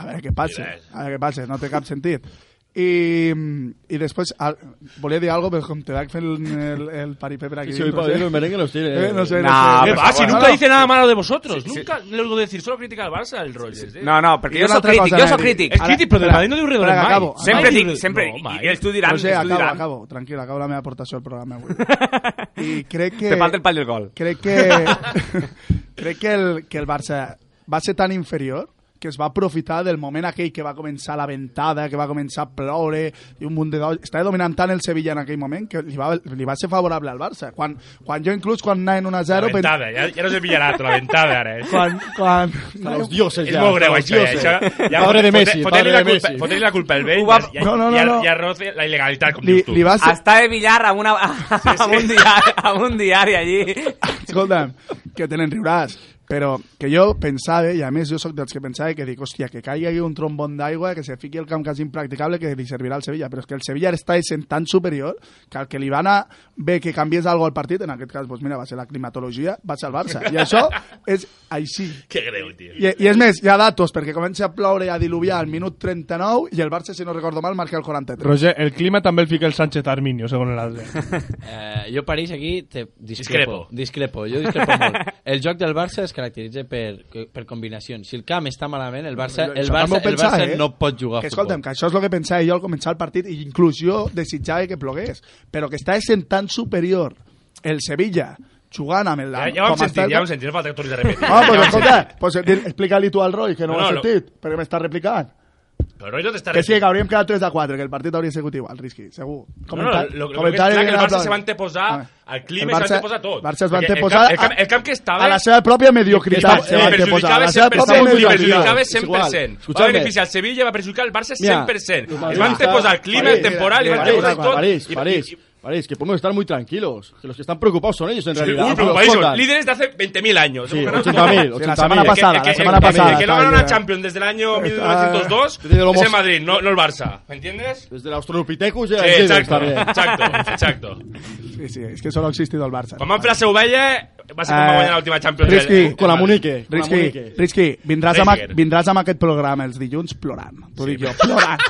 A veure què passa.
Mira, és-
A veure què passa, no té cap sentit. I, i després al, volia dir alguna cosa, però com te dac fent el, el paripé per aquí
Sí, hoy Pablo el merengue los tiene.
Eh, no sé,
Nah,
no sé.
pero
Ah, si
bueno,
nunca
no.
dice nada malo de vosotros.
Sí, sí.
nunca le oigo decir, solo critica al Barça, el Rogers. eh.
No, no, perquè
I
jo
una
sóc
altra
crític,
cosa
jo
anava
sóc
a dir.
crític.
Ara- espera, espera, que acabo,
Sempre
acabo.
dic, sempre, i, i ells t'ho diran,
No sé,
ells t'ho
acabo,
diran.
acabo. Tranquil, acabo la meva aportació al programa avui. I crec que...
Te falta el pal del gol.
Crec que... crec que el, que el Barça va ser tan inferior que es va aprofitar del moment aquell que va començar la ventada, que va començar a ploure i un munt de gols. Estava dominant tant el Sevilla en aquell moment que li va, li va ser favorable al Barça. Quan, quan jo inclús quan anaven 1 a 0...
La ventada, ja, ja no és el Villarato, la ventada, ara. Eh?
Quan, quan...
Los dioses
és
ya.
molt greu,
los
això,
dioses.
eh? això ja
Padre de
fotre-
Messi,
fotre-li
padre
la
de
culpa-
Messi.
Fotre-li la culpa al vell
va-
i,
No, no,
i,
no, no.
i arroce la il·legalitat, com
Li-
dius tu.
li va ser-
Està de billar amb, una, amb, un diari, amb un diari allí.
Escolta'm, que te n'enriuràs. Però que jo pensava, i a més jo sóc dels que pensava que dic, hòstia, que caigui aquí un trombon d'aigua, que se fiqui el camp quasi impracticable, que li servirà al Sevilla. Però és que el Sevilla està sent tan superior que el que li va anar bé que canviés alguna al partit, en aquest cas, doncs mira, va ser la climatologia, va ser el Barça. I això és així.
Que greu, tio.
I, I és més, hi ha datos, perquè comença a ploure i a diluviar al minut 39 i el Barça, si no recordo mal, marca el 43.
Roger, el clima també el fica el Sánchez Arminio, segons l'altre.
Eh, jo París aquí te discrepo.
Discrepo.
Discrepo, jo discrepo molt. El joc del Barça es caracteritza per, per combinacions. Si el camp està malament, el Barça, el
Això també
Barça,
ho
el
pensava,
Barça
eh?
no pot jugar a
que,
futbol.
escolta'm, que això és el que pensava jo al començar el partit i inclús jo desitjava que plogués però que està sent tan superior el Sevilla jugant amb el
Ja, ja ho hem
com
sentit,
està el-
ja ho hem sentit, no falta que tornis a repetir.
Ah,
Ja ho
pues
hem
escolta,
sentit.
pues, di- explica-li tu al Roy, que no,
No,
ho has
no, no.
sentit, perquè m'està replicant.
Però Roy no t'està
Que sí, que
replicant.
hauríem quedat 3 a 4, que el partit hauria sigut igual, Risky, segur.
No, no,
Comentar-
lo, lo, lo que és
comentar-
clar que el Barça
comentar-
se va anteposar
Ah.
al clima,
El
Barça,
Barça-
se va anteposar a tot.
Barça es va
Perquè el
anteposar
camp- el, camp,
a-
el camp que estava...
a la seva pròpia mediocritat
Eh,
se va anteposar, a la
perjudicava
seva
100%,
pròpia
li
mediocritat.
perjudicava
És igual.
100%. Va
Escolta'm.
beneficiar el Sevilla, va perjudicar el Barça
Mira,
100%.
los
Es va
madridistas-
anteposar el clima, el
París,
temporal, i va
París,
anteposar tot.
París,
I-
París,
i-
París, que podemos estar muy tranquilos. Que los que están preocupados son ellos en
Uy,
realidad. aunque los
preocupadísimos.
jodan.
Líderes de hace 20.000 años.
Sí,
Hemos ganado
80.000,
todo.
Sí, la
80.000.
semana pasada,
Que-
la
que-
semana
que-
pasada.
El que no gana
estaba-
una Champions desde el año
Estaba-
1902
eh. Desde lo
es
mos-
el Madrid, no, no el Barça. ¿Me entiendes?
Desde el Australopithecus y
Sí,
el Zidane
exacto,
también.
exacto, exacto.
Sí, sí, és que solo ha existido el Barça.
Quan van fer la seva ovella, va ser com va
Eh,
guanyar l'última Champions.
Risky,
del- del
Con la
Madrid.
Munique. con la
Risky,
Munique.
Risky, vindràs amb,
Risker.
vindràs amb aquest programa els dilluns plorant. T'ho dic jo, plorant.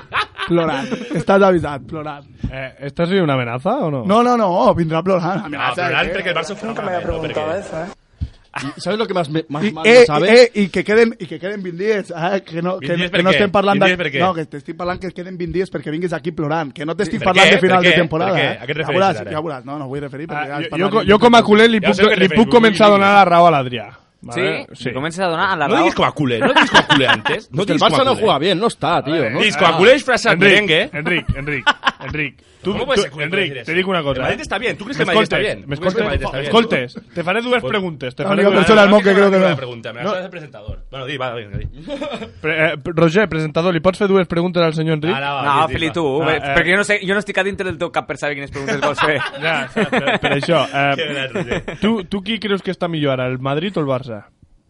plorant. Estàs avisat, plorant.
Eh, ¿Esta sería una amenaza o no?
No, no, no, vindrà plorant.
No, però l'altre que Ah, el Barça fue una merda, perquè-
eso, ¿eh?
Y ¿Sabes lo que más, me, más
I,
mal
eh,
me sabe?
eh, i que queden, i que queden 20 dies, eh, que no, que,
Vint dies
que no
per què?
estem parlant
Vint dies per què?
No, que t'estic parlant que queden 20 dies perquè vinguis aquí plorant, que no t'estic
Per
parlant
què?
de final
Per
de
què?
temporada.
Per què?
eh?
A què et
ja
refereixes,
veuràs,
ara?
ja veuràs, no, no vull referir perquè
Ah,
ja
jo, jo, jo com a culer li
Ja
puc,
sé que
li
referim,
puc començar a
vull dir.
donar la raó a l'Adrià.
Sí? sí. Comences a donar a la
No
raó.
diguis coacule, no diguis coacule antes. No
Pues
Es que el
diguis
Barça no
coacule.
juega bien, no está, tío. ¿no?
Diguis coacule és frase al merengue, eh?
Ah. Enric, Enric, Enric, Enric. Tu,
¿Cómo puede
tu-
ser que puede decir
Enric,
eso?
te dic una
El
cosa.
Madrid
eh?
está bien, ¿tú crees que el Madrid está
M'escoltes,
bien?
m'escoltes,
¿Tú crees que el Madrid está bien? Pues,
escoltes, te faré dues preguntes. Te
No,
faré
jo
dues...
penso la- el Monke, creo que no.
una pregunta, me la
No.
haces de presentador. Bueno, di, va, venga, di.
Pre eh, Roger, presentador, li pots fer dues preguntes al senyor Enric?
Ara va,
No,
di, di,
Feli,
va.
tu,
Ah,
bé,
eh.
perquè jo no, sé, jo no estic a dintre del teu cap per saber quines preguntes vols fer.
Ja, per, per això.
Que gran,
Eh,
Roger.
tu, tu qui creus que està millor ara, el Madrid o el Barça?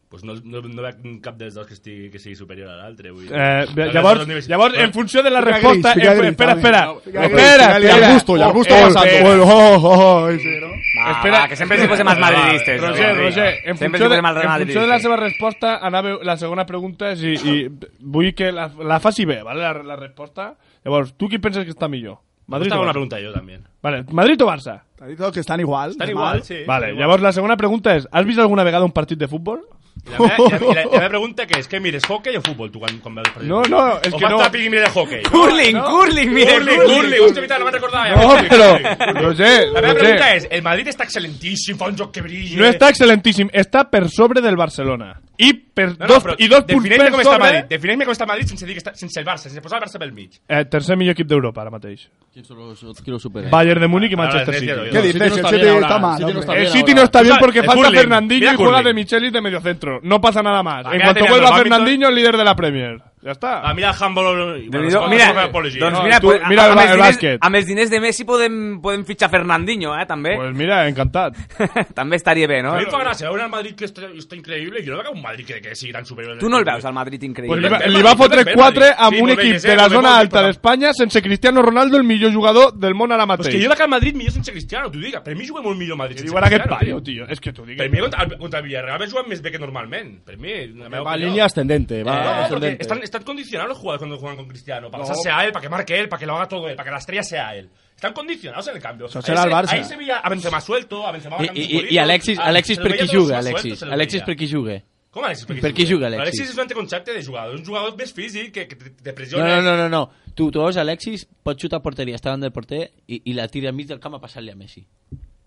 Pues no, no, no veig cap dels dos que, estigui, que sigui superior a l'altre. vull dir.
Eh,
No,
llavors,
no, no, no, no.
llavors, en funció de la
Fica
resposta...
gris, fica
en-
gris,
espera,
dale.
espera.
Fica gris,
Espera,
fica gris.
espera.
Y al gusto, y al gusto
Eh,
pasando.
espera.
Bueno, oh, oh, oh, ese, ¿no?
Va,
Espera.
va, que sempre se posen més madridistes.
Roger,
no?
Roger, en
sempre se posen més
funció, de, en funció de la
madridistes.
seva resposta anava la segona pregunta és i, i vull que la, la faci bé, vale? la, la resposta. Llavors, tu qui penses que està millor? Madrid
Estava
o
una
Barça?
pregunta jo, també.
Vale, Madrid o Barça?
T'ha dit que estan igual.
Estan
normal.
igual, sí.
vale,
estan igual.
llavors la segona pregunta és has vist alguna vegada un partit de futbol?
I La meva, i la, i la, i la meva pregunta que és que mires hockey o futbol, tu, quan, quan veus el partit?
No, no, és
o
que
fas
no.
tapping i mires hockey.
Curling, curling, mira,
Curling, curling, hòstia, mira, no me'n recordava. ja,
No,
curling,
però,
curling.
Roger,
La meva
Roger,
pregunta és, el Madrid està excel·lentíssim, fa un joc que brilla...
no està excel·lentíssim, està per sobre del Barcelona. I, per
No, no,
dos,
però
i dos punts
defineix-me
per
com està
sobre...
Madrid, defineix-me com està Madrid sense, dir que està, sense el Barça, sense posar el Barça pel mig.
Eh, tercer millor equip d'Europa ara mateix.
¿Quién son
Pues
los otros que lo superan?
Bayern de Múnich i
Ara,
Manchester
ara,
City.
ara, ara,
¿Qué
No,
dices?
City no
El
está
City
bien
está
ahora,
mal,
City no
hombre.
está
El
bien
City
ahora.
no está bien
O sea,
porque
el
falta
curling.
Fernandinho
Mira
y juega
curling.
de Micheli de mediocentro. No pasa nada más.
Acá
En cuanto
tenemos
vuelva
los ámbitos.
Fernandinho, el líder de la Premier. Ya está.
A mi la Ah, handball...
Déu-n'hi-do.
Bueno,
mira,
mira, apologia,
doncs
no?
mira,
Tu-
pues,
mira el
amb,
ba-
els
el
diners,
bàsquet.
amb els diners de Messi podem, podem fitxar Fernandinho, eh, també.
Pues mira, encantado.
També estaria bé, no?
A mi em fa gràcia veure el Madrid que està, està increïble i jo no veig un Madrid que, que sigui tan superior.
Tu no el veus, al Madrid
Pues
increïble.
li, va,
Madrid,
li va fotre
Madrid,
4
Madrid.
a
Sí,
un
Madrid,
equip
sí,
de la
Madrid,
zona
Madrid,
alta
però-
d'Espanya sense Cristiano Ronaldo, el millor jugador del món ara
Pues que
mateix.
jo veig el Madrid millor sense Cristiano, t'ho dic. Per mi juguem molt millor Madrid sense
Igual aquest
Cristiano,
paio,
tio.
tio. És que t'ho dic.
Per mi contra, contra el Villarreal va jugar més bé que normalment. Per mi, la meva
Va en
opinió.
línea ascendente,
No,
va
no, perquè
ascendente.
estan, están condicionados los jugadores cuando juegan con Cristiano. Para
No.
que sea él, para que marque él, para que lo haga todo él, para que la estrella sea él. Están condicionados en el cambio.
Eso
Ahí
será
se-
el Barça.
Ahí se veía a Benzema suelto, a Benzema
I,
marcando
i,
sus
i
golitos,
Alexis,
a-
Alexis
Ah, se lo
per qui
veia
juga,
tot suelto,
Alexis?
se lo
Alexis
veia.
per qui juga?
Com Alexis per qui
Per qui juga, Alexis?
Alexis és un anticoncepte de jugador, un jugador més físic que, que te- te
No,
pressiona.
no, no, no, no. Tu, tu veus Alexis, pot xutar a porteria, està davant del porter i, i la tira enmig del camp a passar-li a Messi.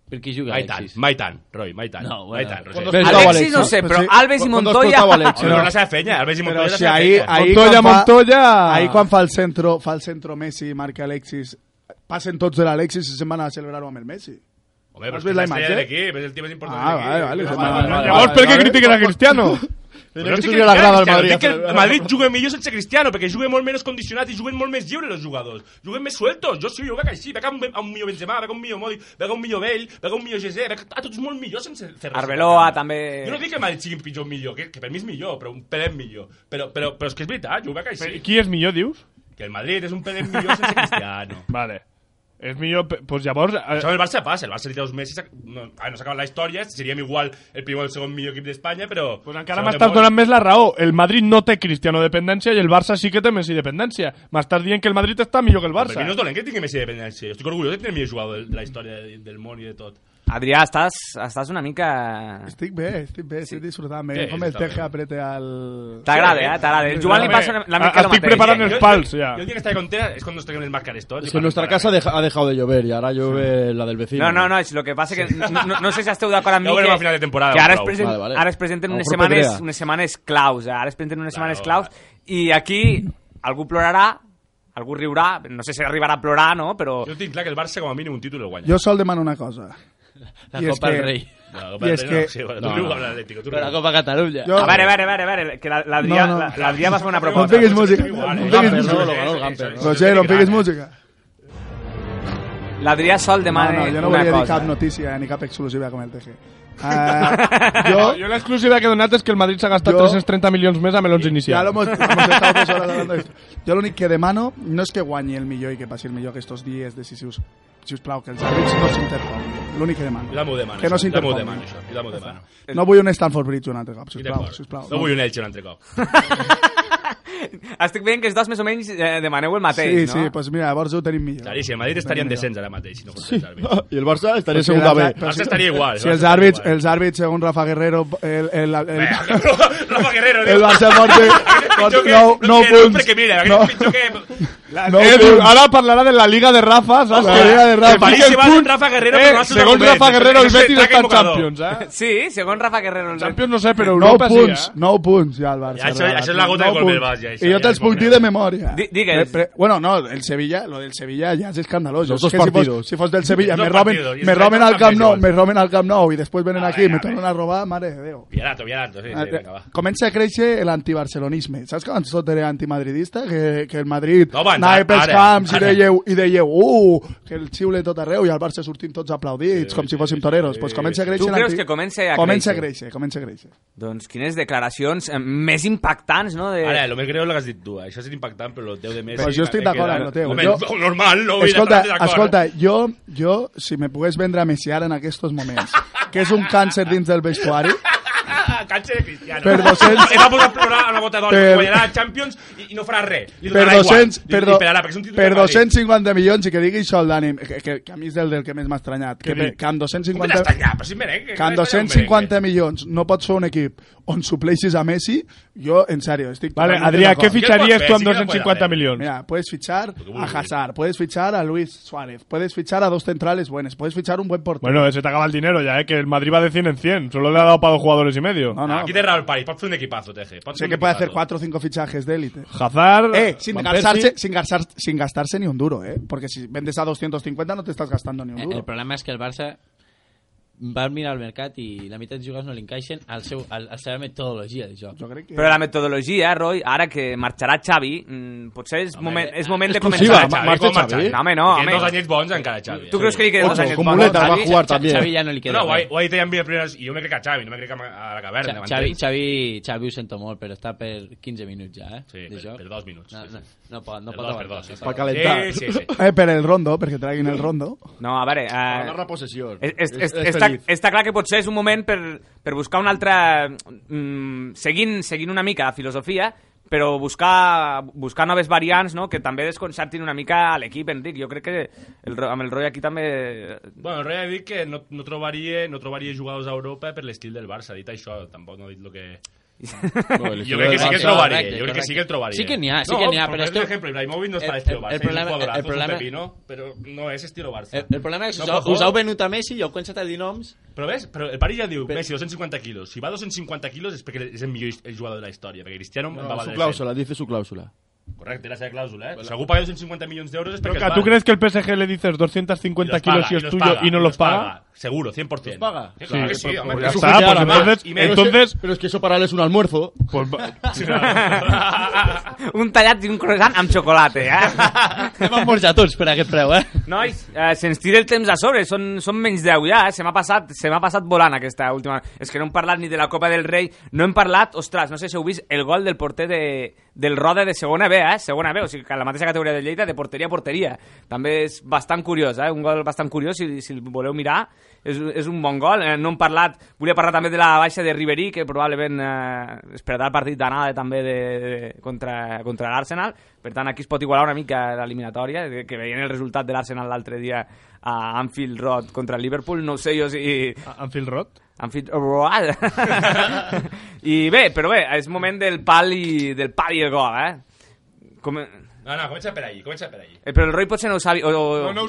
Per qui juga,
Mai
Alexis?
tant, mai tant, Roy, mai tant.
No,
Mai
bueno.
tant, Roger.
Quan dos
Alexis
portava
no sé, però
Pues
sí.
Alves i
¿Cuándo
Montoya-
explotaba Alexis?
Pero la sabe feña, Alves y
Pero
Montoya la
si
sabe
ahí,
feña.
ahí
Montoya,
cuando va-
Montoya.
Ahí cuando fa el centro, fa el centro Messi, marca Alexis, pasen todos del Alexis y se van a celebrar a Homer Messi.
Hombre, pero
¿Has
es que
visto
la
la
estrella
imagen?
del equipo, es el tío más importante
Ah,
del equipo.
vale, vale, vale,
Pero vale,
vale, vale,
vale, vale,
vale,
vale.
vale.
Però
Però
no
que
estic
subió la grada al Madrid.
criticant Cristiano, dic que el Madrid juga millor sense Cristiano, perquè juga molt menys condicionat i juguen molt més lliures els jugadors. Juguen més sueltos. Jo sí, jo veig així. Veig a un, a un millor Benzema, veig a un millor Modi, veig a un millor Bell, veig a un millor Gesé, veig a tots molt millors sense fer res.
Arbeloa també...
Jo no dic que el Madrid sigui pitjor o millor, que, que per mi és millor, però un pelet millor. Però, però, però és que és veritat, jo ho veig així.
Però qui és millor, dius?
Que el Madrid és un pelet millor sense Cristiano.
Vale. És millor... pe- Pues llavors... eh,
Això amb el Barça passa, el Barça li treus Messi, s'ac- no, ah, no s'acaba la història, seríem igual el primer o el segon millor equip d'Espanya, però... Pues
Encara m'estàs donant més la raó. El Madrid no té Cristiano dependència i el Barça sí que té Messi dependència. M'estàs dient que el Madrid està millor que el
Barça.
Barça.
Per mi no és dolent que tingui Messi dependència. Jo estic orgullós de tenir el millor jugador de, de la història de- del món i de tot.
Adrià, estàs, estàs una mica...
Estic bé, estic bé, estic disfrutant bé.
Sí,
Com el
està bé.
Teje aprete al...
T'agrada, eh? T'agrada. El Joan li passa una- la mica el mateix.
Jo- jo- Jo el dia que estaré contenta és quan nos traguem els mascares tots.
Es que en
i parlem
nuestra
de
casa deja- ha dejado de llover y ahora llueve la del vecino.
No, no, no, és el que passa que no, no, no sé si esteu d'acord amb
Ja
mi
ho veurem
que,
a final de temporada,
que ara, es
prou.
present,
Vale, vale.
ara es presenten
El
unes
grup de
setmanes,
Drea.
unes setmanes claus, eh? ara es presenten unes setmanes claus i aquí algú plorarà, algú riurà, no sé si arribarà a plorar, no? Però...
Jo tinc clar que el Barça com a mínim un títol el guanya.
Jo sol demano una cosa.
La
I és
Copa del
que-
Rei.
No, la Copa
i
del
és
Rei no,
que...
sí, bueno, tu riu amb l'Atlético, tu riu. Però la
Copa Catalunya.
Jo-
A veure, a veure, a veure, a veure, que la- l'Adrià
No, no.
la, l'Adrià va fer una proposta.
No peguis música. No peguis música. Roger, no peguis música.
L'Adrià sol demana
no, no, jo no
una
volia dir
cosa.
cap notícia ni cap exclusiva com el Teje.
Ah,
jo...
jo l'exclusiva que he donat és que el Madrid s'ha gastat
Jo-
330 milions més amb l'11
Ya
inicial.
lo hemos, hemos estado dos horas hablando de esto. Yo lo único que demano no es que guañe el millón y que pase el millón que estos días de si se us, si us plau, que els àrbitres no s'interposin. L'únic que demano.
Jo damo de mano,
Que no
això, damo
s'interposin.
de mano, això, jo damo de mano.
No vull un Stanford Bridge un altre cop,
Estic
sisplau,
d'acord.
sisplau.
No vull un Elche un altre cop.
Estic veient que els dos més o menys eh, demaneu el mateix,
Sí,
no?
sí, pues mira, llavors ho tenim millor.
Claríssim, el Madrid estaria en descens ara mateix, si no fos sí.
Y el Barça estaría en
Però si
segunda
els
B.
ar- però
Barça estaria igual,
Si
Barça
els
estaria
àrbits, els àrbits, segons Rafa Guerrero, el, el, el, el,
Rafa Guerrero,
el Barça porta, porta nou, nou punts.
Perquè mira,
No.
aquest pitjor que...
La,
No, pues,
eh,
no.
diu, ara parlarà de la Liga de Rafa, saps?
La Liga de Rafa.
Que
París
fiquen
se va
punt.
amb Rafa Guerrero,
eh,
però no ha sigut
Segons
argument.
Rafa Guerrero, el
Això és
Betis
traca
està en
invocador.
Champions, eh?
Sí, segons Rafa Guerrero. el-
Champions no sé, però
Nou
Europa sí, eh?
punts, nou punts ja el Barça.
Ja, això-
Regalat.
això és la gota
Nou
que colma el
punts.
vas, ja, això,
I jo
ja
te'ls
es pot
puc dir
creure.
de memòria.
Di- digues.
Pre- pre- bueno, no, el Sevilla, lo del Sevilla ja és
Los
escandalós. Jo
dos
és que si
partidos.
fos, si fos del Sevilla,
Los
me
dos
roben,
partidos, y
me
es
roben
que
al
no
Camp Nou,
cambies
me roben al Camp Nou i després
Ah,
venen aquí i me tornen a robar, mare de Déu.
Villarato, Villarato, sí, sí, vinga, va.
Comença Ah, a créixer l'antibarcelonisme. Saps quan tot era antimadridista? Que, que el Madrid
No, abans,
anava pels
ara,
camps
ara.
i deieu, i deieu uh, que el xiule tot arreu i al Barça sortim tots aplaudits, com si fóssim toreros. Pues comença a créixer
Tu creus
l'anti-
que comença a
Comença a
créixer?
créixer, comença a créixer.
Doncs quines declaracions eh, més impactants, no? De...
Ara, el més greu és el que has dit tu, eh? això és impactant, però el teu de Messi...
Pues jo estic
me queda-
d'acord amb el teu.
Home,
Jo-
normal, no?
Escolta,
evidentment, d'acord.
escolta, jo, jo, si me pogués vendre a Messi ara en aquests moments, que és un càncer dins del vestuari,
Ah, Càncer de Cristiano.
Per 200.
Es va posar a plorar una bota d'oli,
Per-
guanyarà la Champions i, i no farà res. I li
per,
donarà
200,
igual. I-
per,
i
do,
esperarà, perquè és un títol
per
de Madrid.
250 milions i que digui això el Dani, que, que, que a mi és del, del que més m'ha estranyat. Que,
dic?
per- que amb
Com que
250...
t'estanyar? Però si és merengue,
que
que
amb
no estanyar un
250 milions no pots fer un equip on supleixis a Messi, jo, en sèrio, estic...
Vale,
totalment
Adrià,
d'acord.
què fitxaries tu amb 250 milions?
Mira, puedes fichar a Hazard, puedes fichar a Luis Suárez, puedes fichar a dos centrales buenas, puedes fichar un buen portero.
Bueno, se te acaba el dinero ya, ¿eh? Que el Madrid va de 100 en 100. Solo le ha dado para dos jugadores y medio.
No, no.
Aquí te raro el París, pots fer un equipazo, TG. Pots
Sé
fer un
que puede hacer
equipazo.
cuatro o cinco fichajes de élite.
Hazard,
Eh, sin
Van
gastarse,
Persie.
sin, gastar, sin gastarse ni un duro, eh. Porque si vendes a 250 no te estás gastando ni un
Eh, El
duro.
problema és que el Barça va mirar al mercat i la meitat de jugadors no li encaixen al seu, al, a la seva metodologia de joc.
Jo crec
Però la metodologia, Roy, ara que marxarà Xavi, mm, potser és moment,
eh,
és moment de
exclusiva,
començar.
ma- marxa
Com
Xavi?
¿eh?
No, home, no,
Tiene
home.
dos añets bons encara, Xavi. eh.
Tu creus que li queden dos anys?
No, guai, guai, te han enviat primers... I jo me crec a Xavi, no me crec a a la caverna.
Xavi, Xavi,
m'entens?
Xavi, Xavi ho sento molt, però està per 15 minuts ja, eh? Sí,
per- per dos minuts,
No,
sí,
no, no pot, no
Per
pot aguantar.
dos, per dos, sí,
no
sí.
pot
Pa
aguantar.
calentar. Sí, sí,
Eh, per el rondo, perquè traguin el rondo.
No, a veure... Eh,
la repossessió.
És, és,
És-
és,
és
està,
feliç.
està clar que potser és un moment per, per buscar un altre... Mm, seguint, seguint una mica la filosofia, però buscar, buscar noves variants no? que també desconcertin una mica a l'equip, Enric. Jo crec que el, ro- amb el Roy aquí també...
Bueno, el Roy ha dit que no, no, trobaria, no trobaria jugadors a Europa per l'estil del Barça. Ha dit això, tampoc no ha dit el que... jo crec que sí que el trobaria, jo crec que sí que el trobaria.
Sí que n'hi ha, sí que n'hi ha,
No,
però
per
esto-
exemple, Ibrahimovic no
el-
està d'estil
el-
Barça,
el problema-
és un jugadorazo,
el problema-
és un pepino, però no és estil Barça.
El, el problema és que us, us heu venut a Messi i heu començat a dir noms.
Però ves, però el pare ja diu, Messi, 250 quilos. Si va a 250 quilos és perquè és el millor his- el jugador de la història, perquè Cristiano no, va
su
valer
cláusula, dice su cláusula.
cent. Correcte, era la seva clàusula, eh? Si algú paga 250 milions d'euros és perquè
Roca,
els
¿tú
paga.
crees que el PSG le dices 250 kilos y es tuyo y no los paga?
Seguro, 100%. ¿Los
paga? Sí,
Sí, claro que
pues-
sí,
pues
hombre.
ya
Eso
está,
es
pues
jugar
entonces-
más y menos.
entonces- Pero es que eso para él es un almuerzo. Pues
un tallat i un croissant amb xocolata, eh?
Hem esmorzat tots per aquest preu, eh?
Nois, eh, se'ns tira el temps a sobre, són, són menys 10 ja, eh? se m'ha passat, se m'ha passat volant aquesta última... És que no hem parlat ni de la Copa del Rei, no hem parlat, ostres, no sé si heu vist el gol del porter de, del Roda de segona B, eh? segona B, o sigui que a la mateixa categoria de Lleida, de porteria a porteria. També és bastant curiós, eh? un gol bastant curiós, si, si el voleu mirar, és, és un bon gol. Eh, no hem parlat, volia parlar també de la baixa de Ribery, que probablement eh, es perdrà el partit d'anada també de, de, contra, contra l'Arsenal, per tant, aquí es pot igualar una mica l'eliminatòria, que- que veient el resultat de l'Arsenal l'altre dia a Anfield Road contra el Liverpool, no sé jo si...
Anfield Road?
Anfield Road. I bé, però bé, és moment del pal i, del pal i el gol, eh? Com... Eh,
No, no, comença per ahí, comença per ahí.
però el Roy potser no ho sabi... O, o...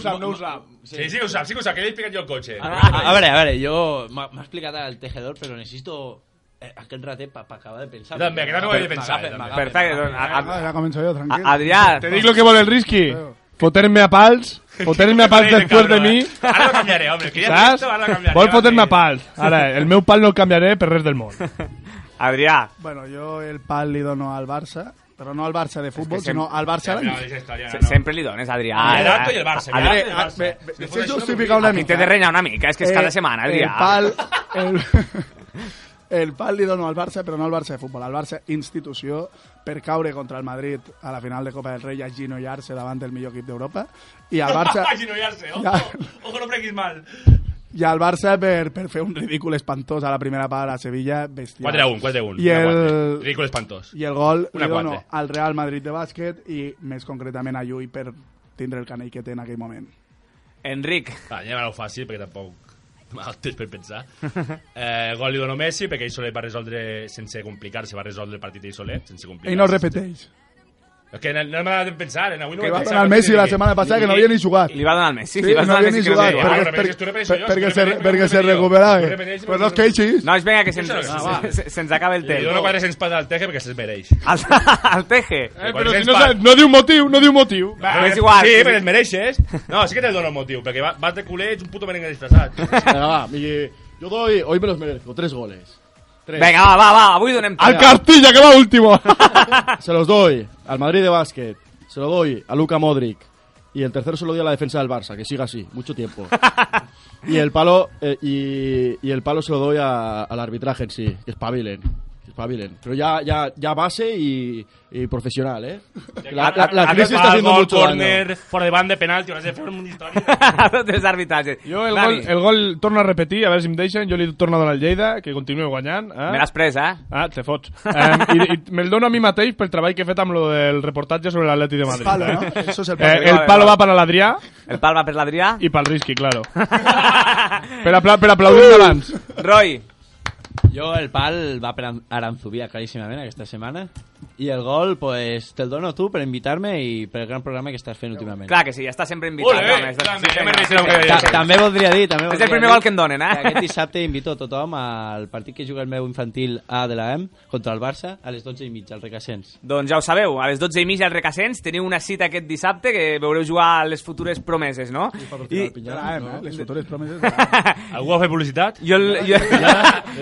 Sí, Ah. sí, ho sap, sí que ho sap, que li he explicat jo el cotxe.
A, a veure, a veure, jo... M'ha m'ha explicat el tejedor, però necessito eh, aquest ratet per acabar de pensar.
Jo també, que no ho havia pensat,
M'agafen,
jo també.
m'agafen,
Perfecte, doncs,
m'agafen.
a, a,
Ah, ya comienzo yo, tranquilo.
A- Adrià.
Te digo lo que vale el risky. Foterme a pals, foterme a pals
Joder,
después de
cabrón,
mí.
eh. Ara
ho canviaré, home, que ja he
Saps?
fet, ara ho canviaré,
Vol
va,
foterme a
sí.
pals. Ara, el meu pal no el canviaré per res del món.
Adrià.
Bueno, yo el pal le dono al Barça, pero no al Barça de fútbol,
sem-
sino al Barça
Ja,
de
mira, deixa estar, ja, Se- no. sempre li dones, Adrià.
El
Adrià.
Barça i el Barça,
Adrià.
Adrià i el Barça.
Bé, bé,
Si
bé,
fos
si
això,
justifica una Aquí
mica.
t'he de renyar una mica, és que és
Eh,
cada setmana, Adrià.
El pal... El, el pal li dono al Barça, però no al Barça de futbol, al Barça institució, per caure contra el Madrid a la final de Copa del Rei i aginollar-se davant del millor equip d'Europa. I al Barça...
Aginollar-se, ojo, ojo, no preguis mal.
I al Barça per, per fer un ridícul espantós a la primera part a Sevilla, bestial.
4 a 1, 4 a 1.
I el,
Ridícul espantós.
i el gol
Una
li dono
quatre.
al Real Madrid de bàsquet i més concretament a Llull per tindre el canell que té en aquell moment.
Enric.
Va, anem a lo fàcil, perquè tampoc el temps per pensar. Eh, gol li dono a Messi, perquè ell solet va resoldre, sense complicar-se, va resoldre el partit ell solet, sense complicar-se.
Ell no repeteix.
És que no, no m'ha de pensar, en avui no
Que
ho
va
he
donar
pensat.
al Messi la setmana passada que no havia ni jugat.
Li va donar al Messi,
Sí,
li va
no
donar al
havia
Messi.
ni
que no
jugat,
deia.
perquè-
Ah, però
perquè-
és que tu repeteixes
per-
jo,
perquè
tu
se-
repeteixes,
perquè
jo
se
repeteixo.
recuperava.
Tu repeteixes,
Pues
jo
no es queixis.
Nois, vinga, que se'ns
Ah,
se,
va.
se, se, se'ns acaba el
Li
temps.
dono 400 patas al Teje perquè se'ls mereix.
Eh,
Al, al Teje.
Eh,
Però si no, saps- no diu motiu, no diu motiu.
Va,
és
Sí, perquè els mereixes. No, sí que te'l dono el motiu, perquè va- vas de culer, ets un puto merengue disfressat.
Venga, va, Miguel, yo doy, hoy me los merezco, tres goles. Tres.
Venga, va, va, va, avui donem tota.
Al
Castilla, que va último.
se los doy al Madrid de básquet, se lo doy a Luca Modric y el tercero se lo doy a la defensa del Barça, que siga así, mucho tiempo. y el palo eh, y, y el palo se lo doy a- al arbitraje en sí, que espabilen. que Espabilen. Pero ya, ya, ya base y, y profesional, ¿eh? La, la- la crisis está haciendo
gol,
mucho daño.
corner, fora de banda, penalti, hauràs de fer una història.
Tres arbitratges.
Jo el gol, el gol torno a repetir, a veure si em deixen, jo li torno a donar al Lleida, que continuï guanyant. Eh?
Me l'has pres, eh?
Ah, te fots. Um, i, I me'l dono a mi mateix pel treball que he fet amb lo del reportatge sobre l'Atleti de Madrid.
palo,
eh?
no? Eso es
eh,
el palo.
el palo va per a l'Adrià.
El pal va per l'Adrià.
I pel Risky, claro. per, apla per
Uh.
aplaudir abans.
Roy.
Jo el pal va per Aranzubia claríssimament aquesta setmana i el gol pues te'l dono tu per invitar-me i per el gran programa que estàs fent últimament.
Clar que sí, està sempre invitat.
Ole,
home, està-
també,
sí,
ja me
vinga.
mereixo el que deia. Ta- també voldria dir, també
És el
voldria
primer
dir
gol que em donen, eh?
que Aquest dissabte invito a tothom al partit que juga el meu infantil A de la M contra el Barça a les 12 i mitja, al Recassens.
Doncs ja ho sabeu, a les 12 i mitja al Recassens teniu una cita aquest dissabte que veureu jugar les futures promeses, no? I,
Ara, eh, les futures promeses...
Algú ha fet publicitat?
Jo el, jo,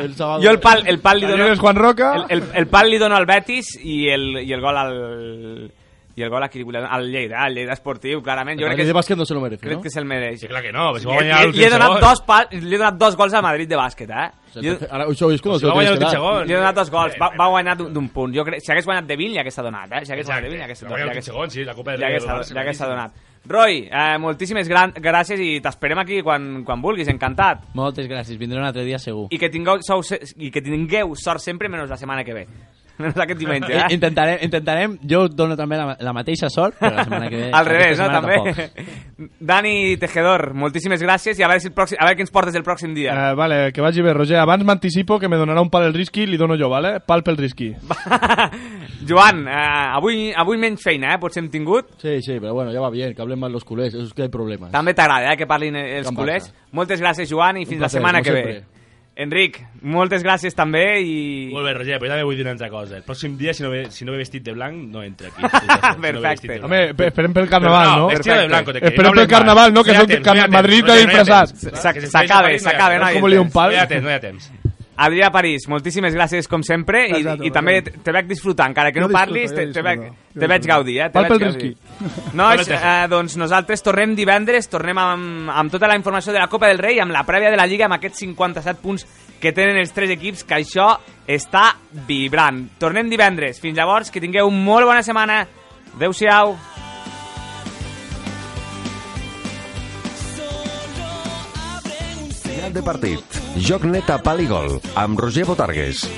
el,
jo el pal, el pal li dono...
Daniel és Juan Roca.
El, el, el pal li dono al Betis i el, i el gol al... I el gol a qui li volia donar? Al Lleida, al Lleida Esportiu, clarament. Jo
El
crec que,
Madrid de
és-
bàsquet no se lo merece,
crec
¿no?
que se'l mereix. Sí,
clar que no,
si va guanyar el
li, he
tercer
donat
gol.
dos pal, li he donat dos gols al Madrid de bàsquet, eh? Li he-
Ahora, hoy sabéis cómo
Si
se lo
va guanyar
tenéis que dar.
Li he donat dos gols. Va, va guanyar d'un d'un punt. Jo crec, si hagués guanyat de 20, li hagués donat. Eh? Si hagués guanyat de 20, li hagués
Va guanyar el
li hagués-
segon, sí, la Copa del
li
Rei
hagués
del
donat-
Barça,
Li hagués
claríssim.
donat. Roy, eh, moltíssimes gran, gràcies i t'esperem aquí quan, quan vulguis, encantat.
Moltes gràcies, vindré un altre dia segur.
I que, tingueu, sou, i que tingueu sort sempre, menys la setmana que ve. Menos aquest diumenge,
I-
eh?
Intentarem, intentarem, jo us dono també la, la mateixa sort, però la setmana que ve...
Al revés,
aquesta
no?
setmana
També. Dani Tejedor, moltíssimes gràcies i a veure, si el pròxim, a veure què ens portes el pròxim dia.
Eh, vale, que vagi bé, Roger. Abans m'anticipo que me donarà un pal el risqui, li dono jo, vale? Pal pel risqui.
Joan, eh, avui, avui menys feina, eh? Potser hem tingut.
Sí, sí, pero bueno, ya va bien, que hablen más los culés, eso es que hay problemas.
També t'agrada eh, que parlin els
Gran
culers. Moltes gràcies, Joan, i fins la
placer,
setmana
com
que ve.
sempre.
Enric, moltes gràcies també i...
Molt bé, Roger, però jo també vull dir una altra cosa. El pròxim dia, si no ve, si no ve vestit de blanc, no entra aquí. Perfecte.
Perfecte. Home, pe- esperem pel carnaval,
Però no,
no?
vestido de blanco, te quería.
Esperem
No
pel
hables
carnaval,
mal.
no? Que
No hi ha
són
temps,
cal-
no hi ha
Madrid
temps, Roger, no hi ha
disfressats.
temps.
S'ac-
Que si
S'acaba,
estigués a París, no hi ha
s'acaba.
temps.
No,
Com li un
No
pal. No hi ha temps, no hi ha temps.
Adrià París, moltíssimes gràcies com sempre i, i també te, te veig disfrutar, encara que
Jo
no parlis,
disfruto,
te,
jo
te, veig,
disfruto. Jo
te veig
disfruto.
gaudir. Eh? Te
Pal
veig
pel
gaudir. Nois,
risqui. Pal pel risqui.
eh, doncs nosaltres tornem divendres, tornem amb, amb tota la informació de la Copa del Rei, amb la prèvia de la Lliga, amb aquests 57 punts que tenen els tres equips, que això està vibrant. Tornem divendres. Fins llavors, que tingueu molt bona setmana. Adéu-siau.
Final de partit. Joc net a pal i gol, amb Roger Botargues.